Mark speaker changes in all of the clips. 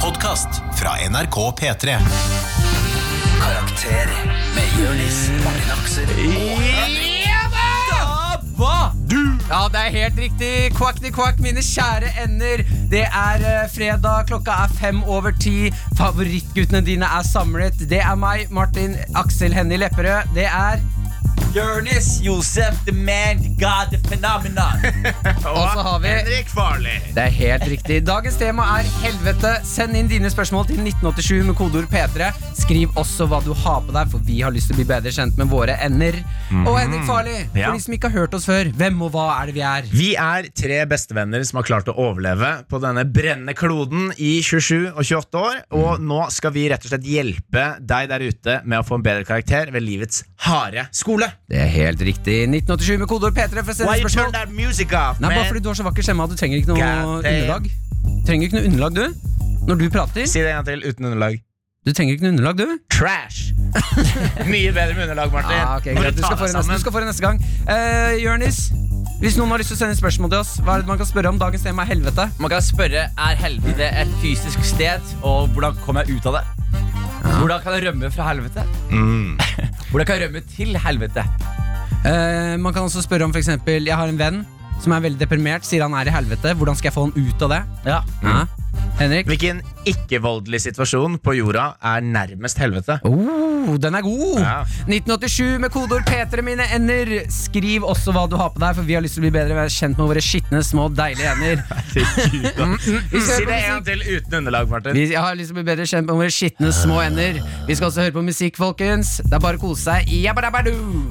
Speaker 1: podkast fra NRK P3.
Speaker 2: Karakter med Jørnis, Martin Akser
Speaker 3: Ja, det er helt riktig. Quackni quack, mine kjære ender. Det er eh, fredag, klokka er fem over ti. Favorittguttene dine er samlet. Det er meg, Martin Aksel Hennie Lepperød. Det er
Speaker 2: Jørnis, Josef, the man, the god, the phenomenon
Speaker 3: Og så har vi
Speaker 4: Henrik Farley.
Speaker 3: Det er helt riktig. Dagens tema er helvete. Send inn dine spørsmål til 1987 med kodeord P3. Skriv også hva du har på deg, for vi har lyst til å bli bedre kjent med våre ender. Og Henrik Farli,
Speaker 4: Ja.
Speaker 3: for de som ikke har hørt oss før, hvem og hva er det vi er?
Speaker 4: Vi er tre bestevenner som har klart å overleve på denne brennende kloden i 27 og 28 år. Og nå skal vi rett og slett hjelpe deg der ute med å få en bedre karakter ved livets harde skole.
Speaker 3: Det er helt riktig. 1987 med kodeord P3 for å sende
Speaker 4: Why you turn
Speaker 3: spørsmål.
Speaker 4: that music off,
Speaker 3: Nei, bare
Speaker 4: man?
Speaker 3: fordi du har så vakker stemme, at du trenger ikke noe
Speaker 4: God damn.
Speaker 3: underlag. Trenger ikke noe underlag, du. Når du prater.
Speaker 4: Si det en gang til uten underlag.
Speaker 3: Du trenger ikke noe underlag, du.
Speaker 4: Trash! Mye bedre med underlag, Martin.
Speaker 3: Ah, ok,
Speaker 4: Bare
Speaker 3: greit. Du
Speaker 4: ta
Speaker 3: skal få
Speaker 4: deg
Speaker 3: det neste,
Speaker 4: sammen.
Speaker 3: du skal få det neste gang. Uh, Jørnis, hvis noen har lyst til å sende spørsmål til oss, hva er det man kan spørre om? Dagens tema er helvete.
Speaker 2: Man kan spørre, er helvete et fysisk sted? Og hvordan kommer jeg ut av det? Hvordan kan jeg rømme fra helvete? Hvordan kan jeg rømme til helvete?
Speaker 3: Eh, man kan også spørre om for eksempel Jeg har en venn som er veldig deprimert, sier han er i helvete. Hvordan skal jeg få han ut av det?
Speaker 2: Ja, Mm.
Speaker 3: Ja. Henrik?
Speaker 4: Hvilken ikke-voldelig situasjon på jorda er nærmest helvete?
Speaker 3: Oh, den er god!
Speaker 4: Ja.
Speaker 3: 1987 med kodeord P3 mine ender. Skriv også hva du har på deg, for vi har lyst til å bli bedre være kjent med våre skitne, små, deilige ender. Mm,
Speaker 4: si
Speaker 3: Vi skal
Speaker 4: det en
Speaker 3: høre på
Speaker 4: gang
Speaker 3: musikk.
Speaker 4: til uten underlag, Martin.
Speaker 3: Vi har lyst til å bli bedre kjent med våre skitne, små ender. Vi skal også høre på musikk, folkens. Det er bare å kose seg. Jabba-dabba-doo.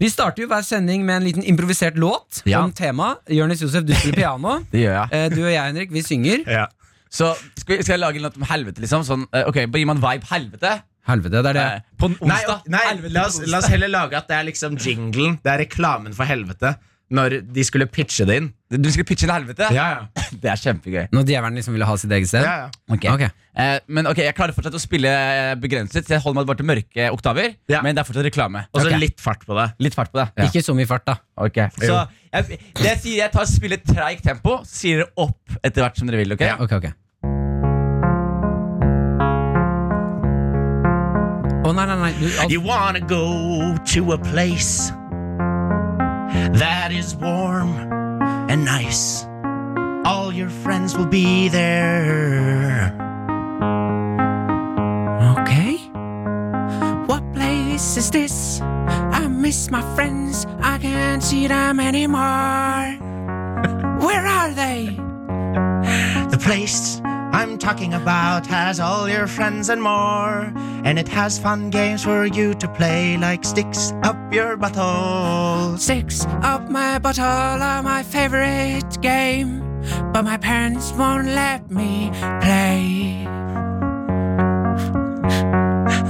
Speaker 3: Vi starter jo hver sending med en liten improvisert låt
Speaker 2: Ja.
Speaker 3: om temaet. Jonis Josef, du spiller piano.
Speaker 2: det gjør jeg
Speaker 3: Eh, Du og jeg, Henrik, vi synger.
Speaker 4: Ja.
Speaker 2: Så skal, vi- skal jeg lage noe om helvete liksom? Sånn, eh, ok, bare gi meg en vibe helvete
Speaker 3: Helvete, det er det.
Speaker 2: Eh, På en
Speaker 4: Nei,
Speaker 2: onsdag
Speaker 4: nei
Speaker 2: Helvete
Speaker 4: la,
Speaker 2: på
Speaker 4: oss,
Speaker 2: en
Speaker 4: la oss
Speaker 2: onsdag.
Speaker 4: heller lage at det er liksom jinglen. Det er reklamen for helvete. Når de skulle pitche det inn.
Speaker 2: Du skal pitche inn helvete?
Speaker 4: ja.
Speaker 2: Det er kjempegøy
Speaker 3: Når djevelen liksom ville ha sitt eget sted?
Speaker 4: ja, ja.
Speaker 2: Ok.
Speaker 3: Ok.
Speaker 2: Eh, men ok, jeg klarer fortsatt å spille eh, begrenset. Så jeg holder meg bare til mørke oktaver.
Speaker 4: Ja.
Speaker 2: Men det er fortsatt reklame.
Speaker 4: Og så
Speaker 2: Ok.
Speaker 4: litt fart på det.
Speaker 2: litt fart på det. Ikke-
Speaker 3: Ikke så mye fart, da.
Speaker 2: Ok. Så jeg, det jeg sier, jeg tar spille treigt tempo, så sier dere opp etter hvert som dere vil. ok?
Speaker 4: Ja.
Speaker 3: Ok, ok Å nei, nei, nei. Du, alt,
Speaker 4: You wanna go to a place that is warm and nice. All your friends will be there.
Speaker 3: ok. What place is this? I miss my friends. I can't see them anymore. Where are they?
Speaker 4: The place I'm talking about has all your friends and more. And it has fun games for you to play, like sticks up your butthole.
Speaker 3: Six up my bottle are my favorite game. But my parents won't let me play.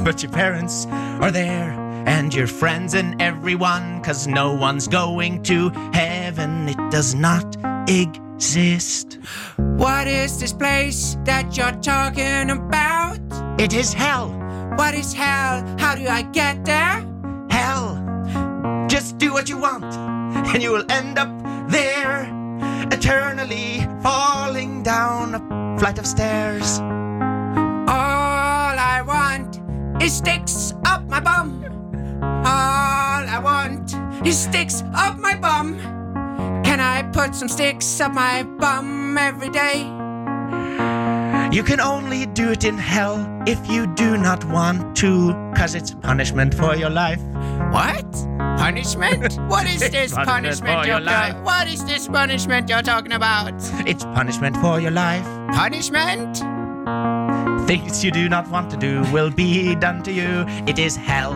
Speaker 4: But your parents are there, and your friends and everyone, cause no one's going to heaven. It does not exist.
Speaker 3: What is this place that you're talking about?
Speaker 4: It is hell.
Speaker 3: What is hell? How do I get there?
Speaker 4: Hell. Just do what you want, and you will end up there, eternally falling down a flight of stairs.
Speaker 3: All I want is sticks up my bum. All I want is sticks up my bum. Can I put some sticks up my bum every day?
Speaker 4: You can only do it in hell if you do not want to, cause it's punishment for your life.
Speaker 3: What? Punishment? What is this
Speaker 4: Punishment
Speaker 3: punishment
Speaker 4: for
Speaker 3: you're
Speaker 4: your life.
Speaker 3: talking What is this punishment you're talking about?
Speaker 4: It's punishment for your life.
Speaker 3: Punishment?
Speaker 4: Things you do not want to do will be done to you. It is hell.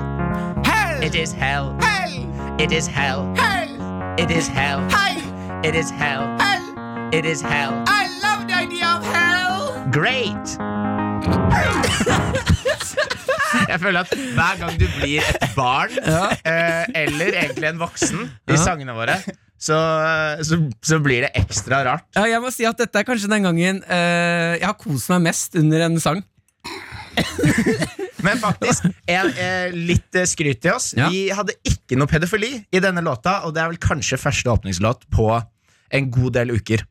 Speaker 3: Hell!
Speaker 4: It is hell.
Speaker 3: Hell!
Speaker 4: It is hell.
Speaker 3: Hell!
Speaker 4: It is hell.
Speaker 3: Hell!
Speaker 4: It is hell.
Speaker 3: Hell!
Speaker 4: It is hell.
Speaker 3: I love the idea of hell!
Speaker 4: Great! Jeg føler at hver gang du blir et barn, eh, eller egentlig en voksen, i sangene våre, så, eh, så, så blir det ekstra rart.
Speaker 3: Ja, jeg må si at dette er kanskje den gangen eh, jeg har kost meg mest under en sang.
Speaker 4: Men faktisk, en, eh, litt eh, skryt til oss.
Speaker 3: Ja.
Speaker 4: Vi hadde ikke noe pedofili i denne låta, og det er vel kanskje første åpningslåt på en god del uker.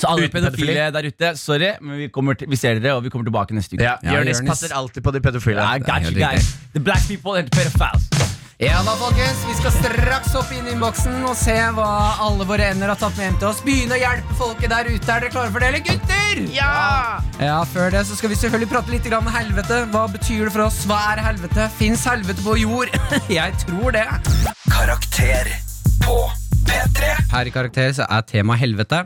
Speaker 2: Så alle
Speaker 4: Uten
Speaker 2: pedofile
Speaker 4: pedofili.
Speaker 2: der ute, sorry, men vi, kommer til, vi ser dere, og vi kommer tilbake neste uke.
Speaker 4: Ja, Jonis
Speaker 3: Jonis.
Speaker 4: passer alltid på de pedofile.
Speaker 2: I got you guys. The black people and pedophiles.
Speaker 3: Ja da, folkens. Vi skal straks hoppe inn i innboksen og se hva alle våre ender har tatt med hjem til oss. Begynne å hjelpe folket der ute. Er dere klare for det, eller gutter? Ja! Ja, Før det så skal vi selvfølgelig prate litt grann om helvete. Hva betyr det for oss? Hva er helvete? Fins helvete på jord? Jeg tror det.
Speaker 5: Karakter på P3
Speaker 3: Her i Karakter så er temaet helvete.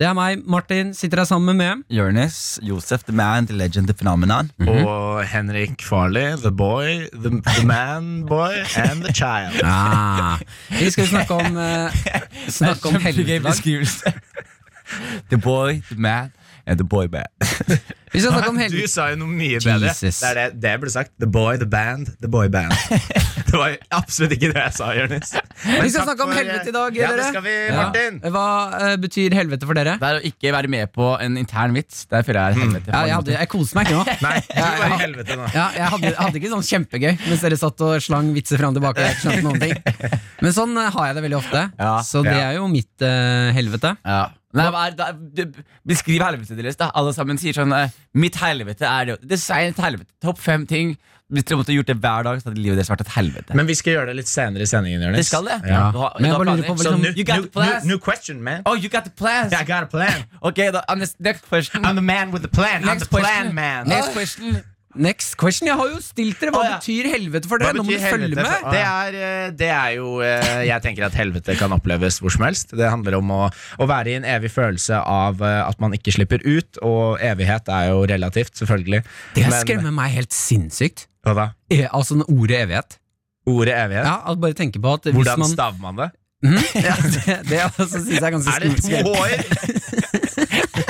Speaker 3: Det er meg, Martin. Sitter jeg sammen med
Speaker 2: Jonis, Josef, the man, the legend, the phenomenon.
Speaker 4: Og Henrik Farley, the boy, the, the man boy and the child.
Speaker 3: ah. Vi skal snakke om, eh, snakke om helvete i dag.
Speaker 2: beskrivelse. the boy, the man, and the boy man.
Speaker 3: Vi skal snakke om
Speaker 4: Nei,
Speaker 3: helvete.
Speaker 4: Du sa jo noe mye bedre. Det
Speaker 3: Jesus.
Speaker 4: er det, det ble sagt. The boy, the band, the boy band. Det var absolutt ikke det jeg sa, Jonis. Men
Speaker 3: Vi
Speaker 4: takk
Speaker 3: skal snakke om
Speaker 4: for-
Speaker 3: helvete i dag,
Speaker 4: Ja,
Speaker 3: dere.
Speaker 4: det skal vi,
Speaker 3: Ja.
Speaker 4: Martin.
Speaker 3: Hva eh, betyr helvete for dere?
Speaker 2: Det er å ikke være med på en intern vits. Der føler jeg er helvete.
Speaker 3: Mm. Ja, jeg, hadde, jeg koste meg ikke nå.
Speaker 4: Nei, du var i helvete nå.
Speaker 3: Ja, jeg hadde, jeg hadde ikke sånn kjempegøy mens dere satt og slang vitser fram og tilbake. og Jeg skjønte noen ting Men sånn eh, har jeg det veldig ofte.
Speaker 2: Ja,
Speaker 3: så det
Speaker 4: ja.
Speaker 3: er jo mitt eh, helvete.
Speaker 2: Ja. Nei, hva er, da, du, beskriv helvetet deres. da Alle sammen sier sånn eh, Mitt helvete er det Design et helvete. Topp fem ting. Hvis dere måtte gjort det hver dag, så hadde livet deres vært et helvete.
Speaker 4: Men vi skal gjøre det litt senere i sendingen, Jonis.
Speaker 2: det skal det.
Speaker 4: Ja.
Speaker 2: Du har,
Speaker 3: Men jeg
Speaker 2: du har
Speaker 3: bare lurer
Speaker 2: planer.
Speaker 3: på hva
Speaker 4: So,
Speaker 3: liksom-
Speaker 4: new,
Speaker 2: You got
Speaker 4: new,
Speaker 2: the plans.
Speaker 4: new, new question, man.
Speaker 2: Oh, you got the plans!
Speaker 4: I got a plan.
Speaker 2: Ok, da, and this- next question.
Speaker 4: I'm the man with the plan. I'm
Speaker 2: Next
Speaker 4: the
Speaker 2: question.
Speaker 4: plan man.
Speaker 2: Next question.
Speaker 3: Next question. Jeg har jo stilt dere hva
Speaker 2: Å, ja.
Speaker 3: betyr helvete for
Speaker 4: Hva
Speaker 3: dere. Nå må
Speaker 4: betyr
Speaker 3: du følge
Speaker 4: helvete?
Speaker 3: med.
Speaker 4: Det er, eh, det er jo eh, Jeg tenker at helvete kan oppleves hvor som helst. Det handler om å, å være i en evig følelse av eh, at man ikke slipper ut, og evighet er jo relativt, selvfølgelig.
Speaker 3: Det
Speaker 4: Men-
Speaker 3: skremmer meg helt sinnssykt.
Speaker 4: Hva da?
Speaker 3: E, altså den ordet evighet.
Speaker 4: Ordet evighet?
Speaker 3: Ja, at bare tenke på at hvis
Speaker 4: Hvordan
Speaker 3: man
Speaker 4: staver man det?
Speaker 3: ja, Det, det altså, synes jeg er ganske
Speaker 4: Er det
Speaker 3: skummelt.
Speaker 4: to år?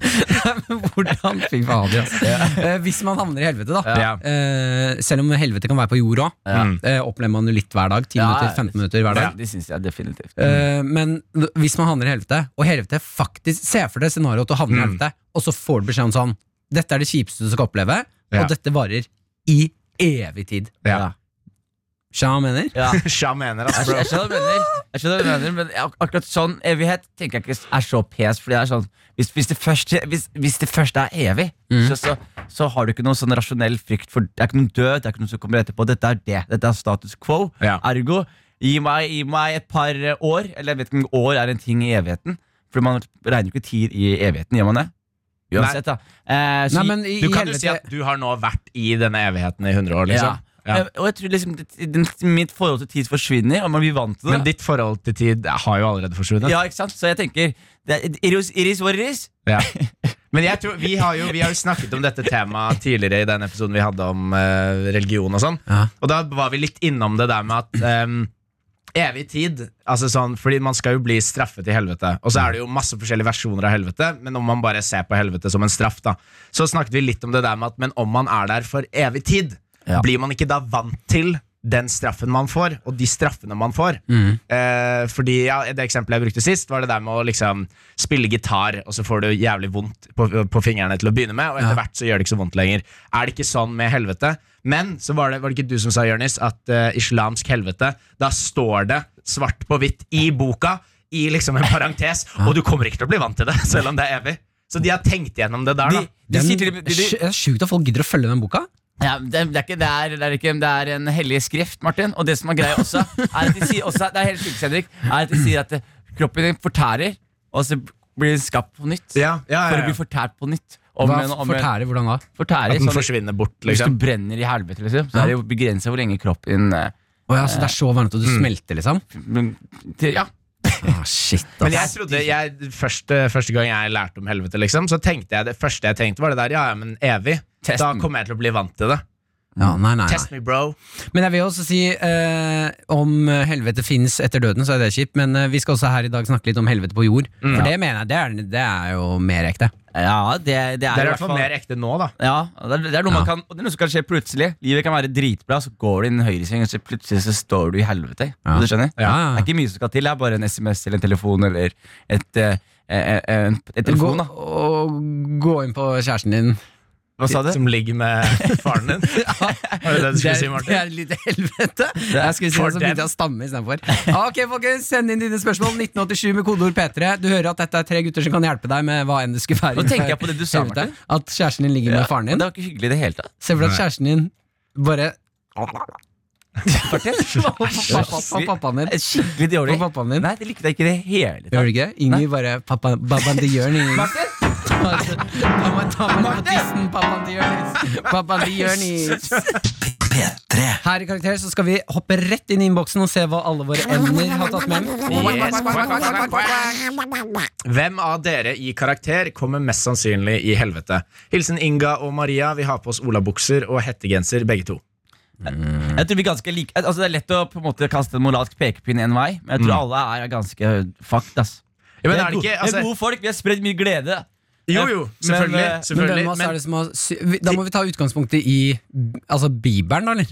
Speaker 3: Men Hvordan Fy fader, altså. Eh, Hvis man havner i helvete, da.
Speaker 4: Ja.
Speaker 3: Eh, selv om helvete kan være på jord òg,
Speaker 4: Ja.
Speaker 3: opplever man jo litt hver dag. 10
Speaker 2: Ja, Mm.
Speaker 3: minutter, 15 minutter hver dag.
Speaker 2: Det syns jeg definitivt.
Speaker 3: Eh, men l- hvis man havner i helvete, og helvete faktisk Se for deg scenarioet at du havner i helvete, og så får du beskjed om sånn Dette er det kjipeste du skal oppleve,
Speaker 4: Ja.
Speaker 3: og dette varer i evig tid.
Speaker 4: Ja.
Speaker 3: Skjønner du hva jeg mener?
Speaker 2: Ja.
Speaker 4: Sja mener,
Speaker 2: Jeg
Speaker 4: altså, bro.
Speaker 2: skjønner hva du mener, jeg skjønner hva du mener men ak akkurat sånn evighet tenker jeg ikke er så pes. Fordi det er sånn Hvis, hvis, det, først, hvis, hvis det først er evig, så, så, så har du ikke noen sånn rasjonell frykt for Det er ikke noen død, det er ikke noe som kommer etterpå. Dette er det. Dette er status quo.
Speaker 4: Ja.
Speaker 2: Ergo, gi meg, gi meg et par eh, år, eller jeg vet ikke om år er en ting i evigheten. For man regner jo ikke tid i evigheten, gjør man det? Uansett, da. Eh, så
Speaker 3: Nei,
Speaker 2: gi-
Speaker 3: men i,
Speaker 4: Du
Speaker 3: i
Speaker 4: kan jo
Speaker 3: helvete
Speaker 4: si at du har nå vært i denne evigheten i 100 år, liksom.
Speaker 2: Ja.
Speaker 4: Ja.
Speaker 2: Eh, Og jeg tror liksom det- den, Mitt forhold til tid forsvinner, og man blir vant til det.
Speaker 4: Men ditt forhold til tid har jo allerede forsvunnet.
Speaker 2: Ja, ikke sant? Så jeg tenker det er, Iris, iris var iris.
Speaker 4: Ja. Men jeg tror, vi, har jo, vi har jo snakket om dette temaet tidligere i den episoden vi hadde om eh, religion og sånn.
Speaker 3: Ja.
Speaker 4: Og da var vi litt innom det der med at ehm, evig tid altså sånn, Fordi man skal jo bli straffet i helvete. Og så er det jo masse forskjellige versjoner av helvete, men om man bare ser på helvete som en straff, da. Så snakket vi litt om det der med at men om man er der for evig tid,
Speaker 2: Ja.
Speaker 4: blir man ikke da vant til den straffen man får, og de straffene man får. Eh, fordi ja, Det eksempelet jeg brukte sist, var det der med å liksom spille gitar, og så får du jævlig vondt på, på fingrene til å begynne med, og etter hvert så gjør det ikke så vondt lenger. Er det ikke sånn med helvete? Men så var det, var det ikke du som sa, Jørnis, at eh, islamsk helvete, da står det svart på hvitt i boka, i liksom en parentes, og du kommer ikke til å bli vant til det, selv om det er evig. Så de har tenkt gjennom det der,
Speaker 2: De,
Speaker 4: da.
Speaker 2: de
Speaker 3: Den-
Speaker 2: sier til de, de,
Speaker 3: Det
Speaker 2: de,
Speaker 3: er sjukt at folk gidder å følge den boka.
Speaker 2: ja, det, er- det, er ikke, det, er, det, er ikke, det er en hellig skrift, Martin. Og det som er greia også, er at de sier også Det er helt sjukt, Henrik. Er at de sier at eh, kroppen din fortærer, og så blir den skapt på nytt.
Speaker 4: Ja, ja, ja,
Speaker 2: For
Speaker 4: ja.
Speaker 2: å bli fortært på nytt. Om
Speaker 3: Hva
Speaker 2: en- om en-
Speaker 3: fortærer hvordan da?
Speaker 2: fortærer,
Speaker 4: At den
Speaker 2: sånn-
Speaker 4: forsvinner bort,
Speaker 2: Hvis
Speaker 4: liksom.
Speaker 2: du brenner i helvete, liksom, så er det jo begrensa hvor lenge kroppen din eh,
Speaker 3: Å ja, så det er så varmt at du smelter, liksom?
Speaker 2: men- til- Ja.
Speaker 3: Ah, shit, ass.
Speaker 4: Men jeg trodde jeg, første, første gang jeg lærte om helvete, liksom, så tenkte jeg det første jeg tenkte, var det der. Ja, ja, men evig.
Speaker 2: Test
Speaker 4: da
Speaker 2: me.
Speaker 4: kommer jeg til å bli vant til det.
Speaker 3: ja, nei, nei, nei.
Speaker 4: Test me, bro.
Speaker 3: Men jeg vil også si eh, om helvete finnes etter døden, så er det kjipt. Men eh, vi skal også her i dag snakke litt om helvete på jord.
Speaker 2: Mm.
Speaker 3: For det mener jeg, det er, det er jo mer ekte.
Speaker 2: Ja, det, det er
Speaker 4: Det er i hvert fall mer ekte nå, da.
Speaker 2: Ja, det er, det er noe
Speaker 3: Ja.
Speaker 2: man kan og Det er noe som kan skje plutselig. Livet kan være dritbra, så går du inn i en høyresving, og så plutselig så står du i helvete.
Speaker 3: Ja.
Speaker 2: Du skjønner?
Speaker 3: Ja.
Speaker 2: Det er ikke mye som skal til. Det er bare en SMS eller en telefon eller et, eh, eh, eh, en, et
Speaker 3: Gå,
Speaker 2: telefon, da.
Speaker 3: og gå inn på kjæresten din
Speaker 2: Hva sa du?
Speaker 4: Som ligger med faren din? Var det det du skulle si, Martin?
Speaker 3: Det er litt helvete. Jeg skulle si
Speaker 4: For
Speaker 3: det, så begynte jeg å stamme istedenfor. Ok, folkens, send inn dine spørsmål. 1987 med kodeord P3. Du hører at dette er tre gutter som kan hjelpe deg med hva enn det skulle være.
Speaker 2: Nå tenker jeg på det du sa,
Speaker 3: Helvete.
Speaker 2: Martin.
Speaker 3: At kjæresten din ligger
Speaker 2: Ja,
Speaker 3: med faren
Speaker 2: og
Speaker 3: din.
Speaker 2: Det var ikke hyggelig i det hele tatt.
Speaker 3: Se for deg at kjæresten din bare Pappa- pappa- pappaen din.
Speaker 2: Skikkelig dårlig.
Speaker 3: På pappaen din.
Speaker 2: Nei, det likte jeg ikke i det hele
Speaker 3: Gjør
Speaker 2: tatt.
Speaker 3: du ikke? Ingrid bare pappa, Babbaen til Jørn. Ingrid. Altså, Ta meg ta meg på tissen, pappaen til Jørnis. Pappaen til Jørnis.
Speaker 6: P3
Speaker 3: Her i Karakter så skal vi hoppe rett inn i innboksen og se hva alle våre ender har tatt med.
Speaker 4: Hvem av dere i karakter kommer mest sannsynlig i helvete? Hilsen Inga og Maria. Vi har på oss olabukser og hettegenser, begge to.
Speaker 2: Jeg tror vi er ganske like Altså Det er lett å på en måte kaste en moralsk pekepinn én vei, men jeg
Speaker 3: Mm.
Speaker 2: tror alle er ganske fucked. ass
Speaker 4: Ja, men
Speaker 2: vi,
Speaker 4: er
Speaker 2: er
Speaker 4: det
Speaker 2: gode,
Speaker 4: ikke,
Speaker 2: vi
Speaker 4: altså-
Speaker 2: er gode folk, vi har spredd mye glede.
Speaker 4: Jo, jo, selvfølgelig.
Speaker 2: Men, eh,
Speaker 3: Men hvem
Speaker 4: selvfølgelig.
Speaker 3: av oss er
Speaker 4: Men,
Speaker 3: det som har sy vi- Da må vi ta utgangspunktet i altså Bibelen, da, eller?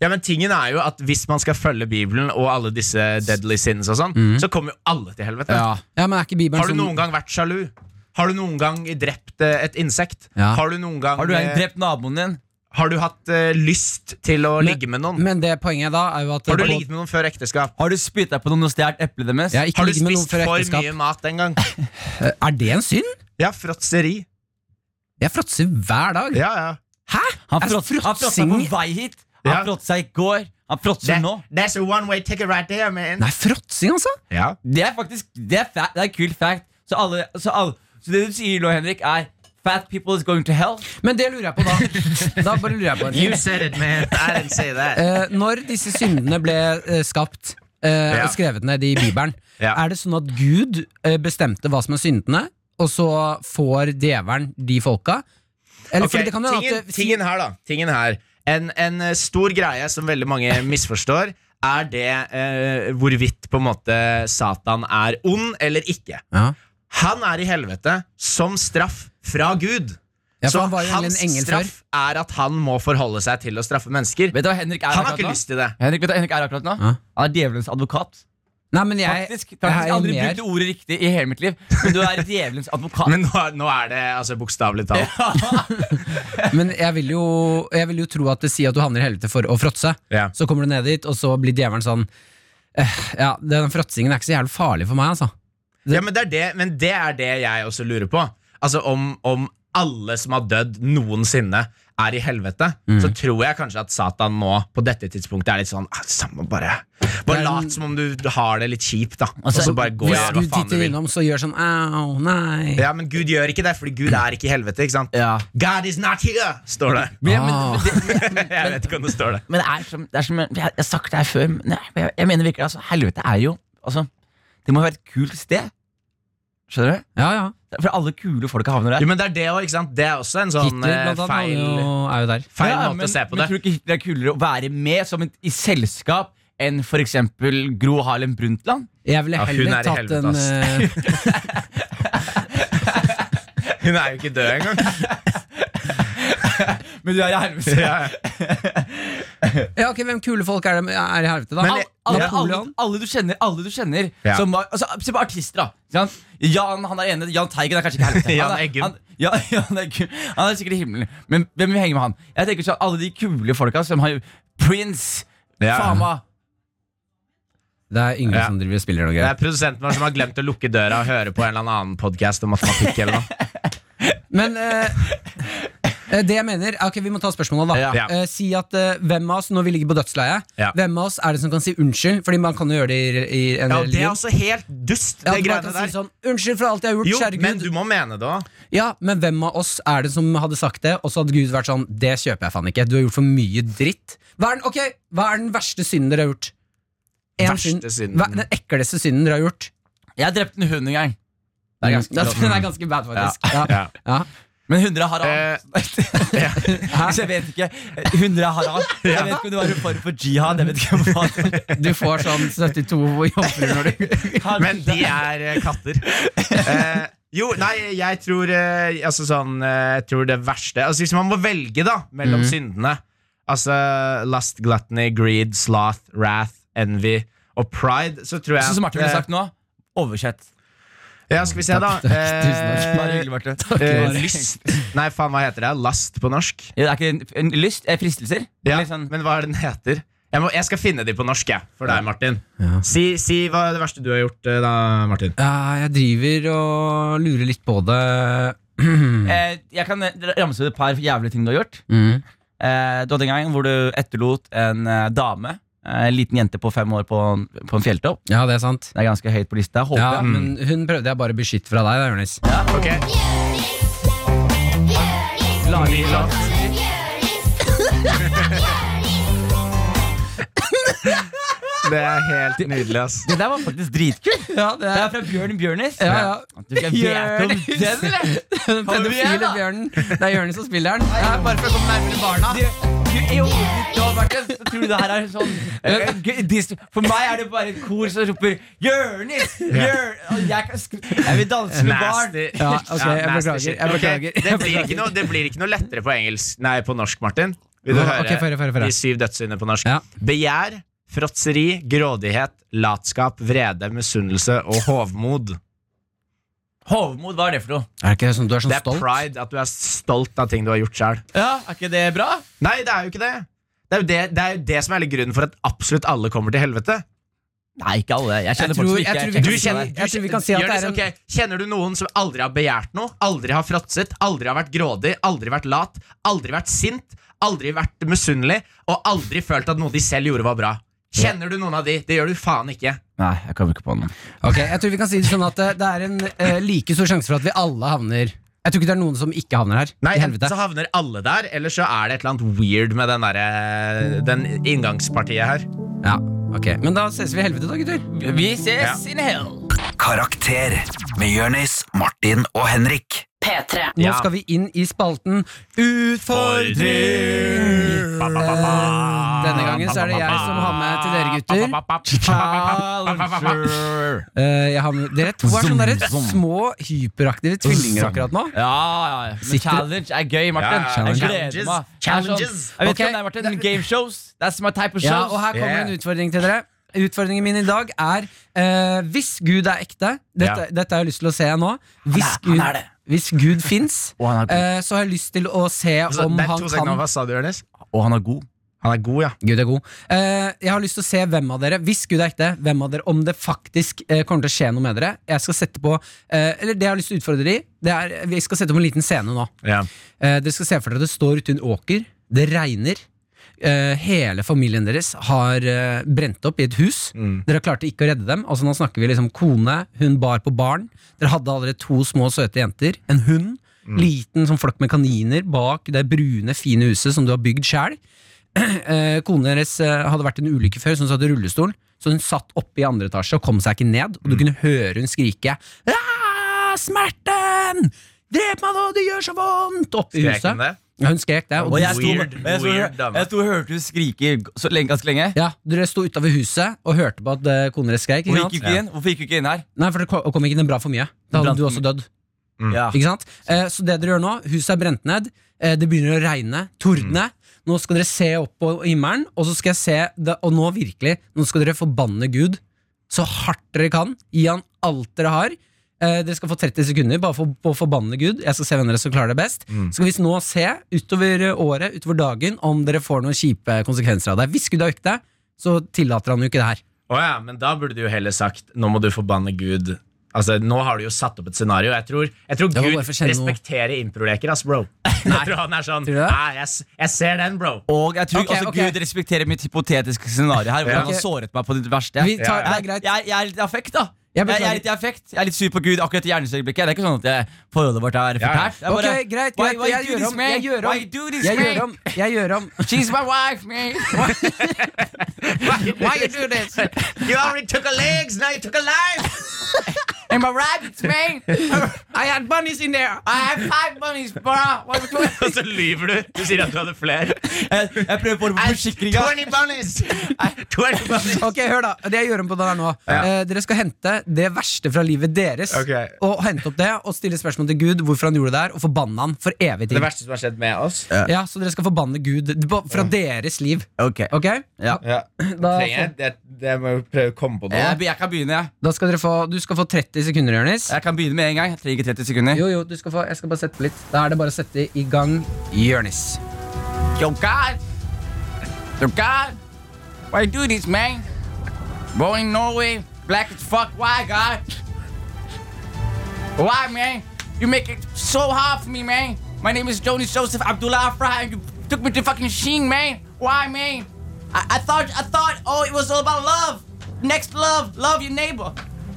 Speaker 4: ja, men tingen er jo at hvis man skal følge Bibelen og alle disse deadly sins og sånn, så kommer jo alle til helvete.
Speaker 3: ja men er ikke Bibelen
Speaker 4: Har du
Speaker 3: sånn-
Speaker 4: noen gang vært sjalu? Har du noen gang drept eh, et insekt?
Speaker 3: Ja.
Speaker 4: Har du noen gang
Speaker 2: Har du
Speaker 4: eh,
Speaker 2: drept naboen din?
Speaker 4: har du hatt eh, lyst til å ligge med noen?
Speaker 3: Men det poenget da er jo at
Speaker 4: har du ligget med noen før ekteskap?
Speaker 2: Har du spytta på noen og stjålet eplet deres?
Speaker 3: ja, ikke
Speaker 4: Har du
Speaker 3: ligge med noen
Speaker 4: spist
Speaker 3: før
Speaker 4: for
Speaker 3: ekteskap.
Speaker 4: mye mat en gang?
Speaker 3: Er det en synd?
Speaker 4: Ja, fråtseri.
Speaker 3: Jeg fråtser hver dag.
Speaker 4: Ja, ja.
Speaker 3: Hæ?
Speaker 2: Han
Speaker 3: Er
Speaker 2: fråtsa han fråtsa på
Speaker 3: fråtsing-
Speaker 2: vei hit. Han
Speaker 4: Ja.
Speaker 2: fråtsa i går. Han fråtser nå.
Speaker 4: that's a one way ticket right there, man.
Speaker 3: Nei, fråtsing, altså?
Speaker 4: Ja.
Speaker 2: Det er faktisk Det er, fa- det er kul fact. Så, alle, så, alle, så det du sier nå, Henrik, er Fat people is going to hell.
Speaker 3: Men det lurer jeg på, da. Da bare lurer jeg på en ting.
Speaker 4: You said it, man. I didn't say that.
Speaker 3: Eh, når disse syndene ble eh, skapt eh,
Speaker 4: Ja.
Speaker 3: og skrevet ned i Bibelen,
Speaker 4: Ja.
Speaker 3: er det sånn at Gud eh, bestemte hva som er syndene, og så får djevelen de folka? Eller
Speaker 4: Ok,
Speaker 3: fordi det kan jo
Speaker 4: tingen,
Speaker 3: at det-
Speaker 4: tingen her, da. Tingen her. En, en eh, stor greie som veldig mange misforstår, er det eh, hvorvidt på en måte Satan er ond eller ikke.
Speaker 3: ja.
Speaker 4: Han er i helvete som straff fra Gud.
Speaker 3: Ja, for
Speaker 4: Så
Speaker 3: han var jo
Speaker 4: hans
Speaker 3: egentlig en engel
Speaker 4: straff er at han må forholde seg til å straffe mennesker.
Speaker 2: Vet du hva Henrik er
Speaker 4: Han har
Speaker 2: akkurat nå?
Speaker 4: ikke lyst til det.
Speaker 2: Henrik, vet du hva Henrik er akkurat nå?
Speaker 3: Ja.
Speaker 2: Han er djevelens advokat.
Speaker 3: Nei, men jeg,
Speaker 2: Faktisk,
Speaker 3: jeg
Speaker 2: faktisk
Speaker 3: er
Speaker 2: aldri
Speaker 3: mer-
Speaker 2: brukt ordet riktig i hele mitt liv, men du er djevelens advokat.
Speaker 4: Men nå, nå er det altså bokstavelig talt.
Speaker 3: Men jeg vil, jo, jeg vil jo tro at det sier at du havner i helvete for å fråtse.
Speaker 4: Ja.
Speaker 3: Så kommer du ned dit, og så blir djevelen sånn eh, Ja, den fråtsingen er ikke så jævlig farlig for meg, altså.
Speaker 4: Ja, men det er det, men det er det jeg også lurer på. Altså om, om alle som har dødd noensinne, er i helvete, så tror jeg kanskje at Satan nå på dette tidspunktet er litt sånn ah, Samme, bare Bare
Speaker 3: Men-
Speaker 4: lat som om du har det litt kjipt, da. og så bare gå og
Speaker 3: Hvis
Speaker 4: gjør hva faen
Speaker 3: Gud
Speaker 4: du
Speaker 3: titter
Speaker 4: vil.
Speaker 3: innom, så gjør sånn au, nei.
Speaker 4: Ja, Men Gud gjør ikke det, fordi Gud er ikke i helvete. ikke sant?
Speaker 2: Ja.
Speaker 4: God is not here, står det.
Speaker 2: Men, men, men,
Speaker 3: Ah.
Speaker 2: det, men,
Speaker 4: Jeg vet ikke om det står det.
Speaker 2: men det er som, det er som jeg, jeg har sagt det her før, men jeg, jeg, jeg mener virkelig altså, Helvete er jo altså, Det må være et kult sted. Skjønner du?
Speaker 3: Ja, ja.
Speaker 2: For alle kule folk havner der.
Speaker 4: Jo, men det er det òg, ikke sant? Det er også en sånn
Speaker 3: Hitler,
Speaker 4: eh,
Speaker 3: blant annet,
Speaker 4: feil,
Speaker 3: er jo, er jo der.
Speaker 4: feil
Speaker 2: Ja,
Speaker 4: måte
Speaker 2: men,
Speaker 4: å se på
Speaker 2: men
Speaker 4: det.
Speaker 2: Tror du ikke Hitler er kulere å være med som en, i selskap enn for eksempel Gro Harlem Brundtland?
Speaker 3: Jeg ville
Speaker 4: Ja, hun
Speaker 3: heller
Speaker 4: er i
Speaker 3: tatt
Speaker 4: helvete,
Speaker 3: en eh,
Speaker 4: Hun er jo ikke død engang.
Speaker 2: Men du er i helvete.
Speaker 4: Ja, ja.
Speaker 3: Ja, ok, Hvem kule folk er, det, er i helvete, da?
Speaker 4: Men-
Speaker 2: Al- alle, alle,
Speaker 3: Napoleon?
Speaker 2: alle du kjenner. Alle du kjenner
Speaker 4: Ja.
Speaker 2: som var, altså, se på artister, da. Ikke sant? Jan han er ene, Jan Teigen er kanskje ikke helvete.
Speaker 4: Jan
Speaker 2: Han er-
Speaker 4: Eggum.
Speaker 2: Han, ja, Jan Eggum. Han er sikkert i himmelen. Men hvem vil henge med han? Jeg tenker sånn, Alle de kule folka som har Prince,
Speaker 4: Ja.
Speaker 2: Fama
Speaker 3: Det er Yngve
Speaker 4: Ja.
Speaker 3: som driver og spiller noe
Speaker 4: Det
Speaker 3: greier.
Speaker 4: er produsenten vår som har glemt å lukke døra og høre på en eller annen podkast om matematikk. eller noe
Speaker 3: Men eh, eh, det jeg mener ok, Vi må ta spørsmålet, da.
Speaker 2: Ja.
Speaker 4: Ja.
Speaker 3: Eh, si at eh, hvem av oss, når vi ligger på dødsleiet,
Speaker 4: Ja.
Speaker 3: hvem av oss er det som kan si unnskyld? Fordi man kan jo gjøre det i, i
Speaker 4: Ja,
Speaker 3: en
Speaker 4: Det er
Speaker 3: religion.
Speaker 4: også helt dust,
Speaker 3: Ja,
Speaker 4: det
Speaker 3: at man
Speaker 4: greiene
Speaker 3: kan si
Speaker 4: der.
Speaker 3: sånn, Unnskyld for alt jeg har gjort,
Speaker 4: Jo,
Speaker 3: kjære Gud.
Speaker 4: men du må mene det òg.
Speaker 3: Ja, men hvem av oss er det som hadde sagt det, og så hadde Gud vært sånn Det kjøper jeg faen ikke. Du har gjort for mye dritt. Hva er den, ok, hva er den verste synden dere har gjort? En
Speaker 4: Verste synden.
Speaker 3: Hva, den ekleste synden dere har gjort? Mm.
Speaker 2: Jeg drepte en hund en gang. Det er ganske
Speaker 3: Den er ganske bad, faktisk. Ja. Ja.
Speaker 2: Men 100 er haram.
Speaker 4: Eh,
Speaker 2: Så jeg vet ikke. 100 er haram. Jeg vet ikke om det var en form for jihad. Jeg vet ikke hva det var.
Speaker 3: Du får sånn 72 jomfruer når du
Speaker 4: Men de er eh, katter. Eh, jo, nei, jeg tror eh, Altså sånn eh, Jeg tror det verste Altså Hvis man må velge, da, mellom syndene Altså lust, gluttony, greed, sloth, wrath, envy og pride, så tror jeg
Speaker 2: Sånn som Martin
Speaker 4: at,
Speaker 2: ville
Speaker 4: eh,
Speaker 2: sagt nå. Oversett.
Speaker 4: Ja, skal vi se, da.
Speaker 3: Takk, takk. Tusen takk.
Speaker 2: Bare hyggelig, Marte.
Speaker 3: Takk,
Speaker 4: eh,
Speaker 3: Mari.
Speaker 4: lyst Nei, faen, hva heter det? Last på norsk?
Speaker 2: Ja, det er ikke en, en lyst? Eh, fristelser?
Speaker 4: Ja,
Speaker 2: Eller sånn,
Speaker 4: Men hva er den heter? Jeg, må, jeg skal finne de på norsk, jeg. For deg, Martin. Si, si hva er det verste du har gjort, eh, da, Martin.
Speaker 3: Ja, jeg driver og lurer litt på det.
Speaker 2: eh, jeg kan eh, ramse ut et par jævlige ting du har gjort.
Speaker 3: Mm.
Speaker 2: Eh, du hadde en gang hvor du etterlot en eh, dame, eh, en liten jente på fem år, på, en- på en fjelltopp.
Speaker 3: Ja, det er sant.
Speaker 2: Det er ganske høyt på lista. Håper
Speaker 3: Ja,
Speaker 2: jeg.
Speaker 3: men hun prøvde jeg bare å beskytte fra deg, da, Jonis.
Speaker 4: Ok, Det er helt nydelig, ass.
Speaker 2: Det der var faktisk dritkult!
Speaker 3: Ja, det
Speaker 2: Det er fra Bjørn Bjørnis.
Speaker 3: Ja, ja.
Speaker 2: At du ikke vet om den, eller?
Speaker 3: Den
Speaker 2: Kom igjen,
Speaker 3: pedofile
Speaker 2: da!
Speaker 3: bjørnen. Det er Jonis som spiller den. Det er bare for å komme nærmere barna.
Speaker 2: Du, du er jo da, Martin, så tror du det her er sånn eh, g- dis- For meg er det bare et kor som roper 'Jørnis! Jør-" Og Jeg, kan sk- jeg vil danse med barn!
Speaker 4: Nasty.
Speaker 3: Ja, ok,
Speaker 4: nasty
Speaker 3: jeg beklager,
Speaker 4: shit.
Speaker 3: jeg
Speaker 4: Ok,
Speaker 3: beklager, jeg
Speaker 4: Det, blir
Speaker 3: beklager.
Speaker 4: ikke noe, det blir ikke noe lettere på engelsk Nei, på norsk, Martin. Vil du
Speaker 3: Hva-
Speaker 4: høre
Speaker 3: ok, få høre, få høre, få høre.
Speaker 4: de syv dødssyndene på norsk?
Speaker 3: Ja.
Speaker 4: Begjær, fråtseri, grådighet, latskap, vrede, misunnelse og hovmod.
Speaker 2: Hovmod, hva er det for noe?
Speaker 3: Er det ikke sånn du er sånn
Speaker 4: Det er
Speaker 3: stolt?
Speaker 4: pride, at du er stolt av ting du har gjort sjøl.
Speaker 2: Ja, Er ikke det bra?
Speaker 4: Nei, det er jo ikke det. Det er jo det, det, er jo det som er hele grunnen for at absolutt alle kommer til helvete.
Speaker 2: Nei, ikke alle. Jeg kjenner
Speaker 3: Jeg tror-
Speaker 2: folk som
Speaker 3: jeg tror
Speaker 2: ikke
Speaker 3: vi
Speaker 2: jeg
Speaker 3: kan
Speaker 4: Du
Speaker 2: kjenner
Speaker 3: si
Speaker 4: kjenner,
Speaker 3: det.
Speaker 2: folk
Speaker 4: du
Speaker 3: Jeg tror vi kan si at det
Speaker 4: Jonis,
Speaker 3: er en-
Speaker 4: ok, kjenner du noen som aldri har begjært noe, aldri har fråtset, aldri har vært grådig, aldri vært lat, aldri vært sint, aldri vært misunnelig og aldri følt at noe de selv gjorde, var bra? Kjenner du noen av de? Det gjør du faen ikke.
Speaker 2: som- Nei, jeg kommer ikke på noen.
Speaker 3: Ok, jeg tror vi kan si det sånn at eh, det er en eh, like stor sjanse for at vi alle havner Jeg tror ikke det er noen som ikke havner her.
Speaker 4: Nei,
Speaker 3: I
Speaker 4: Enten
Speaker 3: helvete.
Speaker 4: så havner alle der, eller så er det et eller annet weird med den, derre- den inngangspartiet her.
Speaker 3: Ja, ok Men da ses vi i helvete, da, gutter.
Speaker 2: Vi ses in hell.
Speaker 7: Karakter med Jørnis, Martin og Henrik.
Speaker 8: P3.
Speaker 3: Nå
Speaker 4: Ja.
Speaker 3: skal vi inn i spalten Utfordring! Denne gangen så er det jeg som har med til dere, gutter.
Speaker 2: Challenger.
Speaker 3: Eh, jeg har med, dere to er sånne der små, hyperaktive tvillinger akkurat nå.
Speaker 2: Ja, ja, ja. Men
Speaker 3: Sitter-
Speaker 2: challenge er gøy, Martin.
Speaker 4: Ja, ja.
Speaker 2: Jeg
Speaker 4: Challenges.
Speaker 2: gleder meg. Det er
Speaker 4: Challenges.
Speaker 2: Sånn, jeg vet ikke
Speaker 3: Ok.
Speaker 2: om det er, Martin. Gameshows. That's my type of shows.
Speaker 3: Ja, og her kommer
Speaker 4: Yeah.
Speaker 3: en utfordring til dere. Utfordringen min i dag er eh, Hvis Gud er ekte Dette,
Speaker 4: Ja.
Speaker 3: dette har jeg lyst til å se nå. Hvis Gud, hvis Gud fins,
Speaker 2: Og han er god.
Speaker 3: eh, så har jeg lyst til å se
Speaker 4: Så,
Speaker 3: om
Speaker 4: Altså, det er
Speaker 3: han
Speaker 4: to sekunder,
Speaker 3: kan
Speaker 4: Hva sa du, Jonis?
Speaker 2: Og han er god.
Speaker 4: Han er god, ja.
Speaker 3: Gud er god. Eh, jeg har lyst til å se hvem av dere, hvis Gud er ekte, hvem av dere, om det faktisk eh, kommer til å skje noe med dere. Jeg skal sette på eh, Eller det jeg har lyst til å utfordre dere i, det er Vi skal sette opp en liten scene nå.
Speaker 4: ja.
Speaker 3: Eh, dere skal se for dere at det står ute i en åker. Det regner. Eh, hele familien deres har eh, brent opp i et hus. Dere klarte ikke å redde dem. Altså Nå snakker vi liksom kone, hun bar på barn. Dere hadde allerede to små, søte jenter. En hund. Liten sånn flokk med kaniner bak det brune, fine huset som du har bygd sjæl. Eh, Konen deres eh, hadde vært i en ulykke før, så hun satt i rullestol. Så hun satt oppe i andre etasje og kom seg ikke ned. Og du kunne høre hun skrike «Ah, 'Smerten! Drep meg nå, det gjør så vondt!' oppe i
Speaker 4: Skrek han
Speaker 3: huset.
Speaker 4: det?
Speaker 3: Ja, hun skrek det. Og
Speaker 2: Og jeg
Speaker 3: du,
Speaker 2: sto,
Speaker 4: Weird,
Speaker 2: jeg sto,
Speaker 4: weird dame.
Speaker 2: jeg sto og hørte hun skrike så lenge, ganske lenge.
Speaker 3: ja, dere sto utafor huset og hørte på at eh, konen deres skrek.
Speaker 2: Hvorfor
Speaker 3: Ikke
Speaker 2: gikk hun
Speaker 3: sant?
Speaker 2: ikke inn? Hvorfor gikk hun ikke inn her?
Speaker 3: Nei, for det kom- kom ikke ned bra for mye. Da hadde
Speaker 2: Bra
Speaker 3: du
Speaker 2: for
Speaker 3: også dødd.
Speaker 4: Mm.
Speaker 2: Ja.
Speaker 3: Ikke sant? Eh, så det dere gjør nå, huset er brent ned, eh, det begynner å regne, tordne. Nå skal dere se opp på himmelen, og så skal jeg se det, Og nå virkelig, nå skal dere forbanne Gud så hardt dere kan. Gi han alt dere har. Eh, dere skal få 30 sekunder bare for, på å forbanne Gud. Jeg skal se hvem dere som klarer det best. Så skal vi nå se utover året, utover dagen, om dere får noen kjipe konsekvenser av det. Hvis Gud har økt deg, så tillater han jo ikke det her.
Speaker 4: Å ja, men da burde du jo heller sagt Nå må du forbanne Gud. Altså, Nå har du jo satt opp et scenario. Jeg tror, jeg tror
Speaker 3: var
Speaker 4: Gud
Speaker 3: bare for å kjenne noe.
Speaker 4: respekterer improleker, ass, bro. Jeg tror han er sånn
Speaker 3: Tror du det?
Speaker 4: Nei, jeg, s- jeg ser den, bro.
Speaker 2: Og jeg tror
Speaker 3: Ok,
Speaker 2: altså,
Speaker 3: ok.
Speaker 2: Gud respekterer mitt hypotetiske scenario her. Hvor
Speaker 4: Ja.
Speaker 2: han har
Speaker 3: Ok.
Speaker 2: såret meg på det verste.
Speaker 3: Vi tar,
Speaker 4: Ja,
Speaker 3: Det er greit.
Speaker 2: Jeg, jeg er litt i affekt, da.
Speaker 3: Jeg
Speaker 2: Jeg,
Speaker 3: beklager.
Speaker 2: jeg er litt i affekt Jeg er litt sur på Gud akkurat i gjerningsøyeblikket. Det er ikke sånn at jeg, forholdet vårt er
Speaker 4: Ja, ja.
Speaker 2: fortært. Det er bare,
Speaker 3: ok,
Speaker 2: why-
Speaker 3: greit, greit.
Speaker 2: why
Speaker 3: jeg
Speaker 2: do
Speaker 3: gjør
Speaker 2: this,
Speaker 3: om.
Speaker 2: man?
Speaker 3: Jeg gjør
Speaker 2: Why do
Speaker 3: om.
Speaker 2: this,
Speaker 3: Jeg
Speaker 2: man?
Speaker 3: gjør om. Jeg gjør om.
Speaker 2: She's my wife, man. Why you do this?
Speaker 4: You already took a legs, now you took a life!
Speaker 2: And my rabbits, man.
Speaker 3: I had bunnies in there.
Speaker 2: I have five bunnies, bro. What are we doing?
Speaker 4: Og så lyver du. Du sier at du hadde flere.
Speaker 2: Jeg, jeg prøver på forsikringa.
Speaker 4: 20 bunnies! 20 bunnies.
Speaker 3: Ok, hør da, Det jeg gjør om på det der nå eh, Dere skal hente det verste fra livet deres.
Speaker 4: Ok.
Speaker 3: Og hente opp det Og stille spørsmål til Gud hvorfor han gjorde det der, og forbanne han for evig tid.
Speaker 4: Det verste Mm. som har skjedd med oss.
Speaker 3: Ja, Så dere skal forbanne Gud på- fra deres liv.
Speaker 2: Ok,
Speaker 3: Ok?
Speaker 2: Ja.
Speaker 4: Ja.
Speaker 3: Da,
Speaker 4: Trenger jeg det, det må jeg prøve å komme på noe.
Speaker 2: jeg, jeg kan begynne, jeg.
Speaker 3: da skal dere få, Du skal få 30 30 sekunder, Jonis.
Speaker 2: Jeg kan begynne med en gang. Jeg trenger ikke 30 sekunder.
Speaker 3: Jo, jo, du skal få. Jeg skal bare sette på litt. Da er det bare å sette i gang Jonis.
Speaker 2: Joker! Joker! Why do this, man? Born in Norway, black as fuck. Why, God? Why, man? You make it so hard for me, man. My name is Jonas Joseph Abdullah Afra, and you took me to fucking Sheen, man. Why, man? I, I thought, I thought, oh, it was all about love. Next love, love your neighbor.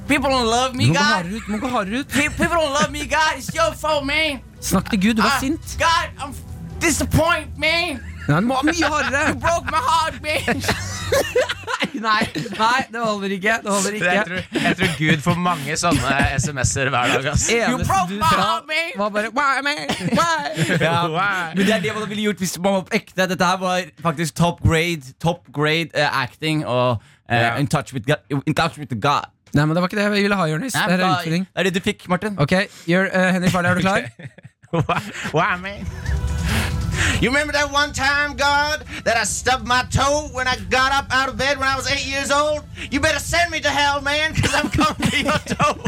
Speaker 2: People don't love me,
Speaker 3: Du må gå
Speaker 2: God.
Speaker 3: hardere ut. du Må gå hardere ut.
Speaker 2: Pe- People don't love me, God. It's your fault, man.
Speaker 3: Snakk til Gud. Du var
Speaker 2: I-
Speaker 3: sint.
Speaker 2: God, I'm disappointed, man.
Speaker 3: Nei, du må ha mye hardere.
Speaker 2: You broke my heart, man.
Speaker 3: Nei, nei, det holder ikke. Det holder
Speaker 4: Jeg
Speaker 3: ikke.
Speaker 4: tror, jeg tror Gud får mange sånne SMS-er hver dag. Ass.
Speaker 2: You broke my heart, man.
Speaker 3: var bare Why, man? Why?
Speaker 4: Wow.
Speaker 2: Men det er det man ville gjort hvis man var på ekte. Dette her var faktisk top grade Top grade eh, acting og eh,
Speaker 4: Ja.
Speaker 2: in, touch with God, in touch with the God.
Speaker 3: Nei, men det var ikke det jeg ville ha, Jonis. Det
Speaker 2: Nei,
Speaker 3: er en
Speaker 2: da-
Speaker 3: utfordring.
Speaker 2: det er det du fikk, Martin.
Speaker 3: Ok, gjør, eh, Henrik Farley, er du klar?
Speaker 4: Wow, man. You remember that one time, God, that I stubbed my toe when I got up out of bed when I was eight years old? You better send me to hell, man, because I'm coming for your toe.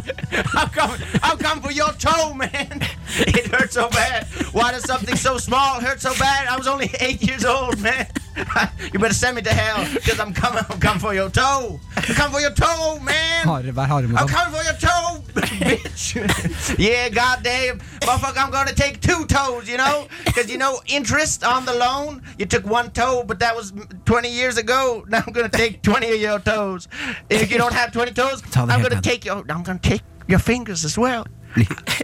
Speaker 4: I'm coming, I'm coming for your toe, man. It hurt so bad. Why does something so small hurt so bad? I was only eight years old, man. You better send me to hell, because I'm coming, I'm coming for your toe. I'm coming for your toe, man.
Speaker 3: Hardere, vær hardere mot
Speaker 4: I'm
Speaker 3: ham.
Speaker 4: coming for your toe, bitch. yeah, goddamn. Motherfucker, I'm gonna take two toes, you know? Because, you know, interest on the loan, you took one toe, but that was 20 years ago. Now I'm gonna take 20 of your toes. If you don't have 20 toes,
Speaker 3: the
Speaker 4: I'm
Speaker 3: head
Speaker 4: gonna
Speaker 3: down.
Speaker 4: take your, I'm gonna take your fingers as well.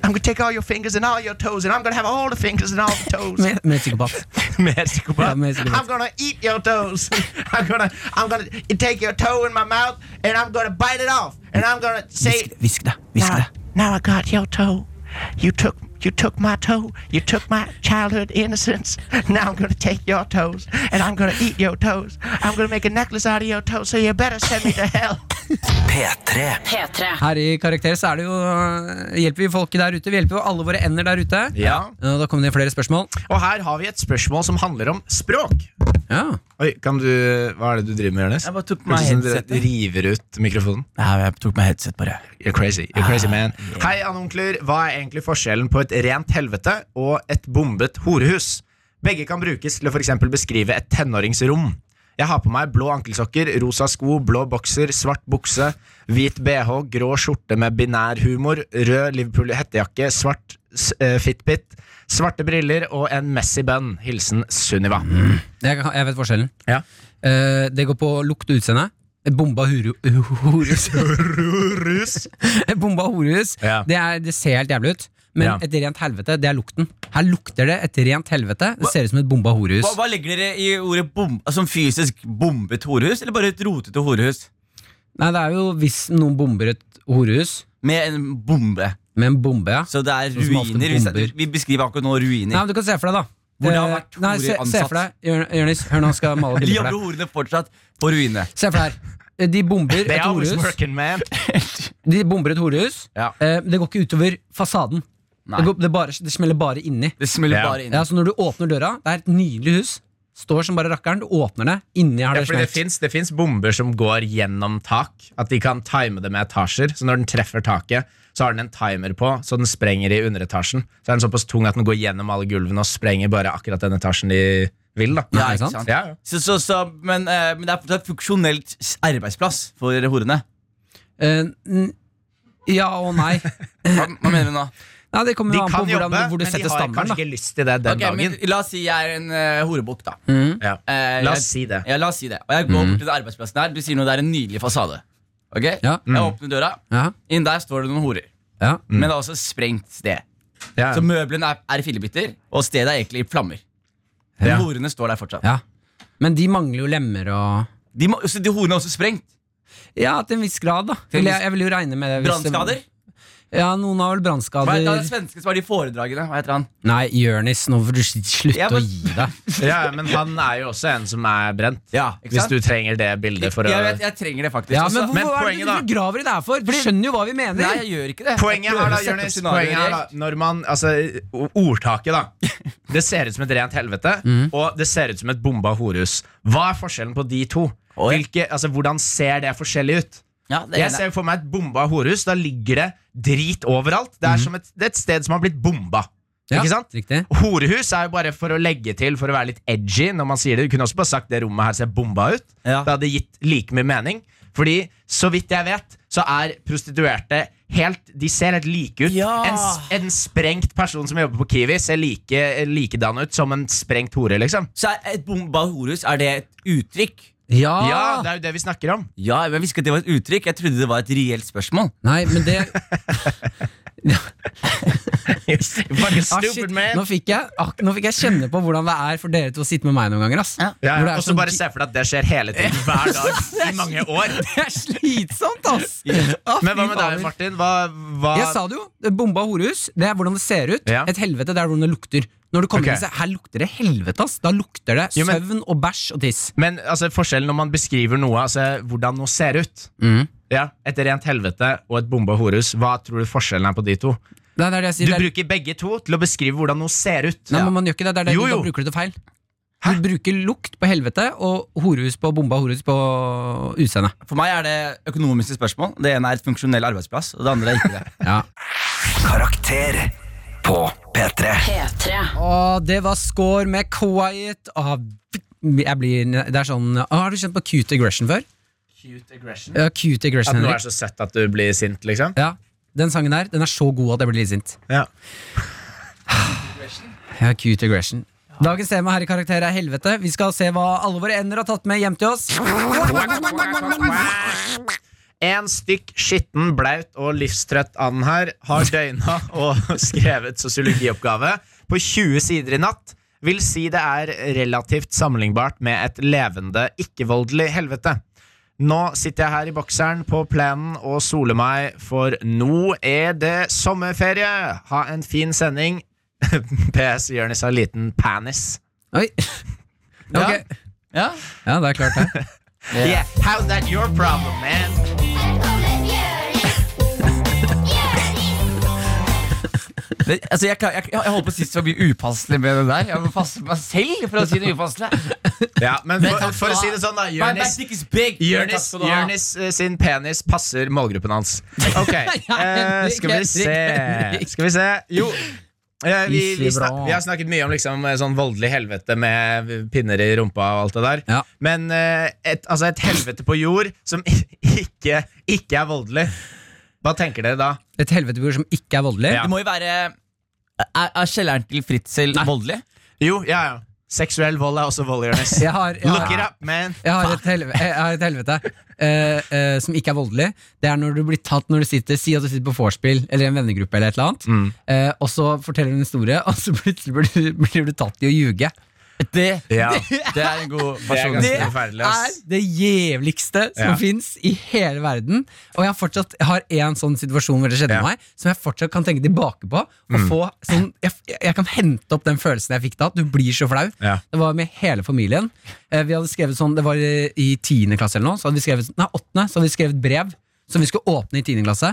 Speaker 4: I'm gonna take all your fingers and all your toes, and I'm gonna have all the fingers and all the toes.
Speaker 3: Mer, mer psykopat. Ja, mer psykopat.
Speaker 4: I'm gonna eat your toes. I'm gonna, I'm gonna take your toe in my mouth, and I'm gonna bite it off, and I'm gonna say,
Speaker 3: Hvisk det. Hvisk
Speaker 4: now,
Speaker 3: det.
Speaker 4: now I got your toe. You took you took my toe. You took my childhood innocence. Now I'm gonna take your toes and I'm gonna eat your toes. I'm gonna make a necklace out of your toes, so you better send me to hell.
Speaker 9: P3.
Speaker 10: P3.
Speaker 3: Her i Karakter så er det jo eh, hjelper vi folket der ute. Vi hjelper jo alle våre ender der ute.
Speaker 4: Ja.
Speaker 3: Og Da kom det inn flere spørsmål.
Speaker 4: Og her har vi et spørsmål som handler om språk.
Speaker 3: Ja.
Speaker 4: Oi, kan du, Hva er det du driver med, Jonis?
Speaker 2: Jeg bare tok på meg Hørtes som du headsetet.
Speaker 4: river ut mikrofonen.
Speaker 2: Nei, jeg tok meg headset, bare.
Speaker 4: You're crazy. You're crazy man. Hei, anneonkler. Hva er egentlig forskjellen på et rent helvete og et bombet horehus? Begge kan brukes til å for eksempel beskrive et tenåringsrom. Jeg har på meg blå ankelsokker, rosa sko, blå bokser, svart bukse, hvit bh, grå skjorte med binær humor, rød Liverpool-hettejakke, svart s- eh, fitbit, svarte briller og en Messi-bønn. Hilsen Sunniva.
Speaker 3: Jeg, kan- jeg vet forskjellen.
Speaker 4: Ja.
Speaker 3: Eh, det går på lukt og utseende. Et Bomba huru- horehus.
Speaker 4: Horehus.
Speaker 3: Et Bomba horehus.
Speaker 4: Ja.
Speaker 3: Det, er, det ser helt jævlig ut. Men
Speaker 4: Ja.
Speaker 3: et rent helvete, det er lukten. Her lukter det et rent helvete. Det ser ut som et bomba horehus.
Speaker 2: Hva, hva legger dere i ordet bom, som fysisk bombet horehus, eller bare et rotete horehus?
Speaker 3: Nei, det er jo hvis noen bomber et horehus
Speaker 2: Med en bombe.
Speaker 3: med en bombe, ja.
Speaker 2: Så det er
Speaker 3: Sånn som ofte
Speaker 2: ruiner. hvis det-
Speaker 3: bomber.
Speaker 2: vi beskriver akkurat nå
Speaker 3: Nei,
Speaker 2: ruiner.
Speaker 3: men du kan se for deg, da.
Speaker 2: Hvor det har
Speaker 3: Eh,
Speaker 2: vært
Speaker 3: Nei, se,
Speaker 2: horer
Speaker 3: se
Speaker 2: ansatt.
Speaker 3: for deg, Jørn- Jørnis, hør nå, han skal male bilder for
Speaker 2: Jobber
Speaker 3: deg.
Speaker 2: horene fortsatt på ruinene?
Speaker 3: Se for deg her. Eh, De bomber et
Speaker 4: They always
Speaker 3: horehus.
Speaker 4: working, man.
Speaker 3: De bomber et horehus.
Speaker 2: Ja.
Speaker 3: Eh, Det går ikke utover fasaden.
Speaker 2: Nei.
Speaker 3: Det, går, det, bare, det smeller bare inni.
Speaker 2: Det smeller
Speaker 4: Ja.
Speaker 2: bare inn.
Speaker 3: Ja, så når du åpner døra, det er et nydelig hus. Står som bare rakkeren, du åpner det, inni har
Speaker 4: Ja,
Speaker 3: det
Speaker 4: fordi det
Speaker 3: smelt.
Speaker 4: finnes, det finnes bomber som går gjennom tak. At de kan time det med etasjer. Så når den treffer taket, så har den en timer på, så den sprenger i underetasjen. Så er den såpass tung at den går gjennom alle gulvene og sprenger bare akkurat den etasjen de vil. da
Speaker 2: Ja,
Speaker 3: ikke
Speaker 2: ikke
Speaker 3: sant?
Speaker 2: sant?
Speaker 4: ja, ja.
Speaker 2: Så, så, så, men, eh, men det er fortsatt funksjonelt s- arbeidsplass for horene.
Speaker 3: Eh, n- ja og nei.
Speaker 2: Hva, hva mener du nå?
Speaker 3: nei det kommer
Speaker 4: De
Speaker 3: jo an på
Speaker 4: kan jobbe,
Speaker 3: hvordan, hvor du
Speaker 4: men de
Speaker 3: setter
Speaker 4: har
Speaker 3: standarden.
Speaker 4: kanskje
Speaker 3: Da.
Speaker 4: ikke lyst til det den
Speaker 2: Ok, men
Speaker 4: dagen.
Speaker 2: la oss si jeg er en uh, horebukk, da.
Speaker 3: Mhm.
Speaker 4: Ja.
Speaker 2: Eh,
Speaker 4: La
Speaker 2: jeg-
Speaker 4: oss si det.
Speaker 2: Ja, la oss si det. Og jeg går bort til den arbeidsplassen her. Du sier noe, det er en nydelig fasade. Ok?
Speaker 3: Ja.
Speaker 2: Jeg åpner døra.
Speaker 3: Ja,
Speaker 2: Inn der står det noen horer.
Speaker 3: ja.
Speaker 2: Men det er også sprengt sted.
Speaker 4: Ja.
Speaker 2: Så møblene er, er i fillebiter, og stedet er egentlig i flammer. Men
Speaker 4: Ja.
Speaker 2: horene står der fortsatt.
Speaker 3: ja. Men de mangler jo lemmer og
Speaker 2: De, må, så de horene er også sprengt.
Speaker 3: Ja, til en viss grad, da.
Speaker 2: Til en
Speaker 3: Vil
Speaker 2: viss-
Speaker 3: jeg, jeg vil jo regne med det. hvis det-
Speaker 2: Brannskader.
Speaker 3: Ja, noen har vel
Speaker 2: Hva heter han
Speaker 3: brannskader.
Speaker 2: svensken som var de foredragene? Hva heter han?
Speaker 3: Nei, Jørnis, nå får du sl- slutte
Speaker 2: Ja, men-
Speaker 3: å gi deg.
Speaker 4: Ja, men han er jo også en som er brent.
Speaker 2: Ja, ikke
Speaker 4: Hvis
Speaker 2: sant?
Speaker 4: du trenger det bildet for å
Speaker 2: jeg, vet, jeg trenger det faktisk.
Speaker 3: Ja,
Speaker 2: Også-
Speaker 3: men hvorfor
Speaker 4: men
Speaker 3: er det
Speaker 4: poenget da-
Speaker 3: du driver og graver i det her for? Du skjønner jo hva vi mener.
Speaker 2: Nei, jeg gjør ikke det.
Speaker 4: Poenget
Speaker 2: Jeg
Speaker 4: her
Speaker 2: prøver
Speaker 4: da,
Speaker 2: å sette
Speaker 4: Jonas,
Speaker 2: opp scenarioer
Speaker 4: poenget her da
Speaker 2: direkt.
Speaker 4: Når man, altså o- Ordtaket da Det ser ut som et rent helvete
Speaker 2: Mm.
Speaker 4: Og det ser ut som et bomba horus Hva er forskjellen på de to?
Speaker 2: Oi.
Speaker 4: Hvilke, altså, hvordan ser det forskjellig ut?
Speaker 2: Ja, det er
Speaker 11: jeg
Speaker 2: det.
Speaker 11: ser for meg et bomba horehus. Da ligger det drit overalt. Det
Speaker 2: Mhm.
Speaker 11: er, som et, det er et sted som har blitt bomba.
Speaker 3: Ja,
Speaker 11: Ikke sant?
Speaker 3: Riktig.
Speaker 11: Horehus er jo bare for å legge til, for å være litt edgy når man sier det. Du kunne også bare sagt det rommet her ser bomba ut.
Speaker 2: Ja.
Speaker 11: Det hadde gitt like mye mening. Fordi, så vidt jeg vet, så er prostituerte helt De ser helt like ut.
Speaker 2: Ja.
Speaker 11: En, s- en sprengt person som jobber på Kiwi, ser like likedan ut som en sprengt hore, liksom.
Speaker 2: Så er et bomba horus, er det et uttrykk?
Speaker 3: Ja!
Speaker 11: Ja, det er jo det vi snakker om.
Speaker 2: Ja, jeg visste ikke at det var et uttrykk. Jeg trodde det var et reelt spørsmål.
Speaker 3: Nei, men det
Speaker 11: Fucking
Speaker 3: Ah,
Speaker 11: stupid
Speaker 3: shit.
Speaker 11: man.
Speaker 3: Nå fikk, jeg, ak, nå fikk jeg kjenne på hvordan det er for dere to å sitte med meg noen ganger. Ass.
Speaker 2: Ja.
Speaker 11: Ja,
Speaker 3: Hvor det
Speaker 11: ja.
Speaker 3: er
Speaker 11: Og så
Speaker 3: sånn-
Speaker 11: bare se for deg at det skjer hele tiden, hver dag, i mange år.
Speaker 3: Det er slitsomt, ass! Ah,
Speaker 11: Men hva
Speaker 3: fy
Speaker 11: med
Speaker 3: fader.
Speaker 11: deg, Martin? Hva, hva
Speaker 3: Jeg sa det jo. det er Bomba horehus, det er hvordan det ser ut.
Speaker 11: Ja.
Speaker 3: Et helvete, det er hvordan det lukter. Når du kommer
Speaker 11: Ok.
Speaker 3: inn, så her lukter det helvete, ass. Da lukter det
Speaker 11: Jo, men-
Speaker 3: søvn og bæsj og tiss.
Speaker 11: Men altså, forskjellen når man beskriver noe, altså hvordan noe ser ut
Speaker 3: Mm.
Speaker 11: ja, Et rent helvete og et bomba horus, hva tror du forskjellen er på de to?
Speaker 3: Nei, det er det jeg
Speaker 11: Du
Speaker 3: sier. det er-
Speaker 11: bruker begge to til å beskrive hvordan noe ser ut.
Speaker 3: Nei, men man gjør ikke det. det, er det
Speaker 11: Jo, jo.
Speaker 3: Da bruker du det feil. Du bruker lukt på helvete og horehus på bomba horehus på utseende.
Speaker 2: For meg er det økonomiske spørsmål. Det ene er et funksjonell arbeidsplass, og det andre er ikke det.
Speaker 3: Ja.
Speaker 12: Karakter på P3.
Speaker 13: P3.
Speaker 3: Og det var score med quiet. Åh, jeg blir, det er sånn åh, Har du kjent på cute aggression før?
Speaker 11: Cute aggression.
Speaker 3: Ja, cute aggression,
Speaker 11: At noe er
Speaker 3: Henrik.
Speaker 11: så søtt at du blir sint, liksom?
Speaker 3: Ja, den sangen der den er så god at jeg blir litt sint.
Speaker 11: Ja.
Speaker 3: Ja, cute aggression. Dagens tema her i Karakter er helvete. Vi skal se hva alle våre ender har tatt med hjem til oss.
Speaker 11: En stykk skitten, blaut og livstrøtt and her har døgna og skrevet sosiologioppgave på 20 sider i natt. Vil si det er relativt sammenlignbart med et levende, ikke-voldelig helvete. Nå sitter jeg her i bokseren på plenen og soler meg, for nå er det sommerferie! Ha en fin sending. PS Jonis har liten panis.
Speaker 3: Oi. Ok.
Speaker 2: Ja.
Speaker 3: Ja, det er klart, det.
Speaker 11: Yeah, how's that your problem, man?
Speaker 2: Det, altså, jeg, klar- jeg, jeg holdt på å si så mye upasselig med det der. Jeg må passe meg selv for å si noe upasselig.
Speaker 11: Ja,
Speaker 2: Men
Speaker 11: men for,
Speaker 2: takk skal
Speaker 11: for å
Speaker 2: du
Speaker 11: si
Speaker 2: ha.
Speaker 11: det sånn, da.
Speaker 2: My
Speaker 11: Jonis
Speaker 2: back dick is big. Takk
Speaker 11: Jørnis,
Speaker 2: skal du ha.
Speaker 11: Jørnis, eh, sin penis passer målgruppen hans. Ok, eh, skal vi se Skal vi se Jo. eh, vi, vi, snak, vi har snakket mye om liksom, eh, sånn voldelig helvete med pinner i rumpa og alt det der.
Speaker 3: Ja.
Speaker 11: Men eh, et, altså et helvete på jord som ikke, ikke er voldelig. Hva tenker dere da?
Speaker 3: Et helvetebord som ikke er voldelig.
Speaker 11: Ja.
Speaker 2: Det må jo være Er, er kjelleren til Fritzel voldelig?
Speaker 11: Jo, ja, ja. Seksuell vold er også vold, Jørnis.
Speaker 3: Jeg har, jeg
Speaker 11: Look it
Speaker 3: har,
Speaker 11: up, man!
Speaker 3: jeg har et helvete, jeg har et helvete eh, eh, som ikke er voldelig. Det er når du blir tatt når du sitter Si at du sitter på vorspiel eller i en vennegruppe, eller et eller annet eh, og så forteller du en historie, og så plutselig blir du, blir du tatt i å ljuge.
Speaker 2: Det,
Speaker 11: Ja.
Speaker 2: det er en god
Speaker 11: Det er
Speaker 2: versjon.
Speaker 11: ganske
Speaker 3: Det
Speaker 11: forferdelig.
Speaker 3: er
Speaker 11: ass.
Speaker 3: det jævligste som
Speaker 11: Ja.
Speaker 3: finnes i hele verden. Og jeg har fortsatt jeg har en sånn situasjon hvor det skjedde
Speaker 11: Ja. Mm.
Speaker 3: med meg, som jeg fortsatt kan tenke tilbake på. Og få sånn, jeg, jeg kan hente opp den følelsen jeg fikk da. at Du blir så flau.
Speaker 11: Ja.
Speaker 3: Det var med hele familien. Eh, Vi hadde skrevet sånn, Det var i i tiende klasse eller noe. Så hadde vi skrevet, nei, åttende, så hadde vi skrevet brev. Som vi skulle åpne i 10. klasse.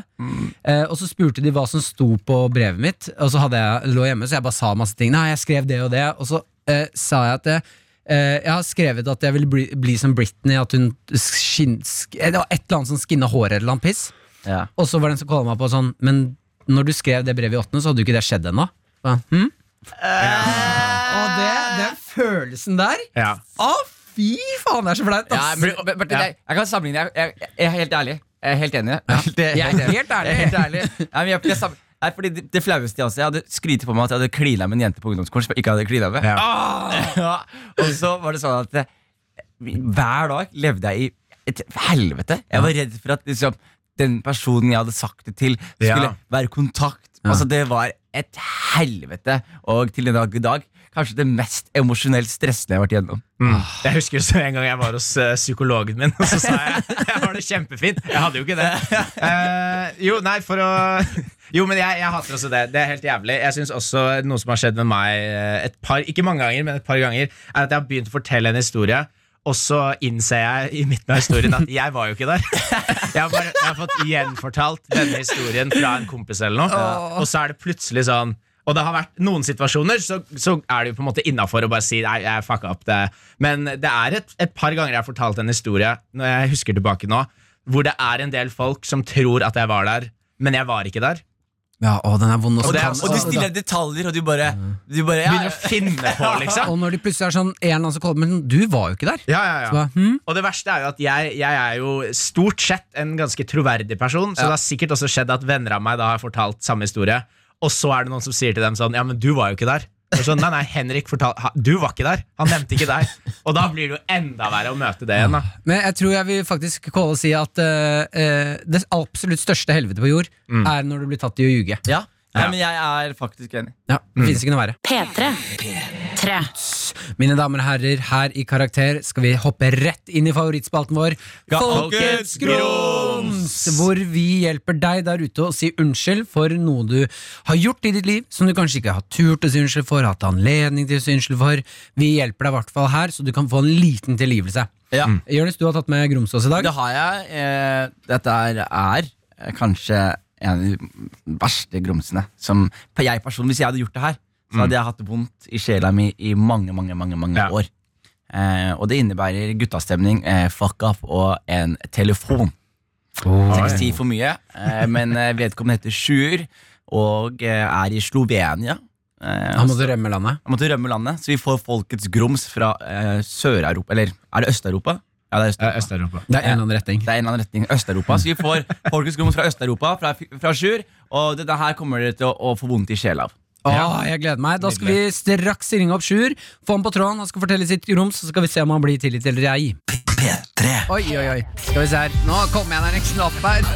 Speaker 3: Eh, og så spurte de hva som sto på brevet mitt. Og så hadde jeg, lå jeg hjemme, så jeg bare sa masse ting. Nei, jeg skrev det og det. Og så eh, sa jeg at eh, Eh, jeg har skrevet at jeg vil bli, bli som Britney, at hun skin, sk, eh, Det var et eller annet som skinna håret eller annet piss.
Speaker 2: Ja.
Speaker 3: Og så var det en som kalla meg på sånn Men når du skrev det brevet i åttende, så hadde jo ikke det skjedd ennå. Så jeg, Hm? Og det, den følelsen der
Speaker 11: Ja.
Speaker 3: Å, fy faen, det er så flaut,
Speaker 2: Ja,
Speaker 3: ass!
Speaker 2: men, men, men, jeg, jeg kan sammenligne. Jeg, jeg, jeg er helt ærlig. Jeg er helt enig. Det
Speaker 3: Jeg er
Speaker 2: enig.
Speaker 3: helt ærlig.
Speaker 2: Jeg er helt ærlig. Nei, men jeg, jeg, sam- Nei, fordi det, det flaueste jeg også Jeg hadde skrytet på meg at jeg hadde klina med en jente på ungdomsskolen som jeg ikke hadde klina med.
Speaker 11: Ja.
Speaker 2: Ah! Og så var det sånn at eh, hver dag levde jeg i et helvete. Jeg var redd for at liksom, den personen jeg hadde sagt det til, skulle
Speaker 11: Ja.
Speaker 2: være i kontakt. Altså, det var et helvete. Og til den dag i dag kanskje det mest emosjonelt stressende jeg har vært igjennom.
Speaker 11: Mm. Jeg husker så en gang jeg var hos eh, psykologen min, og så sa jeg jeg har det kjempefint. Jeg hadde jo ikke det. Eh, jo, nei, for å Jo, men jeg, jeg hater også det. Det er helt jævlig. Jeg synes også noe som har skjedd med meg eh, et par ikke mange ganger, men et par ganger, er at jeg har begynt å fortelle en historie. Og så innser jeg i midten av historien at jeg var jo ikke der. Jeg har, bare, jeg har fått gjenfortalt denne historien fra en kompis, eller noe og så er det plutselig sånn og det har vært noen situasjoner så, så er det jo på en måte innafor å bare si nei, jeg fucka opp det. Men det er et, et par ganger jeg har fortalt en historie, når jeg husker tilbake nå, hvor det er en del folk som tror at jeg var der, men jeg var ikke der.
Speaker 3: Ja, å, den er vond å
Speaker 11: Og det er-
Speaker 3: kan-
Speaker 11: og
Speaker 14: Og du
Speaker 11: de
Speaker 14: stiller detaljer, og du bare,
Speaker 2: Mm.
Speaker 14: du bare ja,
Speaker 11: Begynner å finne på, liksom.
Speaker 3: Og når de plutselig er sånn en eller annen som kaller Men du var jo ikke der.
Speaker 11: Ja, ja, ja.
Speaker 3: Så bare, hm?
Speaker 11: Og det verste er jo at jeg, jeg er jo stort sett en ganske troverdig person, så det har sikkert også skjedd at venner av meg da har fortalt samme historie, og så er det noen som sier til dem sånn Ja, men du var jo ikke der. Og sånn, nei, nei, Henrik fortal, ha- Du var ikke der. Han nevnte ikke deg. Og da blir det jo enda verre å møte det igjen. da
Speaker 3: Men jeg tror jeg vil faktisk kåle og si at eh, eh, det absolutt største helvete på jord
Speaker 11: Mm.
Speaker 3: er når du blir tatt i å ljuge.
Speaker 2: Ja. Nei, men jeg er faktisk enig.
Speaker 3: Ja, det finnes ikke noe verre.
Speaker 15: P3. P3.
Speaker 3: Mine damer og herrer, her i Karakter skal vi hoppe rett inn i favorittspalten vår. Folkets grums! Hvor vi hjelper deg der ute å si unnskyld for noe du har gjort i ditt liv som du kanskje ikke har turt å si unnskyld for, hatt anledning til å si unnskyld for. Vi hjelper deg i hvert fall her, så du kan få en liten tilgivelse.
Speaker 2: Ja.
Speaker 3: Jonis, du har tatt med grums også i dag.
Speaker 2: Det har jeg. Eh, dette er, er eh, kanskje en av de verste grumsene. Som på jeg personlig, Hvis jeg hadde gjort det her, så hadde jeg hatt vondt i sjela mi i mange mange, mange, mange
Speaker 11: Ja.
Speaker 2: år. Eh, og det innebærer guttastemning, eh, fuck up og en telefon. Jeg skal ikke si for mye, eh, men eh, vedkommende heter Sjur og eh, er i Slovenia. Eh,
Speaker 3: Han måtte rømme landet.
Speaker 2: han måtte rømme landet, så vi får folkets grums fra eh, Sør-Europa. Eller er det Øst-Europa? Ja, det er Øst-Europa.
Speaker 11: Øst-Europa.
Speaker 3: Det er en eller annen retning.
Speaker 2: Det er en eller annen retning Øst-Europa. Så vi får folkets grums fra Øst-Europa, fra, fra Sjur. Og dette her kommer dere til å, å få vondt i sjela av.
Speaker 3: Åh, jeg gleder meg. Da skal vi straks ringe opp Sjur, få han på tråden, han skal fortelle sitt grums, så skal vi se om han blir tilgitt eller ei.
Speaker 16: P3.
Speaker 3: Oi, oi, oi. Skal vi se her. Nå kom jeg ned en knapp her.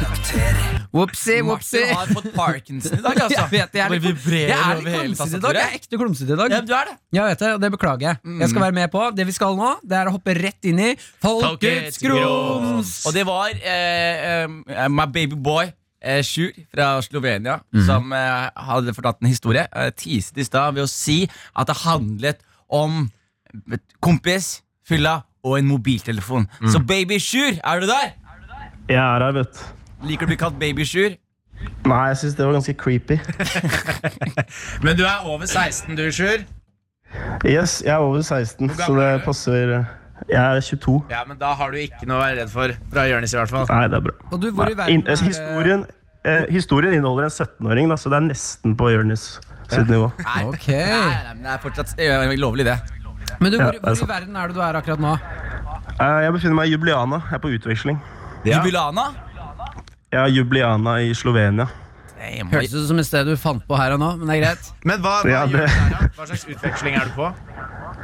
Speaker 3: Whoopsie, whoopsie.
Speaker 2: Martin har fått Parkinson i dag, altså.
Speaker 3: Jeg vet, jeg er
Speaker 2: Bare
Speaker 3: litt,
Speaker 2: vibrerer
Speaker 3: jeg er litt
Speaker 2: over hele
Speaker 3: klumsete i dag. Jeg er
Speaker 2: tastaturet.
Speaker 3: ekte klumsete i dag.
Speaker 2: Ja, du Mm. er det.
Speaker 3: Jeg vet det, og det beklager jeg. Jeg skal være med på. Det vi skal nå, det er å hoppe rett inn i Folkets
Speaker 11: Folkets
Speaker 3: grums.
Speaker 2: Og det var eh, eh, my baby boy eh, Sjur fra Slovenia
Speaker 17: Mhm.
Speaker 2: som eh, hadde fortalt en historie. Eh, teaset i stad ved å si at det handlet om kompis, fylla og en mobiltelefon.
Speaker 17: Mhm.
Speaker 2: Så baby Sjur, er du der?
Speaker 17: Jeg er her, vet du.
Speaker 2: Liker du å bli kalt baby Sjur?
Speaker 17: Nei, jeg syns det var ganske creepy.
Speaker 11: Men du er over 16, du, Sjur.
Speaker 17: Yes, jeg er over 16, så
Speaker 11: gammel
Speaker 17: det
Speaker 11: er du?
Speaker 17: passer. Jeg er 22.
Speaker 11: Ja, men da har du ikke noe å være redd for. Fra Jonis, i hvert fall.
Speaker 17: Nei, det er bra.
Speaker 3: Og du, hvor i
Speaker 17: In
Speaker 3: verden
Speaker 17: eh,
Speaker 3: er det?
Speaker 17: historien, eh, historien inneholder en 17-åring, da, så det er nesten på Jonis sitt nivå.
Speaker 3: Ok.
Speaker 2: Nei, nei, men det er fortsatt eh, lovlig, det.
Speaker 3: Men du,
Speaker 17: Ja,
Speaker 3: hvor,
Speaker 17: det er
Speaker 3: hvor i
Speaker 17: sant.
Speaker 3: verden er det du er akkurat nå?
Speaker 17: Eh, jeg befinner meg i Jubliana. Jeg er på utveksling.
Speaker 11: Ja.
Speaker 2: Jubilana?
Speaker 17: Jeg er i Jubliana i Slovenia. Eh,
Speaker 3: Hørtes ut som et sted du fant på her og nå, men det er greit.
Speaker 11: Men hva, hva,
Speaker 17: Ja,
Speaker 11: gjør du
Speaker 17: det-
Speaker 11: der, da? hva slags utveksling er du på?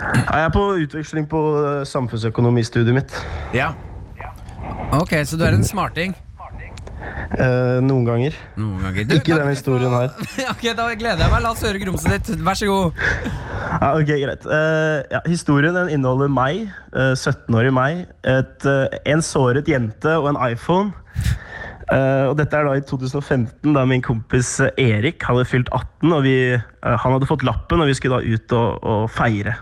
Speaker 17: Nei, Jeg er på utveksling på eh, samfunnsøkonomistudiet mitt.
Speaker 11: Ja.
Speaker 3: Ok, så du er en smarting.
Speaker 17: Eh, noen ganger.
Speaker 3: Noen ganger. Du,
Speaker 17: Ikke denne historien her.
Speaker 3: ok, da gleder jeg meg. La oss høre grumset ditt. Vær så god.
Speaker 17: Ja, ok, greit. Eh, ja, historien den inneholder meg, eh, 17-årig meg, et, eh, en såret jente og en iPhone. Eh, og dette er da i 2015, da min kompis eh, Erik hadde fylt 18, og vi, eh, han hadde fått lappen, og vi skulle da ut og, og feire.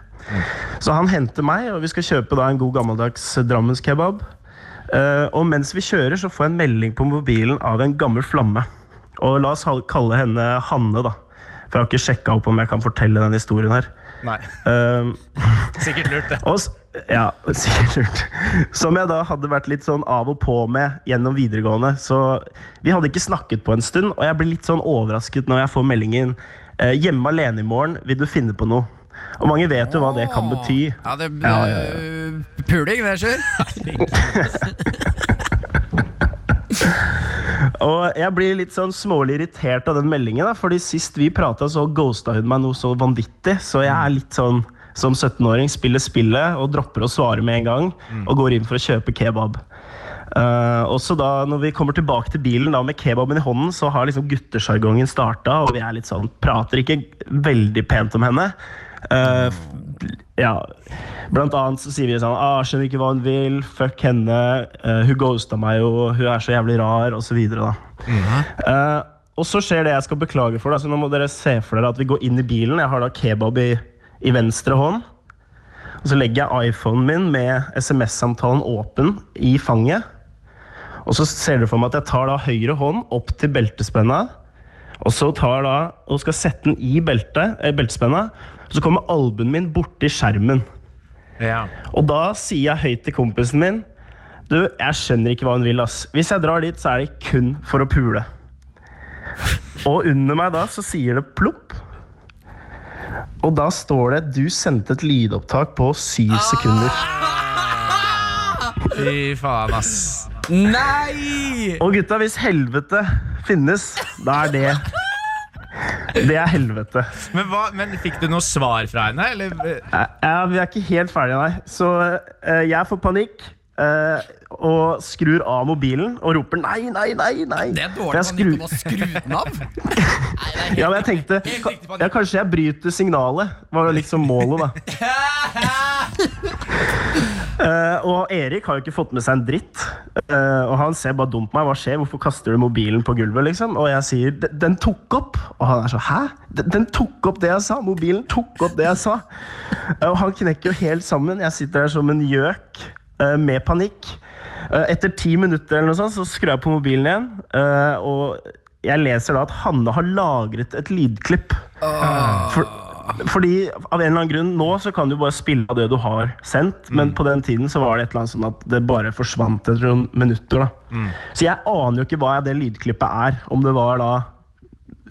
Speaker 17: Så han henter meg, og vi skal kjøpe da en god gammeldags Drammenskebab. Eh, og mens vi kjører, så får jeg en melding på mobilen av en gammel flamme. Og la oss ha- kalle henne Hanne, da. For jeg har ikke sjekka opp om jeg kan fortelle den historien her.
Speaker 11: Nei.
Speaker 17: Eh,
Speaker 11: Sikkert lurt, det.
Speaker 17: og, s- ja, sikkert lurt. Som jeg da hadde vært litt sånn av og på med gjennom videregående. Så vi hadde ikke snakket på en stund, og jeg blir litt sånn overrasket når jeg får meldingen eh, 'Hjemme alene i morgen, vil du finne på noe?' Og mange vet jo hva det kan bety.
Speaker 3: Ja, det
Speaker 17: Ja, ja,
Speaker 3: øh, Puling, det, Sjur.
Speaker 17: Og jeg blir litt sånn smålig irritert av den meldingen, da, fordi sist vi prata, så ghosta hun meg noe så vanvittig, så jeg er litt sånn som 17-åring spiller spillet og dropper å svare med en gang og går inn for å kjøpe kebab. Eh, også da når vi kommer tilbake til bilen da med kebaben i hånden, så har liksom guttesjargongen starta, og vi er litt sånn Prater ikke veldig pent om henne. Eh, f- ja, blant annet så sier vi sånn ah, 'Skjønner ikke hva hun vil. Fuck henne. eh, hun ghosta meg jo. Hun er så jævlig rar.' Og så videre, da. Eh, og så skjer det jeg skal beklage for. Da. Så nå må dere se for dere at vi går inn i bilen. Jeg har da kebab i, i venstre hånd. Og så legger jeg iPhonen min med SMS-samtalen åpen i fanget. Og så ser dere for meg at jeg tar da høyre hånd opp til beltespenna. Og så tar da, og skal sette den i beltet, eh, beltespenna. Og så kommer albuen min borti skjermen.
Speaker 11: Ja.
Speaker 17: Og da sier jeg høyt til kompisen min Du, jeg skjønner ikke hva hun vil, ass. Hvis jeg drar dit, så er det kun for å pule. Og under meg da, så sier det plopp. Og da står det 'du sendte et lydopptak på syv
Speaker 3: Ah.
Speaker 17: sekunder'.
Speaker 11: Fy faen, ass.
Speaker 3: Nei!
Speaker 17: Og gutta, hvis helvete finnes, da er det Det er helvete.
Speaker 11: Men, hva, men fikk du noe svar fra henne? Eller?
Speaker 17: Eh, Ja, vi er ikke helt ferdige, nei. Så eh, jeg får panikk. eh, og skrur av mobilen og roper 'nei, nei, nei'. nei
Speaker 3: Det er dårlig
Speaker 17: For jeg
Speaker 3: panikk om
Speaker 17: skrur-
Speaker 3: å skru den av.
Speaker 17: Ja, men jeg tenkte ka-
Speaker 3: riktig panikk.
Speaker 17: ja, Kanskje jeg bryter signalet, var liksom målet, da. Eh, og Erik har jo ikke fått med seg en dritt. Eh, og han ser bare dumt på meg. Hva skjer? Hvorfor kaster du mobilen på gulvet? liksom? Og jeg sier "Den- den tok opp. Og han er så hæ? Den, den tok opp det jeg sa! Mobilen tok opp det jeg sa! Eh, og han knekker jo helt sammen. Jeg sitter der som en gjøk eh, med panikk. Eh, etter ti minutter eller noe sånt, så skrur jeg på mobilen igjen. eh, og jeg leser da at Hanne har lagret et lydklipp. For, fordi av en eller annen grunn Nå så kan du bare spille av det du har sendt, men på den tiden så var det et eller annet sånn at det bare forsvant etter noen minutter. da Så jeg aner jo ikke hva det lydklippet er. Om det var da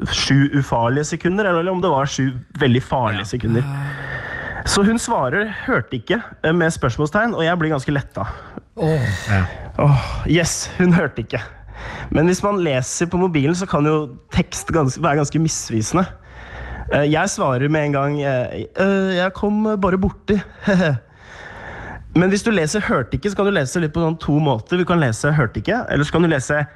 Speaker 17: sju ufarlige sekunder, eller om det var sju veldig farlige sekunder. Så hun svarer 'hørte ikke' eh, med spørsmålstegn, og jeg blir ganske letta. Åh, yes, hun hørte ikke. Men hvis man leser på mobilen, så kan jo tekst ganske, være ganske misvisende. Eh, Jeg svarer med en gang eh, «Øh, Jeg kom bare borti. Men hvis du leser 'hørte ikke', så kan du lese litt på sånn to måter. Du kan lese 'hørte ikke', eller så kan du lese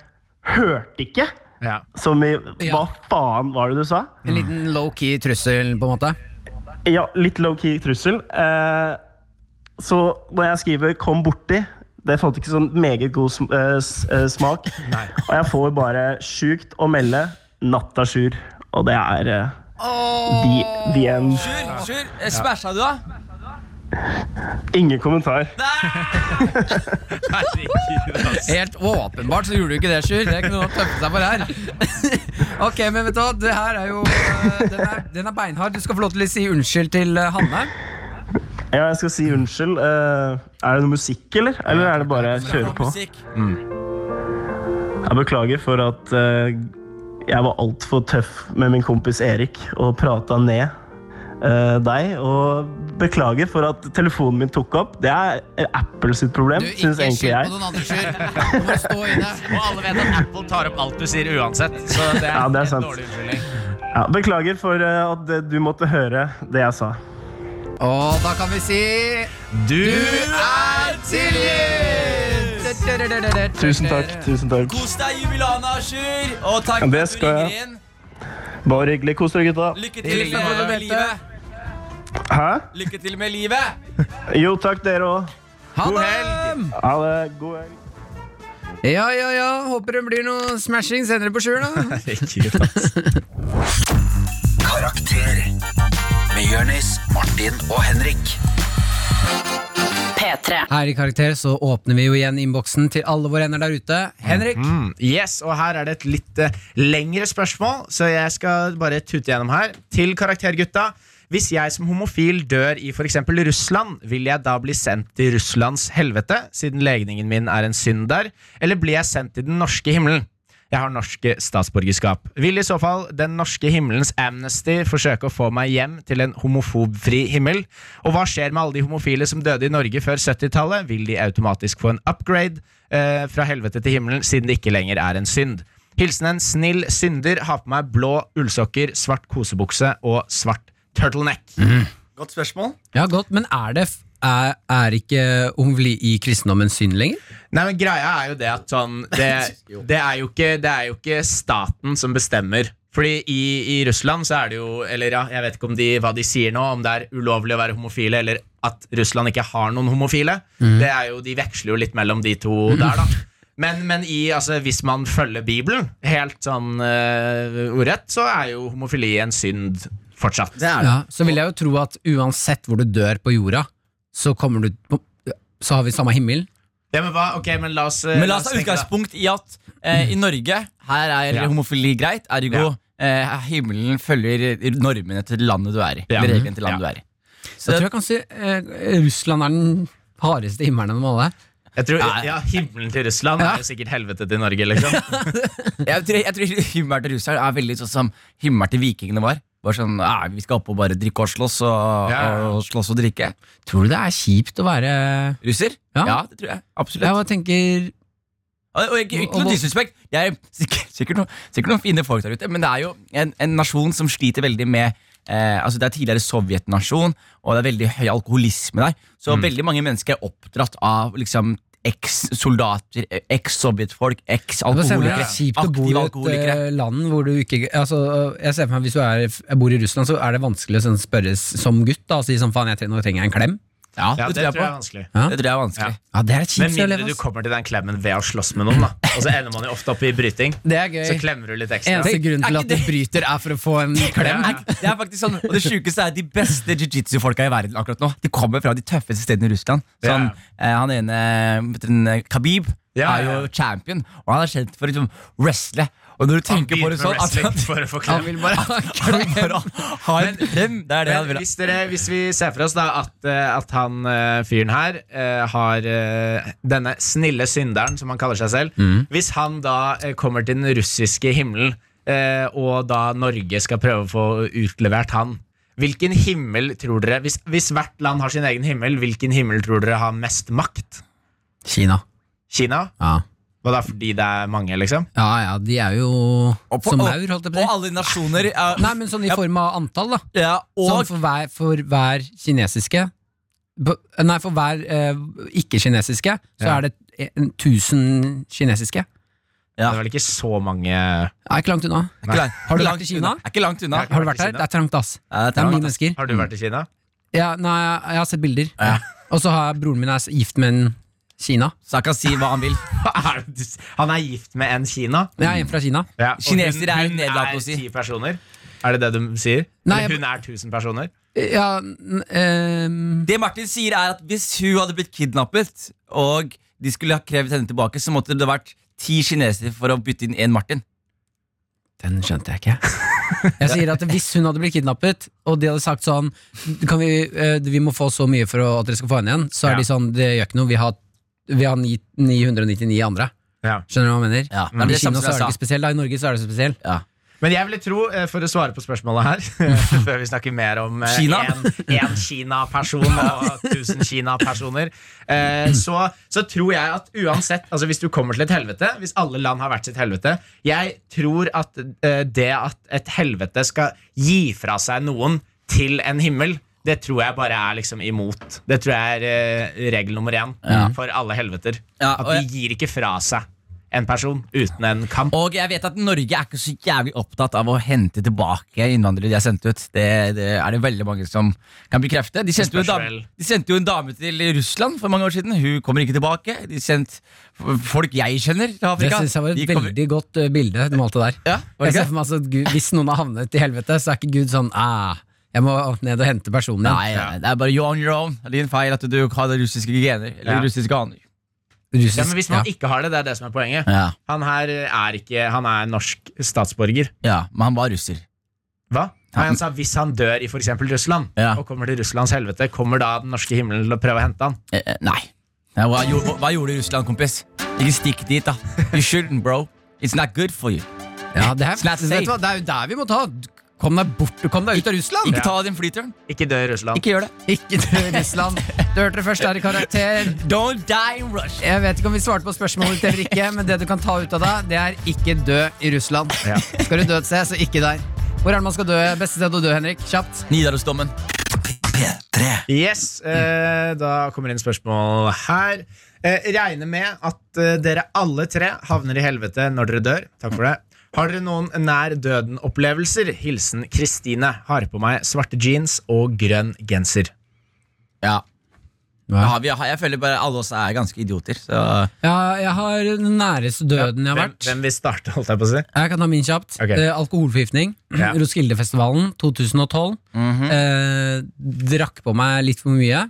Speaker 17: 'hørte ikke',
Speaker 11: Ja.
Speaker 17: som i
Speaker 3: Ja.
Speaker 17: 'hva faen var det du sa'?
Speaker 3: En liten low-key trussel, på en måte.
Speaker 17: Ja, litt low-key trussel. Eh, så når jeg skriver 'kom borti', det falt ikke sånn meget god sm eh, s eh, smak. Og jeg får bare sjukt å melde 'natta sjur'. Og det er eh, the, the end.
Speaker 2: Sjur,
Speaker 3: Eh,
Speaker 2: smasha du, da?
Speaker 17: Ingen kommentar.
Speaker 3: Helt åpenbart så gjorde du ikke det, Sjur. Det er ikke noe å tøffe seg for her. Ok, men vet du hva, det her er jo eh, Den er, den er beinhard. Du skal få lov til å si unnskyld til eh, Hanne.
Speaker 17: Ja, jeg skal si unnskyld. Eh, er det noe musikk, eller? Eller er det bare å kjøre på? Mm.
Speaker 2: Musikk.
Speaker 17: Jeg beklager for at eh, jeg var altfor tøff med min kompis Erik og prata ned eh, deg. Og beklager for at telefonen min tok opp. Det er Apple sitt problem,
Speaker 3: Du, ikke
Speaker 17: syns egentlig
Speaker 3: skyld på
Speaker 17: jeg.
Speaker 3: noen andre, Sjur. Du må stå inne.
Speaker 11: Og alle vet at Apple tar opp alt du sier uansett. Så det er,
Speaker 17: Ja, det er
Speaker 11: en
Speaker 17: sant.
Speaker 11: dårlig unnskyldning.
Speaker 17: Ja, beklager for eh, at eh, du måtte høre det jeg sa.
Speaker 3: Og da kan vi si
Speaker 11: Du
Speaker 3: er tilgitt!
Speaker 17: Tusen takk. tusen takk
Speaker 2: Kos deg, Jubilana, Sjur. Og takk
Speaker 17: Ja,
Speaker 2: for
Speaker 17: det
Speaker 2: at du
Speaker 17: skal jeg.
Speaker 2: ringer inn.
Speaker 17: Bare hyggelig. Kos dere, gutta.
Speaker 2: Lykke til med livet.
Speaker 17: Hæ?
Speaker 2: Lykke til med livet.
Speaker 17: Jo, takk, dere òg.
Speaker 3: Ha
Speaker 11: God
Speaker 3: det!
Speaker 17: Ha det. God helg.
Speaker 3: Ja, ja, ja. Håper det blir noe smashing senere på Sjur, da.
Speaker 18: Karakter med Jørnis, Martin og Henrik.
Speaker 15: P3.
Speaker 3: Her i Karakter så åpner vi jo igjen innboksen til alle våre venner der ute. Henrik,
Speaker 11: Mm, Yes, og her er det et litt eh, lengre spørsmål, så jeg skal bare tute gjennom her. Til karaktergutta. Hvis jeg som homofil dør i f.eks. Russland, vil jeg da bli sendt til Russlands helvete, siden legningen min er en synd der, eller blir jeg sendt til den norske himmelen? Jeg har norske statsborgerskap. Vil i så fall den norske himmelens amnesty forsøke å få meg hjem til en homofobfri himmel? Og hva skjer med alle de homofile som døde i Norge før 70-tallet? Vil de automatisk få en upgrade eh, fra helvete til himmelen, siden det ikke lenger er en synd? Hilsen en snill synder. Ha på meg blå ullsokker, svart kosebukse og svart turtleneck.
Speaker 2: Godt spørsmål.
Speaker 3: ja godt, men er det f- er, er ikke homofili i kristendommen synd lenger?
Speaker 11: Nei, men greia er jo det at sånn Det, det, er, jo ikke, det er jo ikke staten som bestemmer. Fordi i, i Russland så er det jo Eller ja, jeg vet ikke om de, hva de sier nå, om det er ulovlig å være homofile, eller at Russland ikke har noen homofile.
Speaker 2: Mm.
Speaker 11: Det er jo, De veksler jo litt mellom de to der, da. Men, men i, altså, hvis man følger Bibelen helt sånn eh, ordrett, så er jo homofili en synd fortsatt.
Speaker 3: Ja, så vil jeg jo tro at uansett hvor du dør på jorda, så kommer du på, Så har vi samme himmel.
Speaker 11: Ja, men hva? Ok, men la oss eh,
Speaker 2: Men la oss ta
Speaker 11: tenke da.
Speaker 2: utgangspunkt i at eh, i Norge her er
Speaker 11: Ja.
Speaker 2: homofili greit, ergo eh, himmelen følger normene til landet du er i.
Speaker 11: Ja.
Speaker 2: Eller reglene til landet du
Speaker 11: Ja.
Speaker 2: er i.
Speaker 3: Så jeg tror jeg kanskje eh, Russland er den hardeste himmelen av dem alle.
Speaker 11: Jeg tror, ja, Himmelen til Russland er jo sikkert helvete til Norge, liksom.
Speaker 2: Jeg tror, jeg tror himmelen til russeren er veldig sånn som himmelen til vikingene var. Bare sånn, «Nei, Vi skal opp og bare drikke og slåss og,
Speaker 11: Ja.
Speaker 2: og slåss og drikke.
Speaker 3: Tror du det er kjipt å være
Speaker 2: Russer?
Speaker 3: Ja.
Speaker 2: det tror jeg. Absolutt.
Speaker 3: Jeg bare tenker
Speaker 2: Og, og ikke, ikke
Speaker 3: Og-
Speaker 2: noe disrespekt. Det er sikkert, sikkert, noen, sikkert noen fine folk der ute, men det er jo en, en nasjon som sliter veldig med eh, altså Det er tidligere sovjetnasjon, og det er veldig høy alkoholisme der.
Speaker 3: Mm.
Speaker 2: Så veldig mange mennesker er oppdratt av liksom eks-soldater, eh, eks-sovjetfolk,
Speaker 3: Det er det
Speaker 2: eks-alkoholikere.
Speaker 3: er kjipt å bo
Speaker 2: aktive
Speaker 3: i et
Speaker 2: alkoholikere.
Speaker 3: eh, land hvor du ikke altså, Jeg ser for meg Hvis du er, jeg bor i Russland, så er det vanskelig å sånn, spørres som gutt da, og si sånn faen, jeg trenger, nå trenger jeg en klem.
Speaker 2: Ja,
Speaker 11: Ja,
Speaker 2: det, tror jeg
Speaker 11: er
Speaker 2: på.
Speaker 11: vanskelig.
Speaker 3: Ja.
Speaker 2: Det tror jeg er vanskelig.
Speaker 3: Ja, det er et
Speaker 11: Med
Speaker 3: kjipt sted å
Speaker 11: mindre
Speaker 3: leve.
Speaker 11: du
Speaker 3: ass.
Speaker 11: kommer til den klemmen ved å slåss med noen, da. Og så ender man jo ofte opp i bryting.
Speaker 3: Det er
Speaker 11: Så
Speaker 3: gøy.
Speaker 11: klemmer du litt ekstra.
Speaker 3: Eneste grunnen
Speaker 2: Er
Speaker 3: til
Speaker 2: ikke
Speaker 3: at du
Speaker 2: det-
Speaker 3: bryter, er for å få en klem.
Speaker 2: Nei, Det er faktisk sånn, og det sjukeste er at de beste jiu-jitsu-folka i verden akkurat nå. De kommer fra de tøffeste stedene i Russland. Sånn, eh, han ene, vet du, den, eh, Khabib,
Speaker 11: Ja,
Speaker 2: er
Speaker 11: ja,
Speaker 2: jo
Speaker 11: ja.
Speaker 2: champion, og han er kjent for å liksom, wrestle. Og når du tenker på
Speaker 11: Begynner
Speaker 2: det
Speaker 11: med
Speaker 2: sånn at
Speaker 11: wrestling
Speaker 2: han,
Speaker 11: for å få
Speaker 3: Han
Speaker 11: klem.
Speaker 3: vil bare ha en
Speaker 2: han
Speaker 3: klem.
Speaker 2: bare har en klem, det er det han
Speaker 11: Men
Speaker 2: vil ha.
Speaker 11: hvis, dere, hvis vi ser for oss da at, eh, at han eh, fyren her eh, har eh, denne snille synderen, som han kaller seg selv
Speaker 2: Mm.
Speaker 11: Hvis han da eh, kommer til den russiske himmelen, eh, og da Norge skal prøve å få utlevert han Hvilken himmel tror dere hvis, hvis hvert land har sin egen himmel, hvilken himmel tror dere har mest makt?
Speaker 3: Kina.
Speaker 11: Kina?
Speaker 3: Ja.
Speaker 11: Hva da, fordi det er mange, liksom?
Speaker 3: ja ja, de er jo
Speaker 2: Og på-
Speaker 3: som
Speaker 2: og-
Speaker 3: maur, holdt jeg på
Speaker 2: Og
Speaker 3: å si.
Speaker 2: alle nasjoner er,
Speaker 3: Nei, men sånn i form av antall, da.
Speaker 2: ja,
Speaker 3: Sånn
Speaker 2: og,
Speaker 3: for hver, for hver kinesiske b- Nei, for hver eh, ikke-kinesiske, så
Speaker 11: Ja.
Speaker 3: er det en tusen kinesiske.
Speaker 2: Ja.
Speaker 11: Det er vel ikke så mange
Speaker 3: Det er ikke langt unna.
Speaker 2: Ikke langt-
Speaker 3: Har du
Speaker 2: ikke
Speaker 3: vært
Speaker 2: langt
Speaker 3: i Kina?
Speaker 2: unna. Er ikke langt unna.
Speaker 11: Jeg
Speaker 3: Har du
Speaker 11: vært
Speaker 3: vært
Speaker 11: i
Speaker 3: der?
Speaker 11: Kina?
Speaker 3: Det er trangt, ass.
Speaker 2: Ja, det
Speaker 3: Det
Speaker 2: er
Speaker 3: er
Speaker 2: trangt,
Speaker 3: mye
Speaker 2: ass.
Speaker 3: mennesker.
Speaker 11: Har du vært i Kina?
Speaker 3: Ja, nei, jeg har sett bilder. Og så har jeg, broren min er s- gift med en Kina.
Speaker 2: Så han kan si hva han vil.
Speaker 11: Er det- Han er gift med en Kina?
Speaker 3: Jeg er en fra Kina.
Speaker 11: Ja, og
Speaker 2: Kinesere er jo
Speaker 11: hun, hun
Speaker 2: nedlatende
Speaker 11: er
Speaker 2: å si.
Speaker 11: ti personer. Er det det du sier?
Speaker 3: Nei,
Speaker 11: Eller
Speaker 3: jeg-
Speaker 11: hun er tusen personer?
Speaker 3: Ja, n- ehm,
Speaker 2: Det Martin sier er at hvis hun hadde blitt kidnappet Og de skulle ha krevet henne tilbake Så måtte det vært ti kinesere for å bytte inn en Martin
Speaker 3: Den skjønte jeg ikke. Jeg sier at Hvis hun hadde blitt kidnappet, og de hadde sagt sånn kan vi, eh, vi må få så mye for å, at dere skal få henne igjen, så er
Speaker 11: Ja.
Speaker 3: de sånn Det gjør ikke noe, vi har, vi har ni- 999 andre.
Speaker 11: Ja.
Speaker 3: Skjønner du hva jeg mener?
Speaker 2: Ja, det er
Speaker 3: Men I
Speaker 2: det samme
Speaker 3: Kina
Speaker 2: som
Speaker 3: så er
Speaker 2: jeg
Speaker 3: det
Speaker 2: sa
Speaker 3: ikke spesiell, da. I Norge så er det så spesiell.
Speaker 11: Men jeg ville tro, eh, for å svare på spørsmålet her eh, Før vi snakker mer om eh,
Speaker 2: Kina?
Speaker 11: en en Kina-person og tusen Kina-personer, eh, så, så tror jeg at uansett altså Hvis du kommer til et helvete, hvis alle land har hvert sitt helvete Jeg tror at eh, det at et helvete skal gi fra seg noen til en himmel det tror jeg bare er liksom imot. Det tror jeg er eh, regel nummer én for alle helveter.
Speaker 2: Ja,
Speaker 11: at
Speaker 2: og
Speaker 11: de gir ikke fra seg en person uten en kamp.
Speaker 2: Og jeg vet at Norge er ikke så jævlig opptatt av Å hente tilbake innvandrere de har sendt ut Det, det er det veldig mange som kan bekrefte de sendte, jo en
Speaker 11: Spørs
Speaker 2: dame,
Speaker 11: vel.
Speaker 2: de sendte jo en dame til Russland for mange år siden Hun kommer ikke tilbake De sendte f- folk jeg kjenner til
Speaker 3: Det
Speaker 2: Afrika
Speaker 3: syns jeg var
Speaker 2: De
Speaker 3: et
Speaker 2: kommer-
Speaker 3: veldig godt eh, bilde du malte der.
Speaker 2: ja, var
Speaker 3: Jeg
Speaker 2: det
Speaker 3: ser
Speaker 2: ikke?
Speaker 3: for meg altså at Gud, Hvis noen har havnet i helvete, så er ikke Gud sånn ah, Jeg må ned og hente personen
Speaker 2: Nei,
Speaker 3: igjen.
Speaker 2: nei, det er bare you on your own Det er din feil at du hadde russiske gener Eller
Speaker 11: Ja.
Speaker 2: russiske aner
Speaker 3: Russisk,
Speaker 11: Ja, men hvis man
Speaker 3: ja.
Speaker 11: ikke har det, det er det som er poenget.
Speaker 2: ja.
Speaker 11: Han her er ikke Han er norsk statsborger.
Speaker 2: ja, men han var russer
Speaker 11: Hva? Nei, han sa hvis han dør i f.eks. Russland,
Speaker 2: Ja.
Speaker 11: og kommer til Russlands helvete, kommer da den norske himmelen til å prøve å hente han?
Speaker 2: Eh, eh, nei. Nei, hva, gjorde- hva gjorde du i Russland, kompis? Ikke stikk dit, da. You shouldn't, bro. It's not good for you.
Speaker 3: ja, det, er,
Speaker 2: Slatt
Speaker 3: vet du hva, det er jo der vi må ta. Kom deg bort, kom deg ut av Russland!
Speaker 2: Ikke ta den flyturen.
Speaker 11: Ikke dø i Russland.
Speaker 2: Ikke gjør det.
Speaker 3: Ikke dø i Russland. Du hørte det først her i Karakter.
Speaker 2: Don't die in Russia.
Speaker 3: Jeg vet ikke om vi svarte på spørsmålet ditt eller ikke, men det du kan ta ut av deg, det er ikke dø i Russland.
Speaker 11: Ja.
Speaker 3: Skal du dø et sted, så ikke der. Hvor er det man skal dø? Beste sted å dø, Henrik? Kjapt.
Speaker 2: Nidarosdomen.
Speaker 18: P3
Speaker 11: Yes, eh, Da kommer inn spørsmål her. Eh, regner med at eh, dere alle tre havner i helvete når dere dør. Takk for det. Har dere noen nær døden-opplevelser? Hilsen Kristine. Har på meg svarte jeans og grønn genser.
Speaker 2: Ja. ja vi, har- jeg føler bare alle oss er ganske idioter. Så.
Speaker 3: Ja, jeg har den næreste døden jeg har
Speaker 11: Hvem,
Speaker 3: vært.
Speaker 11: hvem vil starte, holdt jeg på å si?
Speaker 3: Jeg kan ta min kjapt.
Speaker 11: Ok.
Speaker 3: Eh, alkoholforgiftning.
Speaker 11: Ja. Mhm.
Speaker 3: Roskildefestivalen 2012. eh, drakk på meg litt for mye.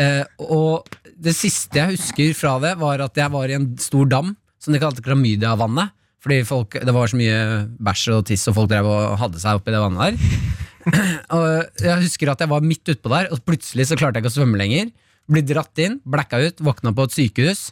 Speaker 3: Eh, og det siste jeg husker fra det, var at jeg var i en stor dam som de kalte Klamydia-vannet. Fordi folk, det var så mye bæsj og tiss, og folk drev og hadde seg oppi det vannet der. og jeg husker at jeg var midt utpå der, og plutselig så klarte jeg ikke å svømme lenger. Ble dratt inn, blacka ut, våkna på et sykehus.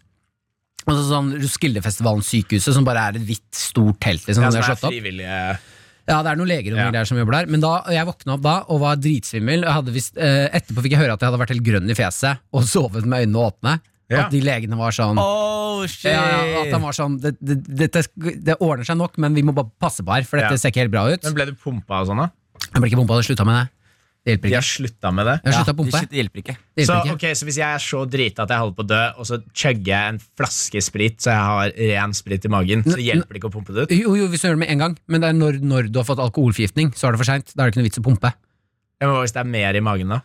Speaker 3: Og så sånn Roskildefestivalen sykehuset, som bare er et hvitt, stort telt. Liksom,
Speaker 11: Ja,
Speaker 3: som de
Speaker 11: som
Speaker 3: har
Speaker 11: er
Speaker 3: slått opp.
Speaker 11: frivillige
Speaker 3: Ja, det er noen leger og noen
Speaker 11: Ja.
Speaker 3: greier som jobber der. Men da, og jeg våkna opp da og var dritsvimmel. Jeg hadde visst, eh, etterpå fikk jeg høre at jeg hadde vært helt grønn i fjeset og sovet med øynene åpne.
Speaker 11: Ja.
Speaker 3: At de legene var sånn
Speaker 2: Oh, shit!
Speaker 3: ja, ja, At han var sånn det, det, dette, det ordner seg nok, men vi må bare passe på her, for dette
Speaker 11: Ja.
Speaker 3: ser ikke helt bra ut.
Speaker 11: Men ble du pumpa og sånn, da?
Speaker 3: Jeg ble ikke pumpa, det slutta med det. Det hjelper
Speaker 11: De
Speaker 3: ikke.
Speaker 11: har slutta med det?
Speaker 3: Jeg har slutta å
Speaker 2: Det
Speaker 3: pumpe.
Speaker 2: shit, det hjelper ikke.
Speaker 3: Det
Speaker 11: Så,
Speaker 3: hjelper ikke.
Speaker 11: ok, så hvis jeg er så drita at jeg holder på å dø, og så chugger jeg en flaske sprit så jeg har ren sprit i magen, så hjelper det ikke å pumpe det ut?
Speaker 3: Jo, jo, hvis du gjør det med en gang, men det er når, når du har fått alkoholforgiftning, så er det for seint. Da er det ikke noe vits å pumpe.
Speaker 11: Ja, men hva hvis det er mer i magen, da?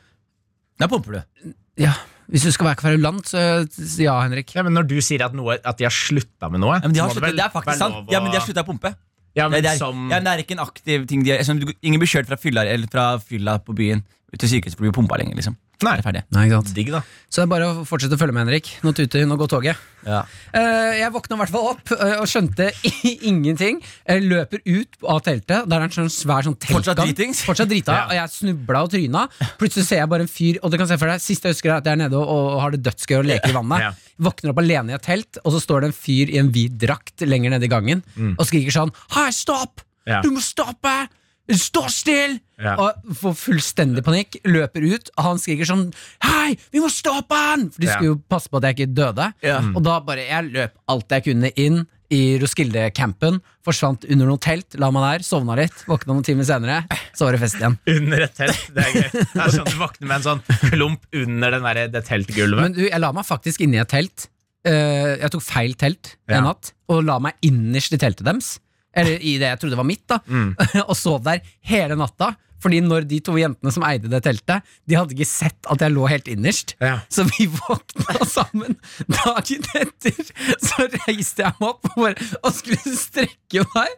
Speaker 2: Da pumper du.
Speaker 3: Ja, Hvis du skal være kverulant, så så ja, Henrik.
Speaker 11: Ja, men Når du sier at, noe, at de har slutta med noe
Speaker 2: Ja, men de har
Speaker 11: så må
Speaker 2: sluttet,
Speaker 11: vel
Speaker 2: det er
Speaker 11: være
Speaker 2: faktisk sant.
Speaker 11: lov å-
Speaker 2: Ja, men de har slutta å pumpe.
Speaker 11: Ja,
Speaker 2: Nei,
Speaker 11: men
Speaker 2: det er,
Speaker 11: som
Speaker 2: ja, men det er ikke en aktiv ting. De er, liksom, du- ingen blir kjørt fra fylla, eller fra fylla på byen til sykehuset for å bli pumpa lenger. Liksom.
Speaker 11: Nei.
Speaker 2: Det er ferdig.
Speaker 3: Nei, ikke sant?
Speaker 11: Digg, da.
Speaker 3: Så det er bare å fortsette å følge med, Henrik. Nå tuter hun og går toget.
Speaker 2: Ja.
Speaker 3: Eh, jeg våkna i hvert fall opp eh, og skjønte ingenting. Jeg løper ut av teltet. Der er en sånn svær sånn teltgang.
Speaker 2: Fortsatt dritings?
Speaker 3: Fortsatt drita,
Speaker 11: Ja.
Speaker 3: og jeg snubla og tryna. Plutselig ser jeg bare en fyr, og du kan se for deg, siste jeg husker er at jeg er nede og, og har det dødsgøy og leker i vannet.
Speaker 11: Ja.
Speaker 3: Våkner opp alene i et telt, og så står det en fyr i en hvit drakt lenger nede i gangen og skriker sånn Hei, stopp!
Speaker 11: Mm. Ja.
Speaker 3: Du må stoppe! Stå still!
Speaker 11: Ja.
Speaker 3: Og øh, får fullstendig panikk, løper ut. og Han skriker sånn Hei, vi må stoppe han! For de
Speaker 11: Ja.
Speaker 3: skulle jo passe på at jeg ikke døde.
Speaker 2: Ja.
Speaker 3: Og da bare Jeg løp alt jeg kunne inn i Roskilde-campen. Forsvant under noe telt, la meg der, sovna litt. Våkna noen timer senere, så var det fest igjen.
Speaker 11: Under et telt. Det er gøy. Det er sånn Du våkner med en sånn klump under den der, det teltgulvet.
Speaker 3: Men du, jeg la meg faktisk inni et telt. Eh, jeg tok feil telt
Speaker 11: Ja.
Speaker 3: en natt, og la meg innerst i teltet deres. Eller i det jeg trodde var mitt, da.
Speaker 11: Mm.
Speaker 3: og sov der hele natta. Fordi når de to jentene som eide det teltet, de hadde ikke sett at jeg lå helt innerst.
Speaker 11: Ja.
Speaker 3: Så vi våkna sammen dagen etter. Så reiste jeg meg opp og, bare, og skulle strekke meg.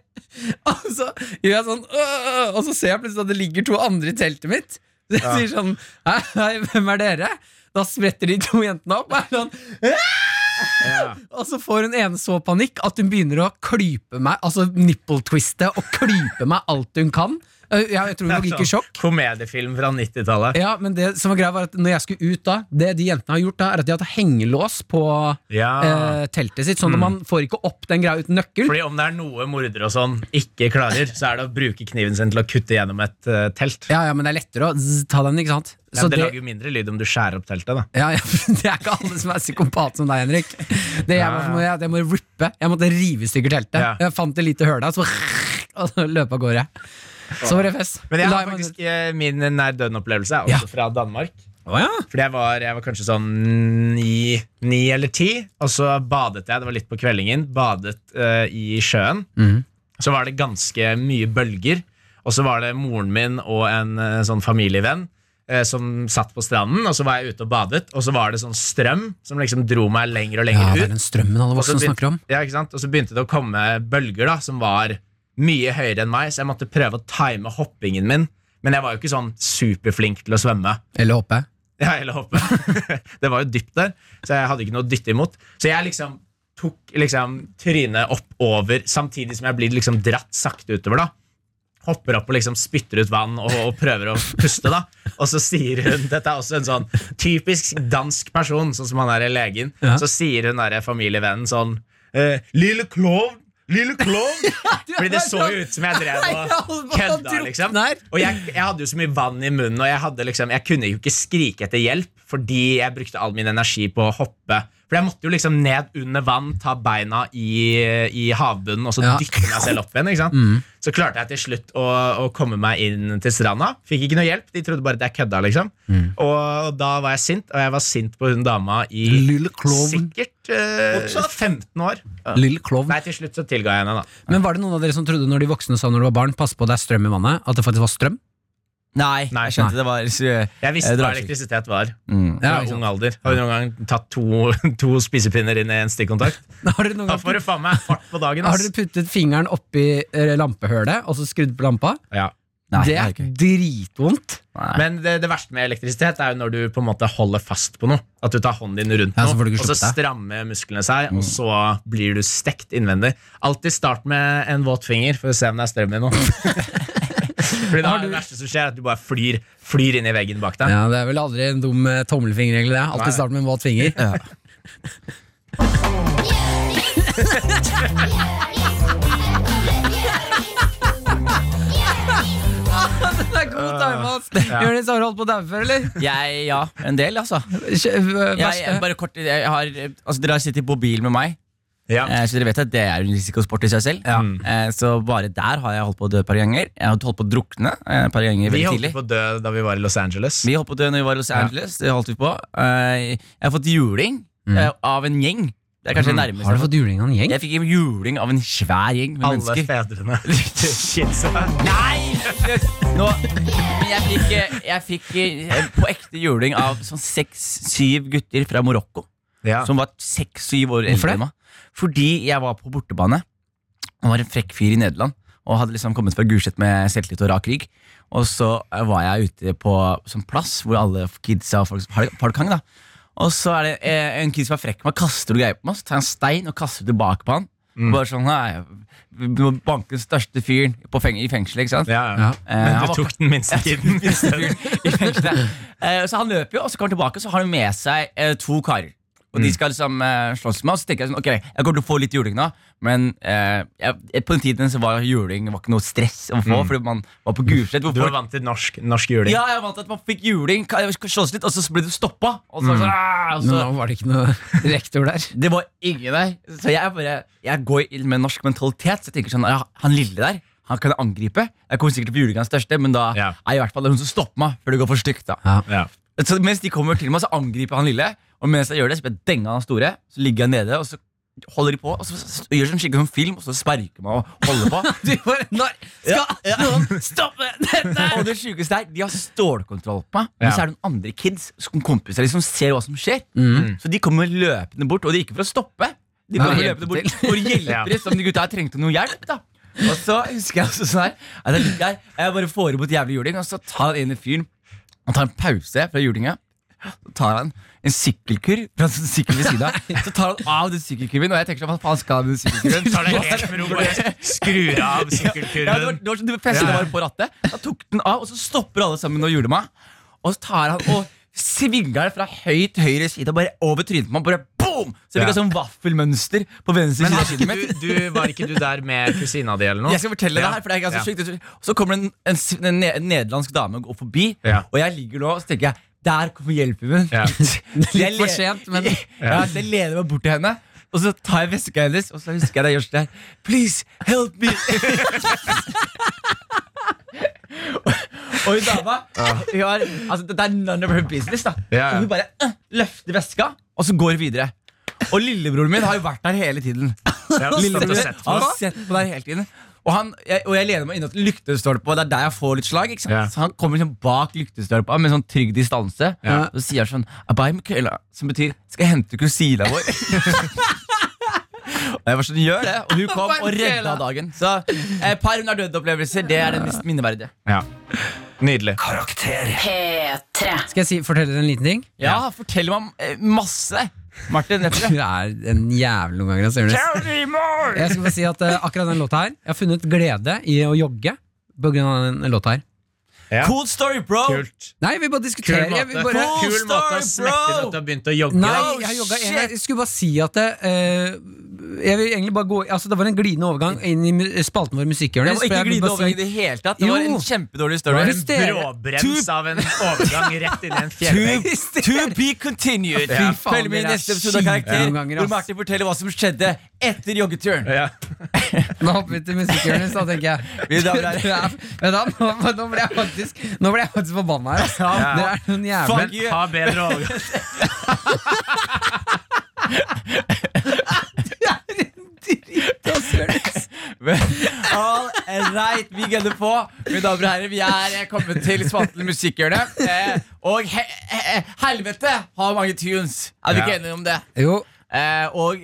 Speaker 3: Og så gjør jeg sånn «Åh!» Og så ser jeg plutselig at det ligger to andre i teltet mitt. Så jeg sier sånn Hei, hei, hvem er dere? Da spretter de to jentene opp. Og, er sånn,
Speaker 11: Ja.
Speaker 3: og så får hun ene så panikk at hun begynner å klype meg, altså nippeltwiste og klype meg alt hun kan. Eh, Jeg, jeg tror hun nok gikk i
Speaker 11: sånn.
Speaker 3: sjokk.
Speaker 11: Komediefilm fra 90-tallet.
Speaker 3: Ja, men det som var greia var at når jeg skulle ut da Det de jentene har gjort da, er at de hadde hengelås på
Speaker 11: Ja. Mm.
Speaker 3: eh, teltet sitt Sånn at man får ikke opp den greia uten nøkkel
Speaker 11: Fordi om det er noe mordere og sånn ikke klarer, så er det å bruke kniven sin til å kutte gjennom et eh, telt.
Speaker 3: Ja, ja, men det er lettere å zzz, ta den, ikke sant?
Speaker 11: Ja, men det,
Speaker 3: det,
Speaker 11: lager jo mindre lyd om du skjærer opp teltet, da.
Speaker 3: ja, ja, det er ikke alle som er psykopat som deg, Henrik Det jeg,
Speaker 11: Ja,
Speaker 3: var, for- jeg, jeg må rippe Jeg måtte rive i stykker teltet
Speaker 11: Ja.
Speaker 3: Jeg fant det lite høl da, så bare- og så løp av gårde Så var det fest
Speaker 11: Men jeg
Speaker 3: La
Speaker 11: har
Speaker 3: meg-
Speaker 11: faktisk eh, min nær døden-opplevelse er også fra Danmark. Fordi jeg var, jeg var kanskje sånn ni, ni eller ti, og så badet jeg. Det var litt på kveldingen. Badet eh, i sjøen.
Speaker 3: Mhm.
Speaker 11: Så var det ganske mye bølger. Og så var det moren min og en eh, sånn familievenn eh, som satt på stranden. Og så var jeg ute og badet, og så var det sånn strøm som liksom dro meg lenger og
Speaker 3: Ja,
Speaker 11: lenger
Speaker 3: det
Speaker 11: ut.
Speaker 3: er den strømmen alle
Speaker 11: Og så
Speaker 3: voksne
Speaker 11: begynte-
Speaker 3: snakker om
Speaker 11: Ja, ikke sant? Og så begynte det å komme bølger da, som var mye høyere enn meg, så jeg måtte prøve å time hoppingen min. Men jeg var jo ikke sånn superflink til å svømme.
Speaker 3: Eller håpe
Speaker 11: Ja, eller hoppe. det var jo dypt der, så jeg hadde ikke noe å dytte imot. Så jeg liksom tok liksom trynet oppover, samtidig som jeg blir liksom dratt sakte utover. da hopper opp og liksom spytter ut vann og, og prøver å puste. da Og så sier hun Dette er også en sånn typisk dansk person, sånn som han er i legen.
Speaker 3: Ja.
Speaker 11: Så sier hun derre familievennen sånn eh, Lille klovn! Lille klovn! Fordi det så jo ut som jeg drev og kødda, liksom. Og jeg, jeg hadde jo så mye vann i munnen, og jeg, hadde liksom, jeg kunne jo ikke skrike etter hjelp fordi jeg brukte all min energi på å hoppe. For jeg måtte jo liksom ned under vann, ta beina i, i havbunnen og så
Speaker 3: Ja.
Speaker 11: dytte meg selv opp igjen. ikke sant? Så klarte jeg til slutt å, å komme meg inn til stranda. Fikk ikke noe hjelp, de trodde bare at jeg kødda. liksom. Og da var jeg sint, og jeg var sint på hun dama i
Speaker 3: Lille klovn.
Speaker 11: sikkert eh, 15 år.
Speaker 3: Lille klovn
Speaker 11: Nei, til slutt så tilga jeg henne, da.
Speaker 3: Men var det noen av dere som trodde når de voksne sa når du var barn, pass på det er strøm i vannet, at det faktisk var strøm?
Speaker 2: Nei,
Speaker 11: Nei,
Speaker 2: jeg skjønte det var Eh,
Speaker 11: Jeg visste hva
Speaker 2: dragskikk.
Speaker 11: elektrisitet var.
Speaker 2: Mm.
Speaker 11: Fra
Speaker 3: Ja, ikke sant.
Speaker 11: ung alder. Har du noen gang tatt to, to spisepinner inn i en stikkontakt?
Speaker 3: Har dere noen
Speaker 11: Da
Speaker 3: gang
Speaker 11: får du faen meg fart på dagen.
Speaker 3: har
Speaker 11: Ass.
Speaker 3: dere puttet fingeren oppi eh, lampehølet og så skrudd på lampa?
Speaker 11: Ja.
Speaker 2: Nei,
Speaker 3: det
Speaker 2: jeg har
Speaker 3: er
Speaker 2: ikke.
Speaker 3: dritvondt.
Speaker 2: Nei.
Speaker 11: Men det, det verste med elektrisitet er jo når du på en måte holder fast på noe. At du tar hånden din rundt
Speaker 3: Ja, så får du
Speaker 11: noe,
Speaker 3: ikke
Speaker 11: og så
Speaker 3: sluppet
Speaker 11: strammer musklene seg, og så blir du stekt innvendig. Alltid start med en våt finger for å se om det er strøm i noe. Fordi da er det verste som skjer, at du bare flyr, flyr inn i veggen bak deg.
Speaker 3: Ja, det er vel aldri en dum eh, tommelfingerregel, det. Alltid start med en våt finger. Den er god time, ass. Jonis, har du holdt på å daue før, eller?
Speaker 2: Jeg, ja, en del, altså.
Speaker 3: Kjø- øh,
Speaker 2: Jeg,
Speaker 3: verste.
Speaker 2: jeg, bare kort, jeg har, altså dere har sittet på bil med meg,
Speaker 11: Ja.
Speaker 2: eh, så dere vet at det er en risikosport i seg selv. Eh, Så bare der har jeg holdt på å dø et par ganger. Jeg har holdt på å drukne eh, et par ganger
Speaker 11: Vi
Speaker 2: veldig
Speaker 11: holdt
Speaker 2: tidlig.
Speaker 11: på å dø da vi var i Los Angeles.
Speaker 2: Vi holdt på å dø når vi var i Los Angeles. Det holdt vi på. Eh, Jeg har fått juling eh, av en gjeng. Det er kanskje det nærmeste.
Speaker 3: Har du fått juling av en gjeng?
Speaker 2: Jeg fikk juling av en svær gjeng med
Speaker 11: Alle
Speaker 2: mennesker.
Speaker 11: fedrene. Kidsa.
Speaker 2: Nei! Nå, men jeg fikk, eh, jeg fikk eh, på ekte juling av sånn seks-syv gutter fra Marokko.
Speaker 11: Ja.
Speaker 2: Som var seks-syv år
Speaker 3: Hvorfor
Speaker 2: eldre
Speaker 3: det?
Speaker 2: enn meg. Fordi jeg var på bortebane. Og var en frekk fyr i Nederland. Og hadde liksom kommet fra Gulset med selvtillit og rak rygg. Og så eh, var jeg ute på sånn plass hvor alle kidsa og folk har har det kang, da. Og så er det eh, en kid som er frekk med meg, kaster noe greier på meg. Så tar jeg en stein og kaster det tilbake på han. Bare sånn, nei, Du må banke den største fyren på feng i fengselet, ikke sant?
Speaker 11: Ja,
Speaker 3: Ja.
Speaker 11: ja.
Speaker 2: Eh,
Speaker 11: Men
Speaker 2: han
Speaker 11: du
Speaker 2: var-
Speaker 11: tok den minste kiden.
Speaker 2: fyren i fengselet. Eh, Så han løper jo, og så kommer han tilbake, og så har han med seg eh, to karer. Og
Speaker 11: Mm.
Speaker 2: de skal liksom eh, slåss med, og så tenker jeg sånn, ok, jeg kommer til å få litt juling nå, men eh, jeg, på den tiden så var juling var ikke noe stress å få, fordi man var på Gulset. hvor
Speaker 11: Mm. Du var
Speaker 2: folk-
Speaker 11: vant til norsk, norsk juling.
Speaker 2: Ja, jeg vant til at man fikk juling, ka- slåss litt, og så ble du stoppa. Og
Speaker 11: Mm.
Speaker 2: så, så, ah, og
Speaker 3: Men
Speaker 2: så
Speaker 3: da var det ikke noe rektor der.
Speaker 2: det var ingen der. Så jeg, bare, jeg går inn med norsk mentalitet. Så jeg tenker sånn, ja, Han lille der han kan jeg angripe. Jeg kommer sikkert til å bli julegangens største, men da
Speaker 11: Ja.
Speaker 2: er i hvert fall det hun som stopper meg. Før det går for stygt da
Speaker 11: Ja.
Speaker 2: Så Mens de kommer til meg, så angriper jeg han lille. Og mens jeg gjør det, så blir jeg denga av han store. Så ligger jeg nede, og så holder de på. Og så, så, så gjør sånn skikkelig sånn film, og så sparker meg og holder på.
Speaker 3: Du bare, når skal noen stoppe dette?
Speaker 2: Og det sykeste er, de har stålkontroll på meg. Men
Speaker 11: Ja.
Speaker 2: så er det noen andre kids som kompiser liksom ser hva som skjer.
Speaker 11: Mm.
Speaker 2: Så de kommer løpende bort, og de er ikke for å stoppe. De
Speaker 3: Nei,
Speaker 2: kommer
Speaker 3: hjelpe
Speaker 2: løpende bort for å hjelpe dem, som de gutta her trengte noe hjelp. da Og så husker jeg også sånn her at jeg, ligger her, jeg bare får imot jævlig juling, og så tar han inn en fyr Han tar en pause fra julinga. Så tar han en sykkelkurv fra en sykkel ved siden av. Så tar han av den sykkelkurven, og jeg tenker sånn, hva faen skal han med den sykkelkurven?
Speaker 11: Tar det helt med ro, bare skrur av
Speaker 2: Ja, det var,
Speaker 11: sykkelkurven.
Speaker 2: det var sånn, du festet bare på rattet. Da tok den av, og så stopper alle sammen og gjorde meg. Og så tar han og svinger det fra høy til høyre side og bare over trynet på meg. Bare boom! Så det blir
Speaker 11: Ja.
Speaker 2: sånn vaffelmønster på venstre side
Speaker 11: Men
Speaker 2: av
Speaker 11: hadde
Speaker 2: skinnet
Speaker 11: ikke
Speaker 2: mitt.
Speaker 11: du, du, var ikke du der med kusina di eller noe?
Speaker 2: Jeg skal fortelle
Speaker 11: Ja.
Speaker 2: det her, for det er ganske
Speaker 11: Ja.
Speaker 2: sykt. Og så kommer det en, en, s- en, ne- en nederlandsk dame og går forbi,
Speaker 11: Ja.
Speaker 2: og jeg ligger nå og så tenker jeg, der kommer hjelpen min.
Speaker 11: Ja.
Speaker 2: Litt
Speaker 3: for sent, men-
Speaker 2: ja. så jeg leder meg bort til henne, og så tar jeg veska hennes, og så husker jeg det jeg gjør sånn her. Please, help me! Og hun dama hun har, altså, Det er none of her business. da
Speaker 11: Ja, ja.
Speaker 2: Så Hun bare eh, løfter veska, og så går hun videre. Og lillebroren min har jo vært der hele tiden.
Speaker 11: Ja, stått og
Speaker 2: Lillebroren min
Speaker 11: sett på.
Speaker 2: har sett på der hele tiden Og, han, jeg, og jeg lener meg innom til lyktestolpa, og det er der jeg får litt slag. Ikke sant?
Speaker 11: Ja.
Speaker 2: Så han kommer liksom bak lyktestolpa med sånn trygg distanse.
Speaker 11: Ja.
Speaker 2: Og så sier han sånn Abai Michaela, som betyr 'skal jeg hente kusina vår'. Og jeg var sånn, gjør det Og hun kom og redda dagen. Så eh, par under døde-opplevelser, det er det mest minneverdige.
Speaker 11: Ja. Nydelig.
Speaker 18: Karakter.
Speaker 15: P3.
Speaker 3: Skal jeg si, fortelle dere en liten ting?
Speaker 2: Ja, fortell meg om, eh, masse. Martin, vet
Speaker 3: Du
Speaker 2: du det?
Speaker 3: er en jævel noen ganger. ass, Jonas. Jeg skal bare si at eh, akkurat den låta her Jeg har funnet glede i å jogge på grunn av den låta her.
Speaker 11: Ja.
Speaker 2: Cool story, bro!
Speaker 11: Kult.
Speaker 3: Nei, vi bare
Speaker 11: Kul
Speaker 3: diskuterer. Jeg
Speaker 11: måte.
Speaker 3: vil bare
Speaker 11: Kul
Speaker 2: Cool
Speaker 11: måte å
Speaker 2: story,
Speaker 11: smette inn
Speaker 2: bro!
Speaker 11: at du har begynt å jogge.
Speaker 3: Nei,
Speaker 11: da.
Speaker 2: Oh,
Speaker 3: jeg, jogga en,
Speaker 2: shit!
Speaker 3: jeg skulle bare si at eh, Jeg vil egentlig bare gå Altså, det var en glidende overgang inn i mu- spalten vår
Speaker 2: Det
Speaker 3: Musikkhjørnet.
Speaker 2: var ikke glidende overgang i det hele tatt. Det var
Speaker 3: Jo.
Speaker 2: en kjempedårlig story.
Speaker 3: Hvis dere-
Speaker 11: Bråbrems av en overgang rett inn i en fjellvegg.
Speaker 2: To, to be continued.
Speaker 11: Ja.
Speaker 2: Følg med i
Speaker 3: Dere er
Speaker 2: neste episode av
Speaker 3: skikkelig
Speaker 2: Karakter,
Speaker 3: noen ganger,
Speaker 2: hvor
Speaker 3: ass.
Speaker 2: Martin forteller hva som skjedde etter joggeturen.
Speaker 11: Ja.
Speaker 3: Nå hopper vi til Musikkhjørnet, da, tenker jeg.
Speaker 2: Vi
Speaker 3: Du,
Speaker 2: damer er-
Speaker 3: du er, vet du, hva, nå, nå ble jeg faktisk Nå ble jeg faktisk forbanna her. ass.
Speaker 2: Ja.
Speaker 3: Dere er noen jævler.
Speaker 2: Fuck you.
Speaker 11: Ha bedre overgang.
Speaker 2: All right, vi gønner på. Mine damer og herrer, vi er eh, kommet til spalten Musikkhjørnet. Eh, Og he he- helvete har mange tunes. Er vi
Speaker 11: Ja.
Speaker 2: ikke enige om det?
Speaker 3: Jo,
Speaker 2: Eh, og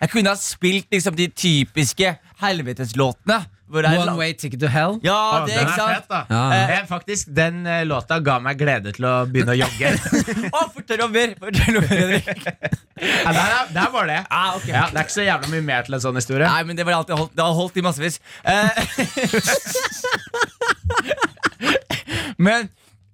Speaker 2: jeg kunne ha spilt liksom de typiske helveteslåtene. Hvor det er
Speaker 3: One
Speaker 2: lang-
Speaker 3: Way Ticket to Hell.
Speaker 2: Ja,
Speaker 11: Å,
Speaker 2: det,
Speaker 11: Ah, Den
Speaker 2: ikke
Speaker 11: er fet,
Speaker 2: sant?
Speaker 11: da.
Speaker 3: Ja.
Speaker 11: Eh, Faktisk, den eh, låta ga meg glede til å begynne å jogge.
Speaker 2: Å, fortell om mer! Fortell om mer, Henrik.
Speaker 11: Ja, der, er- der var det.
Speaker 2: Ah, ok.
Speaker 11: Ja, det er ikke så jævla mye mer til en sånn historie.
Speaker 2: Nei, men det var alltid holdt, det har holdt i massevis. Eh, men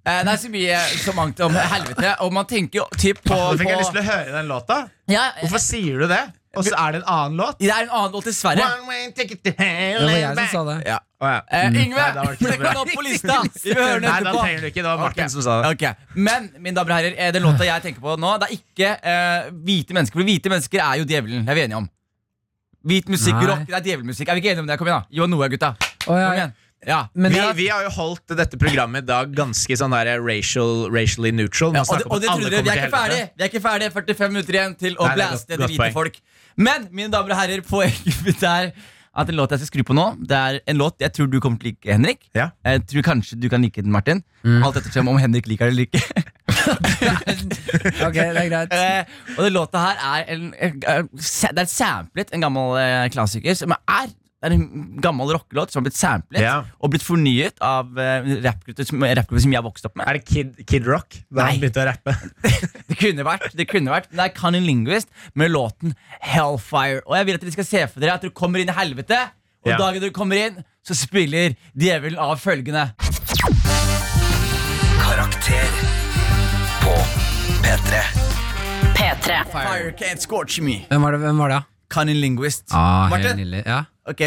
Speaker 2: eh, det er så mye så mangt om helvete, og man tenker jo typ på,
Speaker 11: Nå fikk jeg lyst
Speaker 2: på
Speaker 11: til å høre den låta.
Speaker 2: ja, eh,
Speaker 11: Hvorfor sier du det? og så er det en annen låt.
Speaker 2: Det er en annen låt, dessverre.
Speaker 11: One way, take it to
Speaker 3: Det
Speaker 11: hell
Speaker 3: var
Speaker 11: and
Speaker 3: jeg som
Speaker 11: back.
Speaker 3: sa det.
Speaker 2: Ja.
Speaker 11: Å, ja.
Speaker 2: Eh, Yngve,
Speaker 11: Mm. Nei, det var ikke
Speaker 2: flekk
Speaker 11: bra.
Speaker 2: den opp på lista! Vi vil høre den
Speaker 11: Nei, da
Speaker 2: etterpå.
Speaker 11: trenger du ikke. Det var Martin
Speaker 2: Ok.
Speaker 11: som sa det.
Speaker 2: Ok, Men mine damer og herrer, eh, den låta jeg tenker på nå, det er ikke eh, hvite mennesker. For hvite mennesker er jo djevelen. Det er vi enige om. Hvit musikk,
Speaker 3: Nei.
Speaker 2: rock, det er djevelmusikk. Er vi ikke enige om det? Kom igjen, da. Jo, noe, gutta.
Speaker 3: Å, ja.
Speaker 2: Kom igjen. Ja.
Speaker 3: Men
Speaker 11: Vi,
Speaker 3: det er-
Speaker 11: vi har jo holdt dette programmet i dag ganske sånn der racial, racially neutral. Man
Speaker 2: Ja, og,
Speaker 11: snakker
Speaker 2: det,
Speaker 11: om
Speaker 2: og
Speaker 11: at
Speaker 2: det
Speaker 11: alle
Speaker 2: trodde dere, vi er
Speaker 11: kommer
Speaker 2: ikke
Speaker 11: til
Speaker 2: ferdig
Speaker 11: helvete.
Speaker 2: Vi er ikke ferdig, 45 minutter igjen til å
Speaker 11: Nei, det er
Speaker 2: blaste
Speaker 11: godt-
Speaker 2: det
Speaker 11: godt
Speaker 2: hvite
Speaker 11: poeng.
Speaker 2: folk Men, mine damer og herrer, poenget mitt er At en låt jeg skal skru på nå Det er en låt jeg tror du kommer til å like, Henrik
Speaker 11: Ja.
Speaker 2: Jeg tror kanskje du kan like den, Martin Alt etter om Henrik liker det eller ikke
Speaker 3: Ok, det er greit.
Speaker 2: Eh, Og den låta her er en, eh, eh, sa- Det er samplet, en gammel eh, klassiker Som er, det er en gammel rockelåt som har blitt samplet
Speaker 11: Ja.
Speaker 2: Og blitt fornyet av eh, rappgrupper som, rappgrupper som jeg har vokst opp med
Speaker 11: Er det Kid, Kid Rock? Da
Speaker 2: Nei.
Speaker 11: han begynte å rappe.
Speaker 2: Det kunne vært, det kunne vært Men det er Cunning Linguist med låten Hellfire Og jeg vil at dere skal se for dere at dere kommer inn i helvete Og
Speaker 11: Ja.
Speaker 2: dagen dere kommer inn Så spiller djevelen av følgende
Speaker 18: Karakter på P3.
Speaker 15: P3.
Speaker 2: Fire can't scorch me
Speaker 3: Hvem var det? Hvem var det?
Speaker 2: Cunning Linguist
Speaker 3: Ah, helt
Speaker 2: Martin,
Speaker 3: nydelig. Ja.
Speaker 2: ok,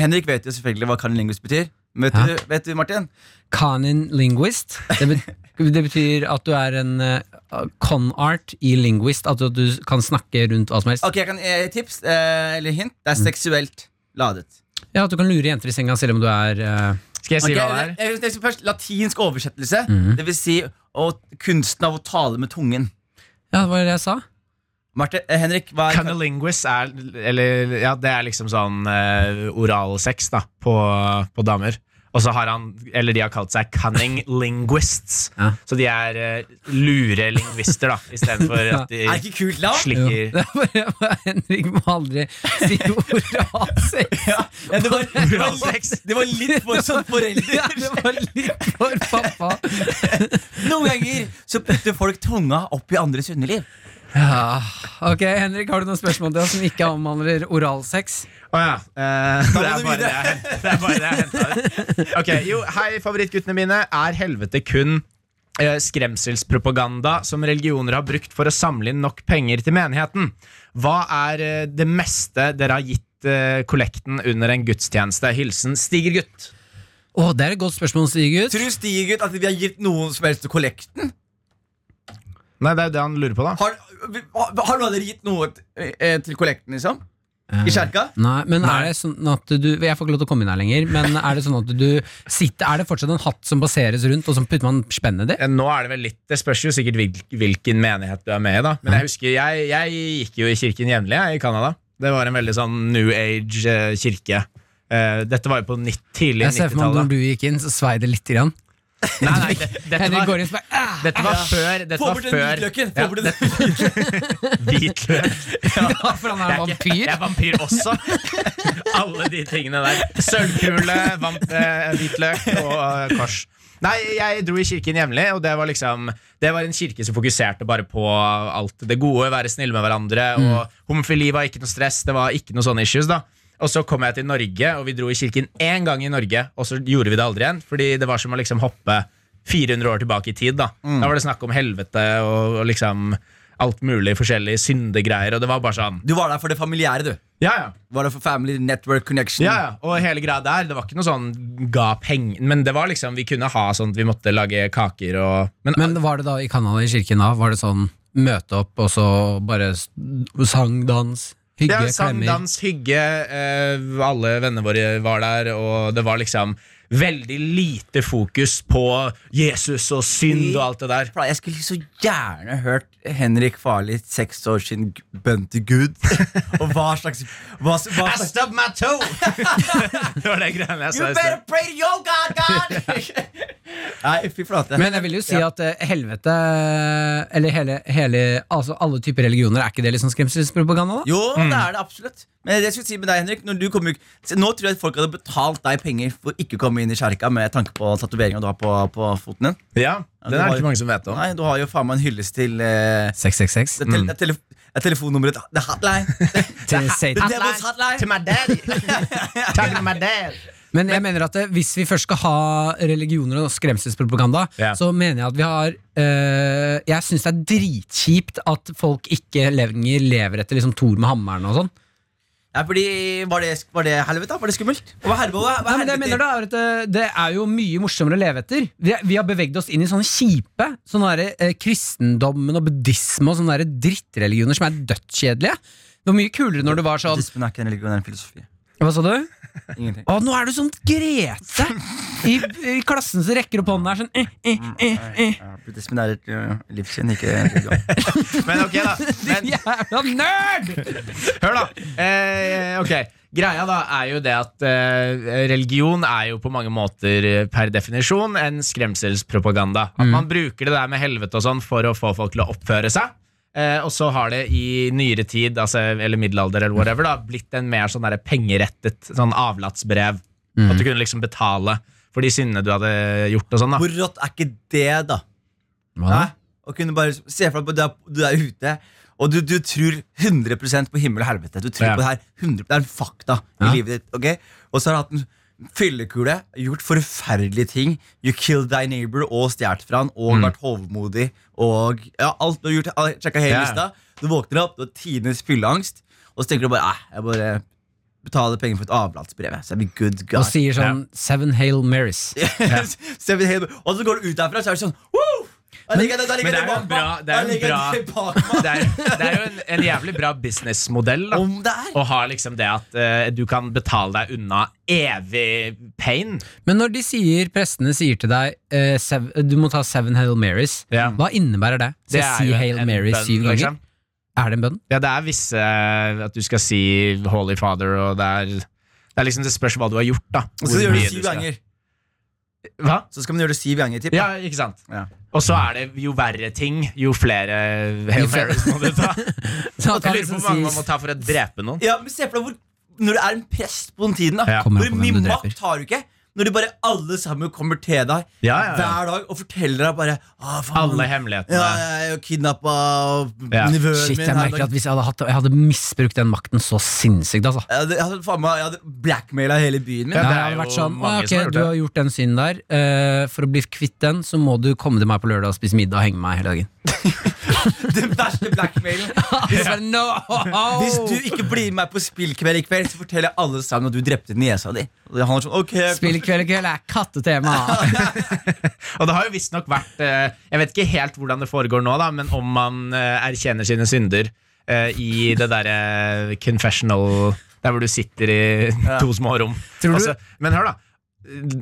Speaker 2: Henrik vet jo selvfølgelig hva Cunning Linguist betyr Vet
Speaker 3: Ja.
Speaker 2: du, vet du Martin?
Speaker 3: Canin linguist. Det, be det betyr at du er en eh, con-art i linguist. At du, at du kan snakke rundt hva som helst.
Speaker 2: Ok, jeg kan eh, tips, eh, eller hint Det er
Speaker 11: Mm.
Speaker 2: seksuelt ladet
Speaker 3: Ja, At du kan lure jenter i senga selv om du er eh,
Speaker 11: Skal jeg si
Speaker 2: Ok,
Speaker 11: hva det er? Mm.
Speaker 2: jeg- jeg- jeg- Først latinsk oversettelse Det vil si å, kunsten av å tale med tungen
Speaker 3: Ja, det var det jeg sa.
Speaker 2: Martin, eh, Henrik, hva er
Speaker 11: Cunnilingus er Eller ja, det er liksom sånn eh, oralsex, da, på, på damer. Og så har han Eller de har kalt seg cunning linguists.
Speaker 3: Ja.
Speaker 11: Så de er eh, lure lingvister, da, istedenfor at de
Speaker 2: Er det ikke kult navn?
Speaker 3: Jo.
Speaker 11: slikker
Speaker 3: Det er bare- bare Henrik må aldri si oralsex.
Speaker 2: Ja, ja, det, var, det, var
Speaker 11: Oralsex.
Speaker 2: litt, det var litt for sånn
Speaker 3: Ja,
Speaker 2: forelder.
Speaker 3: det var litt for pappa.
Speaker 2: Noen ganger så putter folk tunga opp i andres underliv.
Speaker 3: Ja. Ok, Henrik, har du noen spørsmål til oss som ikke omhandler oralsex?
Speaker 11: Å ja. eh, det,
Speaker 2: må
Speaker 11: er
Speaker 2: du
Speaker 11: bare det,
Speaker 2: videre.
Speaker 11: jeg, det er bare det jeg henta ut. Ok, jo, hei, favorittguttene mine. Er helvete kun eh, skremselspropaganda som religioner har brukt for å samle inn nok penger til menigheten? Hva er eh, det meste dere har gitt eh, kollekten under en gudstjeneste? Hilsen Stigergutt.
Speaker 3: Å, det er et godt spørsmål, Sigurd.
Speaker 2: Tror Stigut at vi har gitt noen som helst til kollekten?
Speaker 11: Nei, det er jo det han lurer på, da.
Speaker 2: Har, har har noen av dere gitt noe t- eh, til kollekten, liksom?
Speaker 11: Eh,
Speaker 2: I kjerka?
Speaker 3: Nei, men er det sånn at du Jeg får ikke lov til å komme inn her lenger, men er det sånn at du sitter Er det fortsatt en hatt som baseres rundt, og så putter man spennet i?
Speaker 11: Eh, Nå er Det vel litt, det spørs jo sikkert hvil- hvilken menighet du er med i. da
Speaker 3: Mhm.
Speaker 11: Men jeg husker, jeg, jeg gikk jo i kirken jevnlig jeg, i Canada. Det var en veldig sånn new age-kirke. Eh, dette var jo på nitt, tidlig
Speaker 3: Jeg ser for meg at
Speaker 11: 90-tallet.
Speaker 3: når du gikk inn, så svei det lite grann.
Speaker 11: Nei, nei, det, dette,
Speaker 3: Henrik
Speaker 11: var,
Speaker 3: går inn og bare «Ah, "Æh,
Speaker 11: dette var før Dette
Speaker 2: Få
Speaker 11: var
Speaker 2: bort den
Speaker 11: før
Speaker 2: hvitløken!
Speaker 11: Ja,
Speaker 2: Få bort den.
Speaker 11: hvitløk.
Speaker 3: ja, For han er en
Speaker 11: Jeg
Speaker 3: vampyr.
Speaker 11: er vampyr også. Alle de tingene der. Sølvkule, vamp, eh, hvitløk og eh, kors. Nei, jeg dro i kirken jevnlig, og det var liksom Det var en kirke som fokuserte bare på alt det gode, være snille med hverandre,
Speaker 3: Mm.
Speaker 11: og homofili var ikke noe stress, det var ikke noe sånne issues, da. Og så kom jeg til Norge, og vi dro i kirken én gang i Norge, og så gjorde vi det aldri igjen, fordi det var som å liksom hoppe 400 år tilbake i tid, da.
Speaker 3: Mm.
Speaker 11: Da var det snakk om helvete og, og liksom alt mulig forskjellige syndegreier, og det var bare sånn
Speaker 2: Du var der for det familiære, du.
Speaker 11: Ja, ja.
Speaker 2: Var der for Family Network Connection.
Speaker 11: Ja, ja, og hele greia der, det var ikke noe sånn ga penger, men det var liksom, vi kunne ha sånn at vi måtte lage kaker og Men,
Speaker 3: Men var det da i Canada, i kirken da, var det sånn møte opp, og så bare s- sang, dans, hygge,
Speaker 11: ja, sang,
Speaker 3: klemmer?
Speaker 11: dans, hygge, eh, alle vennene våre var der, og det var liksom veldig lite fokus på Jesus og synd og alt det der.
Speaker 2: Jeg skulle så gjerne hørt Henrik Farli seks år siden bønn til Gud. Og hva slags hva, hva,
Speaker 11: I stubbed my toe! det var det greiene jeg sa i sted.
Speaker 2: pray to your God, Nei, fy flate.
Speaker 3: Men jeg vil jo si at eh, helvete, eller hele, hele Altså alle typer religioner, er ikke det litt sånn skremselspropaganda, da?
Speaker 2: jo, det er det absolutt. Men det jeg skulle si med deg, Henrik når du kom, ut- Se, Nå tror jeg at folk hadde betalt deg penger for ikke å komme inn i kjerka med tanke på tatoveringa du har på, på foten din.
Speaker 11: Ja, den er det ikke mange som vet om.
Speaker 2: Nei, Du har jo faen meg en hyllest til eh, det,
Speaker 3: 666.
Speaker 2: er tele- det, er tele- det er telefonnummeret til- The Hotline.
Speaker 3: Mm. Til Satan.
Speaker 2: The Devil's Hotline.
Speaker 11: To my daddy. Talking to my dad.
Speaker 3: Men jeg mener at eh, hvis vi først skal ha religioner og skremselspropaganda,
Speaker 11: Ja.
Speaker 3: så mener jeg at vi har eh, Jeg syns det er dritkjipt at folk ikke lenger lever etter liksom Thor med hammeren og sånn.
Speaker 2: Ja, fordi var det, var det helvete? Var det skummelt? Og hva er helvete? Hva er
Speaker 3: Nei, men det, jeg
Speaker 2: helvete?
Speaker 3: mener da, er at eh, det er jo mye morsommere å leve etter. Vi, vi har beveget oss inn i sånne kjipe sånne der, eh, kristendommen og buddhisme og sånne der drittreligioner som er dødskjedelige. Det var mye kulere når det var sånn
Speaker 2: Dispen er ikke en religion, det er en filosofi.
Speaker 3: Hva sa du?
Speaker 2: Ingenting.
Speaker 3: Å, nå er du sånn Grete i, i klassen som rekker opp hånda her sånn eh, eh, eh, eh.
Speaker 2: Ja, Buddhismen er et uh, livssyn, ikke en religion.
Speaker 11: Men ok, da. Men,
Speaker 3: Jævla nerd!
Speaker 11: Hør, da. Eh, ok, Greia da er jo det at eh, religion er jo på mange måter eh, per definisjon en skremselspropaganda. At man bruker det der med helvete og sånn for å få folk til å oppføre seg. Eh, og så har det i nyere tid, altså, eller middelalder eller whatever, da, blitt en mer sånn der pengerettet sånn avlatsbrev. At du kunne liksom betale for de syndene du hadde gjort og sånn. da
Speaker 2: Hvor rått er ikke det, da? Hæ? Å kunne bare Se for deg at du er- du er ute, og du, du tror 100 på himmel og helvete. Du tror
Speaker 11: Ja.
Speaker 2: på Det her 100, Det er en fakta i livet ditt. ok? Og så har du hatt en fyllekule, gjort forferdelige ting. You killed thy neighbor og stjålet fra han, og
Speaker 11: Mm.
Speaker 2: vært hovmodig. Og ja, alt du har gjort, all- sjekket hele
Speaker 11: Ja.
Speaker 2: lista. Du våkner opp, du har tidenes fylleangst, og så tenker du bare eh, jeg bare betaler penger for et avlatsbrev. jeg, Så jeg blir good guy.
Speaker 3: Og sier sånn Seven Hail Marys.
Speaker 2: Så jeg blir helt- Og så går du ut derfra, så er det sånn Woo! Jeg liker det, jeg liker
Speaker 11: Men det
Speaker 2: det
Speaker 11: er jo
Speaker 2: bak meg.
Speaker 11: en bra- det er
Speaker 2: Jeg
Speaker 11: en
Speaker 2: liker
Speaker 11: bra-
Speaker 2: det bak meg.
Speaker 11: det er, det er jo en, en jævlig bra businessmodell. da.
Speaker 2: Om det er.
Speaker 11: Å ha liksom det at eh, du kan betale deg unna evig pain.
Speaker 3: Men når de sier, prestene sier til deg eh, sev, Du må ta Seven Hail Marys,
Speaker 11: Ja.
Speaker 3: hva innebærer det? Skal
Speaker 11: Det
Speaker 3: jeg
Speaker 11: er
Speaker 3: si
Speaker 11: jo en-
Speaker 3: Hail
Speaker 11: en
Speaker 3: Mary
Speaker 11: bønn,
Speaker 3: syv ganger?
Speaker 11: liksom.
Speaker 3: Er det en bønn?
Speaker 11: Ja, det er visse eh, At du skal si Holy Father, og det er Det er liksom det spørs hva du har gjort, da.
Speaker 2: Og så
Speaker 11: Hvor
Speaker 2: gjør du
Speaker 11: mye
Speaker 2: det syv
Speaker 11: skal-
Speaker 2: ganger.
Speaker 11: Hva?
Speaker 2: Så skal man gjøre det syv ganger. Typ.
Speaker 11: Ja, ikke sant?
Speaker 2: Ja.
Speaker 11: Og så er det jo verre ting, jo flere eh, Hail
Speaker 3: flere-
Speaker 11: Marys må du ta.
Speaker 3: Så
Speaker 11: Jeg
Speaker 3: at han
Speaker 11: lurer på
Speaker 3: liksom
Speaker 11: hvor mange man
Speaker 3: sier-
Speaker 11: må ta for å drepe noen.
Speaker 2: Ja, men se for deg hvor, når du er en prest på den tiden. Da,
Speaker 11: Ja.
Speaker 3: Kommer
Speaker 2: Hvor
Speaker 3: an på hvem
Speaker 2: mye
Speaker 3: du dreper.
Speaker 2: makt har du ikke? Når de bare alle sammen kommer til deg
Speaker 11: Ja, ja, ja.
Speaker 2: hver dag og forteller deg bare ah, faen,
Speaker 11: Alle
Speaker 2: ja,
Speaker 11: hemmelighetene.
Speaker 2: jeg er jo kidnappa
Speaker 11: Ja.
Speaker 2: nevøen
Speaker 3: Shit,
Speaker 2: min
Speaker 3: jeg
Speaker 2: her
Speaker 3: merker
Speaker 2: dag.
Speaker 3: at hvis jeg hadde, hatt, jeg hadde misbrukt den makten så sinnssykt, altså.
Speaker 2: Jeg hadde, jeg hadde, faen meg- jeg hadde blackmaila hele byen min.
Speaker 3: Ja,
Speaker 11: Ja, det
Speaker 3: jeg
Speaker 11: er
Speaker 3: hadde
Speaker 11: jo
Speaker 3: vært sånn,
Speaker 11: mange
Speaker 3: «Å, ok,
Speaker 11: som har gjort
Speaker 3: du
Speaker 11: det.
Speaker 3: har gjort den synden der eh, For å bli kvitt den, så må du komme til meg på lørdag og spise middag og henge med meg hele dagen
Speaker 2: Den verste blackmailen.
Speaker 3: Så bare, «No!»
Speaker 2: Hvis du ikke blir med meg på spillkveld i kveld, så forteller jeg alle sammen at du drepte niesa di. Og han er sånn, ok
Speaker 3: Spill i kveld i kveld er kattetema
Speaker 11: Og det har jo visstnok vært eh, Jeg vet ikke helt hvordan det foregår nå, da, men om man eh, erkjenner sine synder eh, i det derre confessional Der hvor du sitter i to små rom.
Speaker 3: Tror du-
Speaker 11: Altså, men hør, da.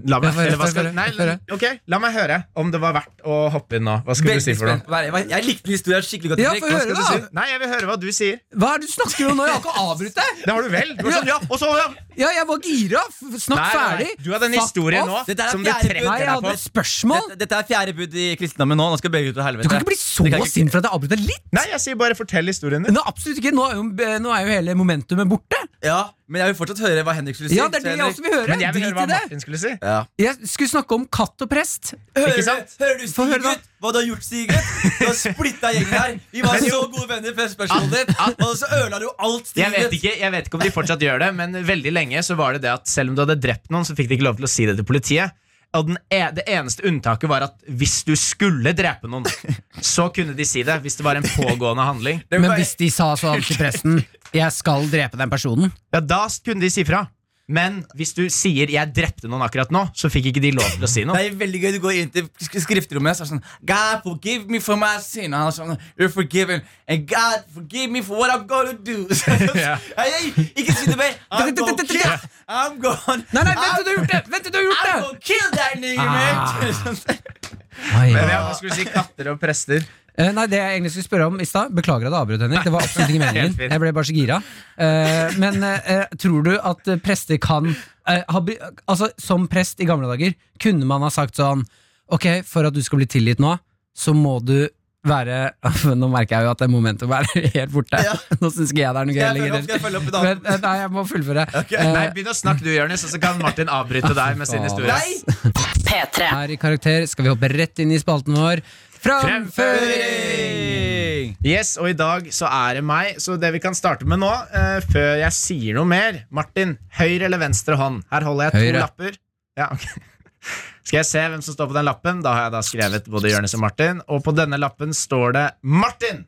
Speaker 11: La meg,
Speaker 3: Ja, få høre,
Speaker 11: eller hva
Speaker 3: få
Speaker 11: skal,
Speaker 3: høre,
Speaker 11: nei,
Speaker 3: få høre.
Speaker 11: ok, la meg høre om det var verdt å hoppe inn nå. Hva skulle
Speaker 2: Veldig
Speaker 11: du si for
Speaker 2: spent
Speaker 11: noe?
Speaker 2: på hver- Jeg jeg likte historien skikkelig godt.
Speaker 3: Ja,
Speaker 2: Henrik.
Speaker 3: få høre
Speaker 2: Hva skal du
Speaker 3: da.
Speaker 2: si?
Speaker 3: høre.
Speaker 11: Nei, jeg vil høre hva du sier.
Speaker 3: Hva er det du snakker om nå? Jeg har ikke avbrutt deg
Speaker 11: Det har du vel? Du var sånn, ja, og så, ja.
Speaker 3: Ja, jeg var gira, F- snakk
Speaker 11: Nei, nei,
Speaker 3: ferdig
Speaker 11: nei. Du hadde en
Speaker 3: Fuck
Speaker 11: historie
Speaker 3: off.
Speaker 11: nå
Speaker 2: Dette er
Speaker 11: som du
Speaker 2: fjerde
Speaker 11: trekker
Speaker 3: Nei, jeg
Speaker 11: deg
Speaker 3: hadde
Speaker 11: på.
Speaker 3: et spørsmål
Speaker 2: Dette, dette er fjerde bud i kristendommen nå. Nå skal begge ut og helvete.
Speaker 3: Du kan ikke bli så
Speaker 2: Det kan ikke-
Speaker 3: sint for at jeg avbryter deg litt
Speaker 11: Nei, jeg sier bare fortell historien din.
Speaker 3: Nå, absolutt ikke, nå er jo, nå er jo hele momentumet borte
Speaker 2: Ja, men jeg vil fortsatt høre hva Henrik skulle si.
Speaker 3: Ja, det er det jeg også vil høre,
Speaker 11: Men jeg vil høre
Speaker 3: drit
Speaker 11: hva
Speaker 3: i det
Speaker 11: Martin skulle si.
Speaker 2: ja.
Speaker 3: Jeg skulle snakke om katt og prest
Speaker 2: Hører,
Speaker 11: Ikke
Speaker 2: ikke
Speaker 11: sant?
Speaker 2: sant? hører du
Speaker 3: Få høre, da.
Speaker 2: Sigurd? Hva du har gjort, Sigurd? Du har splitta gjengen her. Vi var så gode venner før spørsmålet ditt, og så ødela du alt.
Speaker 11: Jeg vet,
Speaker 2: Sigurd.
Speaker 11: ikke, jeg vet ikke om de fortsatt gjør det, men veldig lenge så var det det at selv om du hadde drept noen, så fikk de ikke lov til å si det til politiet. Og den e det eneste unntaket var at hvis du skulle drepe noen, så kunne de si det. Hvis det var en pågående handling.
Speaker 3: Men hvis de sa sånn til presten Jeg skal drepe den personen
Speaker 11: Ja, da kunne de si fra. Men hvis du sier 'jeg drepte noen akkurat nå', så fikk ikke de lov til å si
Speaker 2: Det
Speaker 11: noe.
Speaker 2: er veldig gøy, Du går inn til sk- skrifterommet og så er det sånn God forgive me for my sin. Og han er sånn You're forgiven. And God forgive me for what I'm gonna do. Så-
Speaker 11: Ja.
Speaker 2: Hei, hei, ikke si det mer. I'm gonna kill. I'm gonna
Speaker 3: Nei, nei, vent til du har gjort det! Vent til du har gjort
Speaker 2: I'm
Speaker 3: det! Ah.
Speaker 2: gonna kill that nigga, man.
Speaker 11: Men Hva skulle du si? Katter og prester?
Speaker 3: Eh, nei, det jeg egentlig skulle spørre om i stad Beklager at jeg avbrøt, Henrik. Det var absolutt ikke meningen.
Speaker 11: Helt fint.
Speaker 3: Jeg ble bare så gira. Eh, men eh, tror du at eh, prester kan eh, ha, bry- Altså, som prest i gamle dager, kunne man ha sagt sånn Ok, for at du skal bli tilgitt nå, så må du være Nå merker jeg jo at det momentet er helt borte.
Speaker 2: Ja.
Speaker 3: Nå syns ikke jeg det er noe gøy
Speaker 2: Skal jeg følge opp? Skal jeg følge
Speaker 3: lenger.
Speaker 2: opp i dag?
Speaker 3: Men, eh, nei, jeg må fullføre. Eh,
Speaker 11: Nei, Begynn å snakke du, Jonis, og så kan Martin avbryte deg med sin historie.
Speaker 2: Nei!
Speaker 15: P3.
Speaker 3: her i Karakter skal vi hoppe rett inn i spalten vår. Framføring!
Speaker 11: Fremføring! Yes, og i dag så er det meg. Så det vi kan starte med nå, eh, før jeg sier noe mer Martin, høyre eller venstre hånd? Her holder jeg to
Speaker 3: Høyre.
Speaker 11: lapper. Ja, ok Skal jeg se hvem som står på den lappen? Da har jeg da skrevet både Jonis og Martin. Og på denne lappen står det Martin!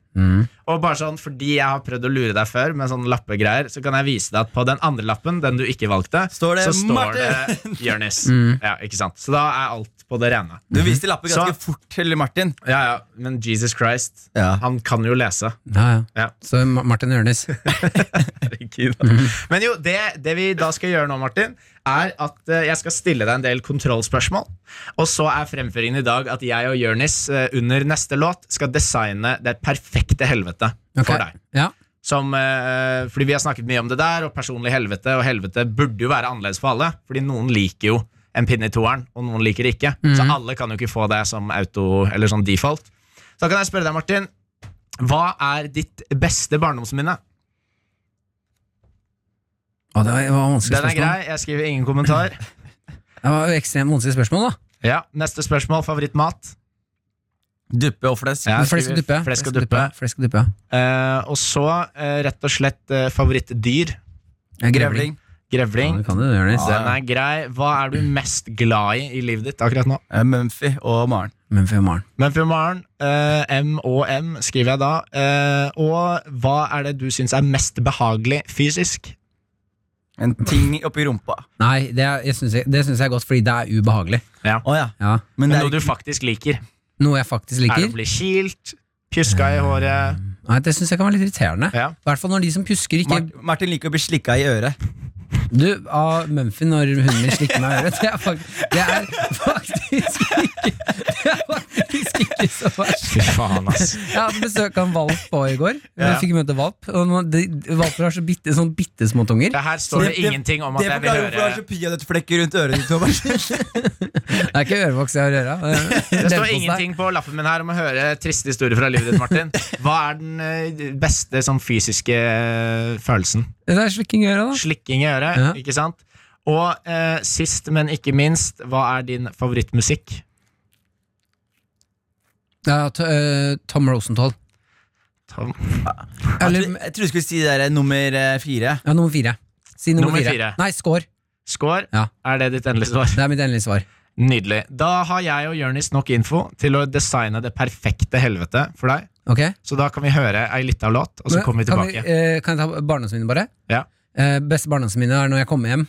Speaker 11: Og bare sånn, fordi jeg har prøvd å lure deg før med sånne lappegreier, så kan jeg vise deg at på den andre lappen, den du ikke valgte,
Speaker 2: Står det
Speaker 11: så står
Speaker 2: Martin!
Speaker 11: det Jonis. Ja, ikke sant? Så da er alt på det rene.
Speaker 2: Du viste lappen ganske
Speaker 11: Så-
Speaker 2: fort til Martin.
Speaker 11: Ja, ja, men Jesus Christ,
Speaker 2: Ja.
Speaker 11: han kan jo lese.
Speaker 3: Ja, ja.
Speaker 11: Ja.
Speaker 3: Så Ma- Martin Ørnes.
Speaker 11: Herregud. Men jo, det, det vi da skal gjøre nå, Martin, er at eh, jeg skal stille deg en del kontrollspørsmål. Og så er fremføringen i dag at jeg og Jørnis eh, under neste låt skal designe det perfekte helvete
Speaker 3: Ok.
Speaker 11: for deg.
Speaker 3: Ja.
Speaker 11: Som, eh, fordi vi har snakket mye om det der, og personlig helvete. Og helvete burde jo være annerledes for alle, fordi noen liker jo en pinne i toeren, og noen liker det ikke.
Speaker 3: Mhm.
Speaker 11: Så alle kan jo ikke få det som auto, eller sånn default. Så da kan jeg spørre deg, Martin, hva er ditt beste barndomsminne?
Speaker 3: Å, det var- det var vanskelig
Speaker 11: Den er grei,
Speaker 3: spørsmål.
Speaker 11: jeg skriver ingen kommentar.
Speaker 3: Det var jo ekstremt vanskelig spørsmål, da.
Speaker 11: Ja, Neste spørsmål. Favorittmat?
Speaker 2: Duppe og flesk.
Speaker 11: Ja,
Speaker 3: Men Flesk og
Speaker 11: skriver
Speaker 3: duppe.
Speaker 11: Flesk og duppe.
Speaker 3: Flesk og duppe, ja.
Speaker 11: Eh, og så eh, rett og slett eh, favorittdyr.
Speaker 3: Ja,
Speaker 2: Grevling.
Speaker 3: Ja,
Speaker 11: Grevling.
Speaker 3: det kan du, Ørnes.
Speaker 11: Den er grei. Hva er du mest glad i i livet ditt akkurat nå?
Speaker 2: eh, Mumphy og Maren.
Speaker 3: Men for Maren.
Speaker 11: Men for Maren, eh, M og M skriver jeg da. Eh, og hva er det du syns er mest behagelig fysisk?
Speaker 2: En ting oppi rumpa.
Speaker 3: Nei, det, er, jeg synes jeg, det synes jeg er godt, fordi det er ubehagelig.
Speaker 2: Å ja.
Speaker 3: Ja.
Speaker 2: Men det er
Speaker 11: Noe du
Speaker 2: ikke-
Speaker 11: faktisk liker.
Speaker 3: Noe jeg faktisk
Speaker 11: Er det å
Speaker 3: liker.
Speaker 11: bli kilt? Pjuska i håret?
Speaker 3: Nei, det synes jeg kan være litt irriterende.
Speaker 11: Ja.
Speaker 3: I hvert fall når de som pjusker, ikke
Speaker 2: Mart- Martin liker å bli slikka i øret.
Speaker 3: Du, av Mumphy når hunden min slikker meg i øret. Det er, fakt, det er faktisk ikke Det er faktisk ikke så verst.
Speaker 11: Fy faen, ass.
Speaker 3: Jeg hadde besøk av en valp på i går.
Speaker 11: Ja.
Speaker 3: Jeg fikk møte valp. Og nå- de, valper har så bitte, sånn bitte små tunger.
Speaker 11: Det her står det,
Speaker 2: Det- det-
Speaker 11: ingenting om at
Speaker 2: Det
Speaker 11: jeg vil
Speaker 2: forklarer hvorfor du har
Speaker 11: høre
Speaker 2: så peanøttflekker rundt øret ditt. Thomas.
Speaker 3: Det er ikke ørevoks jeg har i øra.
Speaker 11: Det
Speaker 3: Dempos
Speaker 11: står
Speaker 3: der.
Speaker 11: ingenting på lappen min her om å høre triste historier fra livet ditt, Martin. Hva er den eh, beste sånn fysiske eh, følelsen?
Speaker 3: Det er slikking i øra, da.
Speaker 11: Slikking i øret,
Speaker 3: Ja.
Speaker 11: ikke sant? Og eh, sist, men ikke minst, hva er din favorittmusikk?
Speaker 3: Ja, t eh, Tom Rosenthal.
Speaker 11: Tom.
Speaker 3: Eller
Speaker 2: Jeg trodde du skulle si det der, nummer eh, fire.
Speaker 3: ja, nummer fire. Si nummer,
Speaker 11: Nummer
Speaker 3: fire.
Speaker 11: fire.
Speaker 3: Nei, score.
Speaker 11: Skår,
Speaker 3: Ja.
Speaker 11: er det ditt endelige svar?
Speaker 3: Det er mitt endelige svar.
Speaker 11: Nydelig. Da har jeg og Jonis nok info til å designe det perfekte helvete for deg.
Speaker 3: Ok?
Speaker 11: Så da kan vi høre ei lita låt, og så
Speaker 3: Men
Speaker 11: kommer vi
Speaker 3: Kan,
Speaker 11: tilbake.
Speaker 3: eh, kan jeg ta barndomsminnet, bare?
Speaker 11: Ja.
Speaker 3: Eh, beste barndomsminnet er når jeg kommer hjem.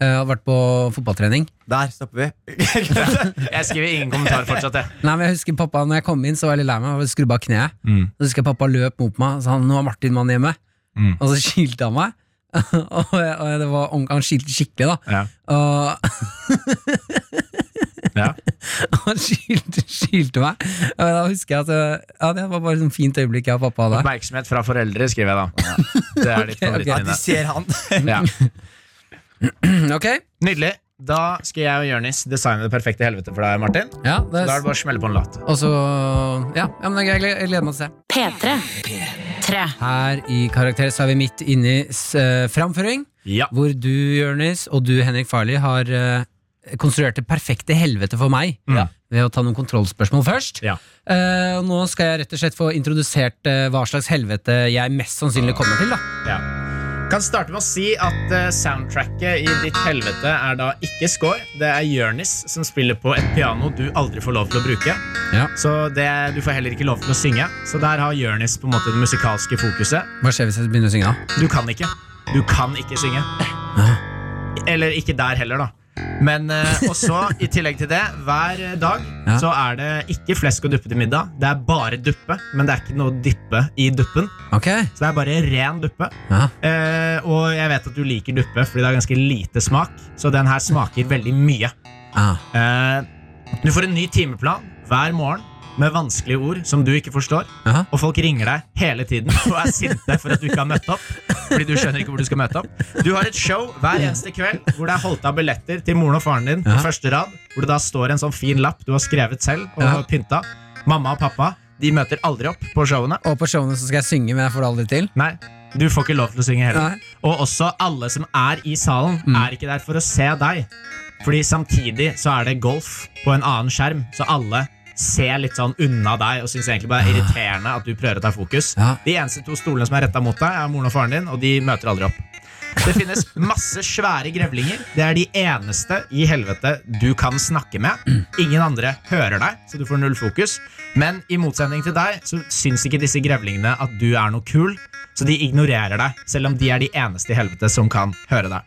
Speaker 3: Jeg har vært på fotballtrening.
Speaker 2: Der stopper vi.
Speaker 11: Jeg skriver ingen kommentar fortsatt, jeg.
Speaker 3: Nei, men jeg husker pappa, når jeg kom inn, så var jeg litt lei meg. Jeg Skrubba av kneet.
Speaker 11: Mm.
Speaker 3: Så husker jeg pappa løp mot meg og sa 'nå er Martin mann hjemme'.
Speaker 11: Mm.
Speaker 3: Og så kilte han meg. og jeg, og jeg, det var, ordentlig- han kilte skikkelig, da.
Speaker 11: Ja.
Speaker 3: Og
Speaker 11: Ja.
Speaker 3: han kilte, kilte meg. Og da husker jeg at eh, ja, det var bare et sånt fint øyeblikk jeg og pappa hadde.
Speaker 11: Oppmerksomhet fra foreldre, skriver jeg da. Det er ditt
Speaker 3: Ok,
Speaker 2: At
Speaker 3: ok.
Speaker 2: de
Speaker 11: favorittminne.
Speaker 2: ser han.
Speaker 11: Ja. Mm,
Speaker 3: Ok,
Speaker 11: Nydelig. Da skal jeg og Jørnis designe det perfekte helvete for deg, Martin.
Speaker 3: ja,
Speaker 11: Da
Speaker 3: det,
Speaker 11: er det bare å smelle på en låt.
Speaker 3: Og så Ja, ja men jeg, jeg gleder meg til å se.
Speaker 15: P3. P3.
Speaker 3: Her i Karakter så er vi midt inne i s- eh, framføring,
Speaker 11: Ja.
Speaker 3: hvor du, Jonis, og du, Henrik Farley, har eh, konstruert det perfekte helvete for meg.
Speaker 11: Ja.
Speaker 3: Ved å ta noen kontrollspørsmål først.
Speaker 11: Ja.
Speaker 3: Eh, og nå skal jeg rett og slett få introdusert eh, hva slags helvete jeg mest sannsynlig kommer til. da
Speaker 11: ja. Kan starte med å si at eh, soundtracket i Ditt helvete er da ikke score. Det er Jørnis som spiller på et piano du aldri får lov til å bruke.
Speaker 3: Ja.
Speaker 11: Så det, du får heller ikke lov til å synge. Så der har Jørnis på en måte det musikalske fokuset.
Speaker 3: Hva skjer hvis jeg begynner å synge? da?
Speaker 11: Du kan ikke. Du kan ikke synge. Eller ikke der heller, da. Men eh, og så, i tillegg til det, hver eh, dag
Speaker 3: Ja.
Speaker 11: så er det ikke flesk og duppe til middag. Det er bare duppe, men det er ikke noe dyppe i duppen.
Speaker 3: Ok
Speaker 11: Så det er bare ren duppe.
Speaker 3: ja.
Speaker 11: Eh, og jeg vet at du liker duppe, fordi det er ganske lite smak. Så den her smaker veldig mye.
Speaker 3: Ah.
Speaker 11: Eh, du får en ny timeplan hver morgen med vanskelige ord som du ikke forstår.
Speaker 3: Aha.
Speaker 11: Og folk ringer deg hele tiden og er sinte for at du ikke har møtt opp. Fordi Du skjønner ikke hvor du skal møte opp Du har et show hver eneste kveld hvor det er holdt av billetter til moren og faren din. På
Speaker 3: Ja.
Speaker 11: første rad Hvor det da står en sånn fin lapp du har skrevet selv og
Speaker 3: Ja.
Speaker 11: pynta. Mamma og pappa De møter aldri opp på showene.
Speaker 3: Og på showene så skal jeg synge, men jeg får det aldri til.
Speaker 11: Nei, du får ikke lov til å synge heller.
Speaker 3: Nei. Mm.
Speaker 11: Og også alle som er i salen, er ikke der for å se deg. Fordi samtidig så er det golf på en annen skjerm, så alle ser litt sånn unna deg og syns egentlig bare det er irriterende at du prøver å ta fokus.
Speaker 3: Ja.
Speaker 11: De eneste to stolene som er retta mot deg, er moren og faren din, og de møter aldri opp. Det finnes masse svære grevlinger. Det er de eneste i helvete du kan snakke med. Ingen andre hører deg, så du får null fokus. Men i motsetning til deg så syns ikke disse grevlingene at du er noe kul, så de ignorerer deg, selv om de er de eneste i helvete som kan høre deg.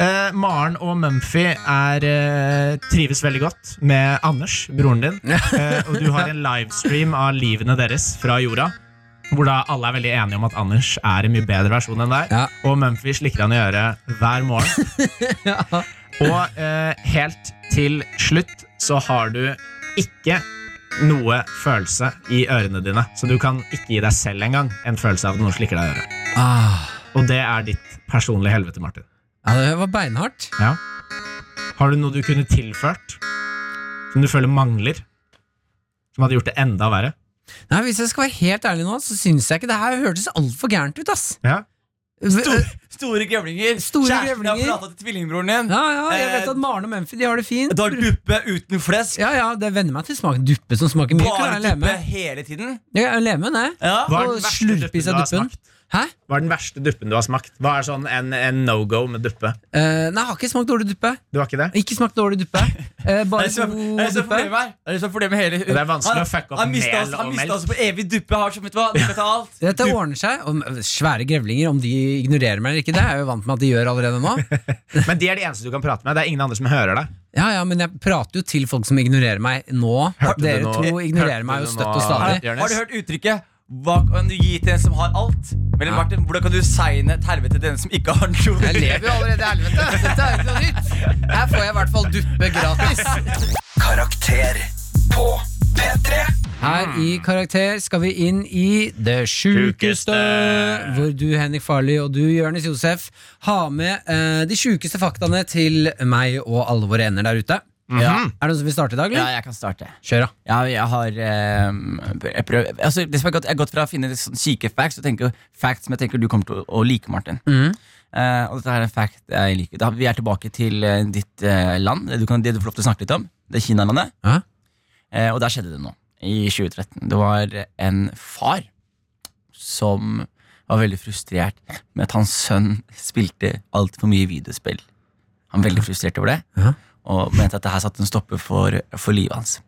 Speaker 11: Eh, Maren og Mumphy er, eh, trives veldig godt med Anders, broren din. Eh, og du har en livestream av livene deres fra jorda. Hvor da alle er veldig enige om at Anders er en mye bedre versjon enn deg.
Speaker 3: Ja.
Speaker 11: Og Mumphy slikker han i øret hver morgen. Og eh, helt til slutt så har du ikke noe følelse i ørene dine. Så du kan ikke gi deg selv engang en følelse av at noen slikker deg i øret.
Speaker 3: Ah,
Speaker 11: Og det er ditt personlige helvete, Martin.
Speaker 3: ja, det var beinhardt.
Speaker 11: Ja. Har du noe du kunne tilført som du føler mangler? Som hadde gjort det enda verre?
Speaker 3: Nei, Hvis jeg skal være helt ærlig nå, så syns jeg ikke det her hørtes altfor gærent ut, ass.
Speaker 11: Ja.
Speaker 3: Stor.
Speaker 2: Store grevlinger. Kjæresten
Speaker 3: Store
Speaker 2: har
Speaker 3: grevlinger.
Speaker 2: prata til tvillingbroren din.
Speaker 3: Ja, ja, jeg
Speaker 11: Eh,
Speaker 3: vet at Maren og Mumphy de har det fint.
Speaker 2: Du har duppe uten flesk.
Speaker 3: Ja, ja, det venner meg til smaken duppe som smaker mye. Kan
Speaker 2: Bare
Speaker 3: jeg leve
Speaker 2: duppe
Speaker 3: med?
Speaker 2: hele tiden.
Speaker 3: Jeg kan leve med det.
Speaker 2: Ja.
Speaker 11: Eh, Hva er
Speaker 3: Og
Speaker 11: den verste
Speaker 3: slurpe i
Speaker 11: duppen du
Speaker 3: seg
Speaker 11: har
Speaker 3: duppen.
Speaker 11: smakt?
Speaker 3: Hæ?
Speaker 11: Hva er den verste duppen du har smakt? Hva er sånn en, en no go med duppe?
Speaker 3: Eh, nei, jeg har ikke smakt dårlig duppe.
Speaker 11: Du har ikke det?
Speaker 3: Ikke smakt dårlig duppe. Eh,
Speaker 2: Det
Speaker 3: bare
Speaker 2: er det som- det er det
Speaker 3: god
Speaker 2: som er
Speaker 3: duppe.
Speaker 2: problemet her. Det er det som er problemet hele
Speaker 11: Det er vanskelig
Speaker 2: Han-
Speaker 11: å fucke opp
Speaker 2: Han mista
Speaker 11: mel
Speaker 2: oss, han
Speaker 11: og
Speaker 2: mistet
Speaker 11: melk.
Speaker 2: oss på evig duppe. Har som, vet du hva, du kan ta alt.
Speaker 3: Dette ordner seg. Om eh, svære grevlinger, om de ignorerer meg eller ikke, det er jeg jo vant med at de gjør allerede nå.
Speaker 11: Men de er de eneste du kan prate med. Det er ingen andre som hører deg.
Speaker 3: Ja, ja, men jeg prater jo til folk som ignorerer meg nå.
Speaker 11: Hørte
Speaker 3: Dere
Speaker 11: du nå-
Speaker 3: to ignorerer
Speaker 11: hørte
Speaker 3: meg jo
Speaker 11: du nå,
Speaker 3: støtt og stadig.
Speaker 11: Jonis?
Speaker 2: Har du hørt uttrykket 'hva kan du gi til en som har alt'? Men Martin, hvordan kan du segne et helvete til den som ikke har noe?
Speaker 3: Jeg lever jo allerede i helvete. Dette er jo ikke noe nytt. Her får jeg i hvert fall duppe gratis.
Speaker 18: Karakter på P3.
Speaker 3: Her i Karakter skal vi inn i Det sjukeste, hvor du, Henrik Farley, og du, Jonis Josef, har med eh, de sjukeste faktaene til meg og alle våre ender der ute. Er det noen som vil starte i dag,
Speaker 2: Ja,
Speaker 3: eller?
Speaker 2: jeg kan starte.
Speaker 3: Kjør, da.
Speaker 2: Ja, jeg har eh, jeg prøv, altså, Det som er godt, Jeg har gått fra å finne litt sånn kjipe facts og tenke facts som jeg tenker du kommer til å, å like, Martin. Eh, og dette er en fact jeg liker. Da, vi er tilbake til eh, ditt eh, land. Det Du kan, det du får lov til å snakke litt om. Det er Kinalandet.
Speaker 3: Ja.
Speaker 2: Eh, og der skjedde det nå, i 2013. Det var en far som var veldig frustrert med at hans sønn spilte altfor mye videospill. Han var veldig frustrert over det,
Speaker 3: Ja.
Speaker 2: og mente at det her satte en stopper for, for livet hans.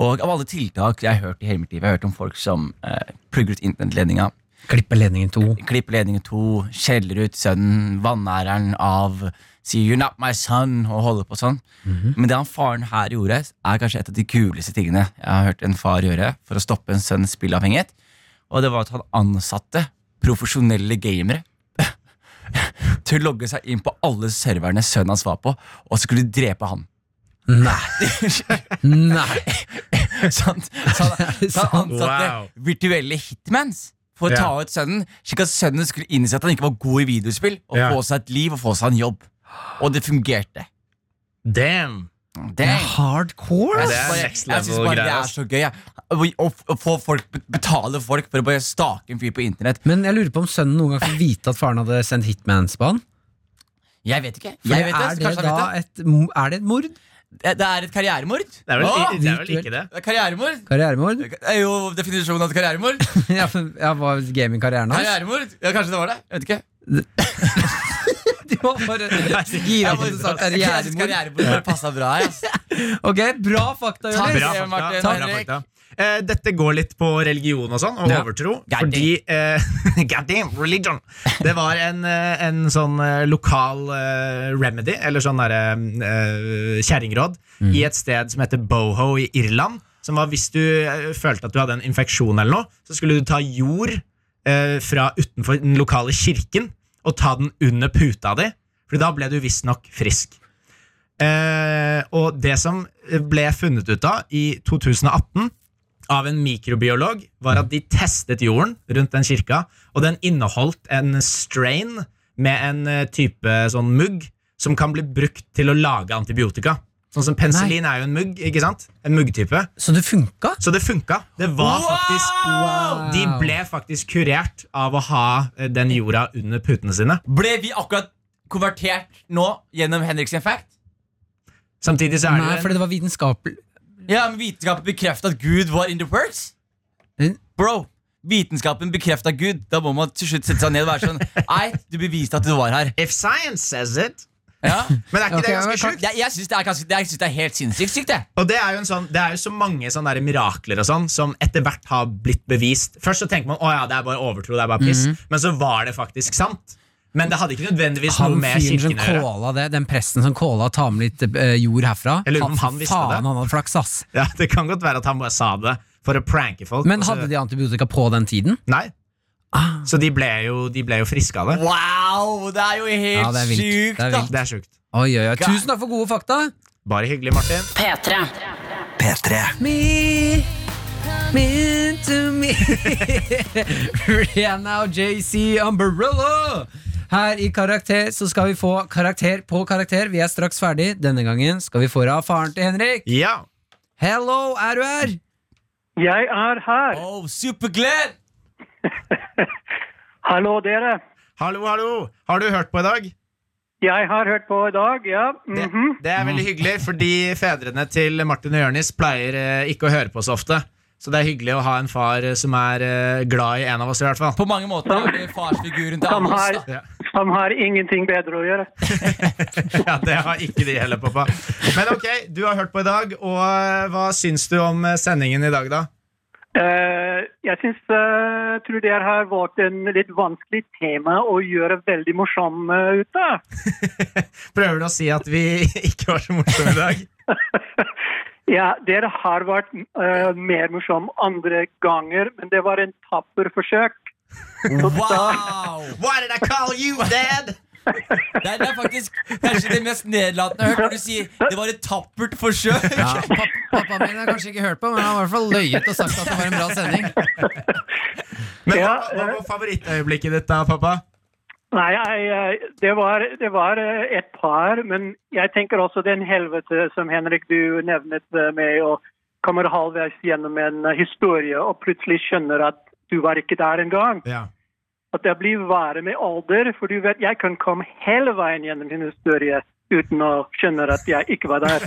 Speaker 2: Og av alle tiltak jeg har hørt i hele mitt liv, jeg har hørt om folk som eh, plugger ut internettledninga,
Speaker 3: Klippe ledningen to.
Speaker 2: klipper ledningen to, skjeller ut sønnen, vannæreren av, sier 'you're not my son' og holder på sånn. Men det han faren her gjorde, er kanskje et av de kuleste tingene jeg har hørt en far gjøre for å stoppe en sønns spillavhengighet. Og det var at han ansatte profesjonelle gamere til å logge seg inn på alle serverne sønnen hans var på, og skulle drepe han. Nei
Speaker 3: Nei.
Speaker 2: sant? Så han, så han ansatte
Speaker 11: Wow.
Speaker 2: virtuelle hitmans for å
Speaker 11: Ja.
Speaker 2: ta ut sønnen, slik at sønnen skulle innse at han ikke var god i videospill, og
Speaker 11: Ja.
Speaker 2: få seg et liv og få seg en jobb. Og det fungerte.
Speaker 11: Damn!
Speaker 3: Det
Speaker 2: Dang.
Speaker 3: er hardcore,
Speaker 2: Jeg
Speaker 11: det
Speaker 3: ass.
Speaker 11: er
Speaker 2: synes bare-
Speaker 11: next
Speaker 2: jeg synes
Speaker 11: level
Speaker 2: bare det er
Speaker 11: greier, altså. ass.
Speaker 2: så gøy. jeg. Å, å, å få folk, betale folk for å bare stake en fyr på internett.
Speaker 3: Men jeg lurer på om sønnen noen gang får vite at faren hadde sendt hitmans på han.
Speaker 2: Jeg vet ikke.
Speaker 3: For
Speaker 2: Jeg vet det,
Speaker 3: er,
Speaker 2: så
Speaker 3: det
Speaker 2: kanskje
Speaker 3: da
Speaker 2: han vet det.
Speaker 3: et, mo- er det et mord?
Speaker 2: Det- det er et karrieremord.
Speaker 11: Det er vel,
Speaker 2: Åh,
Speaker 11: det er vel ikke det.
Speaker 2: det er karrieremord?
Speaker 3: Karrieremord?
Speaker 2: Det er jo definisjonen av et karrieremord.
Speaker 3: Ja, men- ja, var gamingkarrieren hans?
Speaker 2: Karrieremord? Ja, kanskje det var det. Jeg vet ikke.
Speaker 3: Du må bare gi
Speaker 2: Jeg
Speaker 3: deg
Speaker 2: bare-
Speaker 3: hvis du sa
Speaker 2: jeg synes
Speaker 3: karrieremord.
Speaker 2: karrieremord bare passet bra her. ass.
Speaker 3: Ok, bra fakta,
Speaker 2: Takk.
Speaker 3: Jonis.
Speaker 11: Bra
Speaker 2: Yes, Martin,
Speaker 11: fakta. Bra
Speaker 2: Henrik.
Speaker 11: fakta. Eh, dette går litt på religion og sånn, og
Speaker 3: Ja.
Speaker 11: overtro.
Speaker 2: God
Speaker 11: fordi eh, God damn, religion! Det var en, eh, en sånn eh, lokal eh, remedy, eller sånn derre eh, kjerringråd,
Speaker 2: Mm.
Speaker 11: i et sted som heter Boho i Irland. Som var hvis du eh, følte at du hadde en infeksjon eller noe, så skulle du ta jord eh, fra utenfor den lokale kirken og ta den under puta di, for da ble du visstnok frisk. Eh, og det som ble funnet ut av i 2018 av en mikrobiolog, var at de testet jorden rundt den kirka, og den inneholdt en strain med en eh, type sånn mugg som kan bli brukt til å lage antibiotika. Sånn som penicillin er jo en mugg, ikke sant? En muggtype.
Speaker 3: Så det funka?
Speaker 11: Så det funka. Det var faktisk
Speaker 3: Wow!
Speaker 11: De ble faktisk kurert av å ha eh, den jorda under putene sine.
Speaker 2: Ble vi akkurat konvertert nå gjennom Henriks fact?
Speaker 11: Samtidig så er det
Speaker 3: Nei,
Speaker 11: jo en
Speaker 3: fordi det var vitenskapelig
Speaker 2: Ja, men Vitenskapen bekrefter at Gud var in the works? Hm?
Speaker 3: Mm.
Speaker 2: Bro, vitenskapen bekrefter Gud. Da må man til slutt sette seg ned og være sånn Nei, du beviste at du var her.
Speaker 11: If science says it
Speaker 2: Ja.
Speaker 11: Men er ikke
Speaker 3: Ok,
Speaker 11: det
Speaker 3: men
Speaker 11: ganske
Speaker 3: kan-
Speaker 11: sjukt?
Speaker 2: Jeg, jeg syns det, er ganske- det- jeg synes det er helt sinnssykt sykt, det.
Speaker 11: Og det er jo en sånn, det er jo så mange sånne der mirakler og sånn som etter hvert har blitt bevist. Først så tenker man å ja, det er bare overtro, det er bare piss.
Speaker 3: Mhm.
Speaker 11: Men så var det faktisk sant. Men det hadde ikke nødvendigvis noe
Speaker 3: Han
Speaker 11: med
Speaker 3: fyren som
Speaker 11: kirken å gjøre.
Speaker 3: kåla det, den presten som kåla å ta med litt eh, jord herfra
Speaker 11: Jeg lurer på om han visste det.
Speaker 3: Faen, han hadde flaks, ass.
Speaker 11: Ja, det kan godt være at han bare sa det for å pranke folk.
Speaker 3: Men
Speaker 11: og så-
Speaker 3: hadde de Ah. antibiotika på den tiden?
Speaker 11: Nei. Så de ble jo, de ble jo friske av det.
Speaker 2: Wow, det er jo helt
Speaker 3: Ja, det er vilt.
Speaker 2: sykt,
Speaker 3: Det er
Speaker 2: da.
Speaker 3: vilt.
Speaker 11: Det er sjukt.
Speaker 3: Oi, oi, oi. Tusen takk for gode fakta.
Speaker 11: Bare hyggelig, Martin.
Speaker 15: P3.
Speaker 18: P3
Speaker 3: Me, me to me. Rihanna og JC Umbrella. Her i Karakter så skal vi få karakter på karakter. Vi er straks ferdig. Denne gangen skal vi få av faren til Henrik.
Speaker 11: Ja.
Speaker 3: Hello, er du her?
Speaker 19: Jeg er her.
Speaker 2: Oh, Super-Glenn!
Speaker 19: Hallo, dere.
Speaker 11: Hallo, hallo. Har du hørt på i dag?
Speaker 19: Jeg har hørt på i dag, ja.
Speaker 11: Det,
Speaker 19: Mhm.
Speaker 11: det er veldig hyggelig, fordi fedrene til Martin og Jørnis pleier eh, ikke å høre på så ofte. Så det er hyggelig å ha en far eh, som er eh, glad i en av oss, i hvert fall.
Speaker 2: På mange måter er det farsfiguren til
Speaker 19: Som
Speaker 2: alle oss.
Speaker 19: har,
Speaker 2: da.
Speaker 11: Ja.
Speaker 19: som har ingenting bedre å gjøre.
Speaker 11: ja, Det har ikke de heller, pappa. Men ok, du har hørt på i dag, og eh, hva syns du om eh, sendingen i dag, da?
Speaker 19: Eh, jeg syns eh, tror det har vært en litt vanskelig tema å gjøre veldig morsom eh, ut av.
Speaker 11: Prøver du å si at vi ikke var så morsomme i dag?
Speaker 19: ja, dere har vært eh, mer morsom andre ganger, men det var en tapper forsøk.
Speaker 2: Wow!
Speaker 11: Why did I call you dad?
Speaker 2: Det er, det er faktisk kanskje det mest nedlatende jeg har hørt når du sier det var et tappert forsøk.
Speaker 3: Ja, pappa, pappaen min har kanskje ikke hørt på, men han har i hvert fall løyet og sagt at det var en bra sending.
Speaker 11: Men hva,
Speaker 19: Ja, eh,
Speaker 11: hva var favorittøyeblikket ditt, da, pappa?
Speaker 19: Nei, jeg, eh, det var, det var eh, et par, men jeg tenker også den helvete som Henrik du nevnet eh, med å kommer halvveis gjennom en eh, historie og plutselig skjønner at du var ikke der engang.
Speaker 11: Ja.
Speaker 19: At det blir verre med alder, for du vet, jeg kan komme hele veien gjennom en historie uten å skjønne at jeg ikke var der.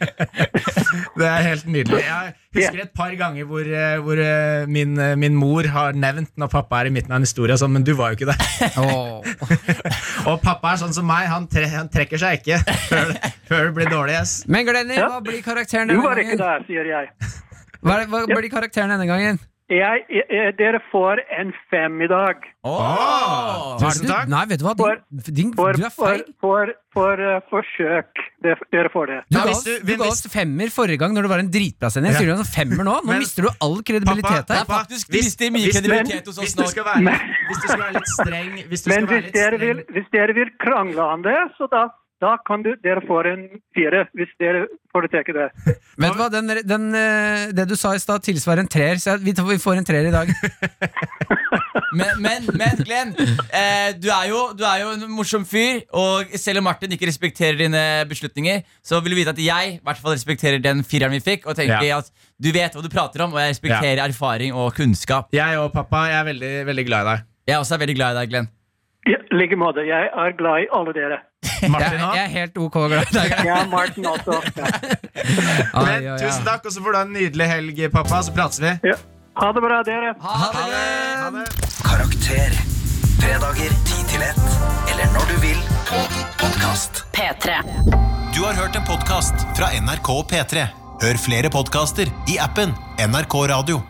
Speaker 11: Det er helt nydelig. Jeg husker et par ganger hvor, eh, hvor eh, min, eh, min mor har nevnt når pappa er i midten av en historie, og sånn, men du var jo ikke der.
Speaker 3: Åh.
Speaker 11: Og pappa er sånn som meg, han, tre, han trekker seg ikke før, før det blir dårlig. Yes.
Speaker 3: Men Glenny, hva blir karakteren
Speaker 19: Du
Speaker 3: denne
Speaker 19: var ikke
Speaker 3: gangen?
Speaker 19: der, sier jeg.
Speaker 3: Hva, er- hva blir karakteren denne gangen?
Speaker 19: jeg, jeg, jeg dere får en fem i dag.
Speaker 11: Åh,
Speaker 3: Hva er det
Speaker 11: tusen
Speaker 3: du-
Speaker 11: takk.
Speaker 3: Nei, vet du hva? Din, din,
Speaker 19: For,
Speaker 3: du er
Speaker 19: for,
Speaker 3: feil.
Speaker 19: for, for eh, forsøk. Dere, dere får det.
Speaker 3: Du
Speaker 11: Ja,
Speaker 3: ga,
Speaker 11: hvis
Speaker 3: oss,
Speaker 11: du-
Speaker 3: du ga oss femmer forrige gang når det var en dritbra sending. Sier du en femmer nå? Nå
Speaker 11: Men-
Speaker 3: mister du all kredibilitet
Speaker 2: Det
Speaker 3: her.
Speaker 2: er faktisk du
Speaker 11: Hvis-
Speaker 2: mister mye
Speaker 11: hvis du-
Speaker 2: kredibilitet hos
Speaker 11: Hvis
Speaker 2: oss
Speaker 11: du
Speaker 2: nå.
Speaker 11: skal være, hvis du skal være litt streng Hvis du skal
Speaker 19: Men
Speaker 11: være
Speaker 19: hvis
Speaker 11: litt
Speaker 19: dere, vil,
Speaker 11: streng
Speaker 19: hvis dere vil krangle om det, så da, da kan du, dere få en fire. Hvis dere foretrekker det.
Speaker 3: Vet du hva, den, den, eh, Det du sa i stad, tilsvarer en treer. Så jeg- vi, tar- vi får en treer i dag.
Speaker 2: Men, men, men Glenn, eh, du, er jo, du er jo en morsom fyr. Og selv om Martin ikke respekterer dine beslutninger, så vil du vite at jeg i hvert fall respekterer den fireren vi fikk. Og tenker
Speaker 11: Ja.
Speaker 2: at du vet hva du prater om, og jeg respekterer erfaring og kunnskap.
Speaker 11: Jeg og pappa jeg er veldig, veldig glad i deg.
Speaker 2: Jeg også er veldig glad i deg, Glenn.
Speaker 19: I like måte. Jeg er glad i alle dere.
Speaker 3: Jeg,
Speaker 11: Martin
Speaker 3: jeg
Speaker 11: òg.
Speaker 3: er helt ok glad i deg.
Speaker 19: Ja, Martin også. Ja.
Speaker 3: Ai, ai, ai.
Speaker 11: Tusen takk, og så får du ha en nydelig helg, pappa. Så prates vi.
Speaker 19: Ja. Ha det bra, dere.
Speaker 2: Ha det!
Speaker 11: Ha det.
Speaker 18: Karakter Fredager 10 til 1 Eller når du vil På podcast
Speaker 15: P3.
Speaker 1: Du har hørt en podcast fra NRK P3. Hør flere podcaster i appen NRK Radio.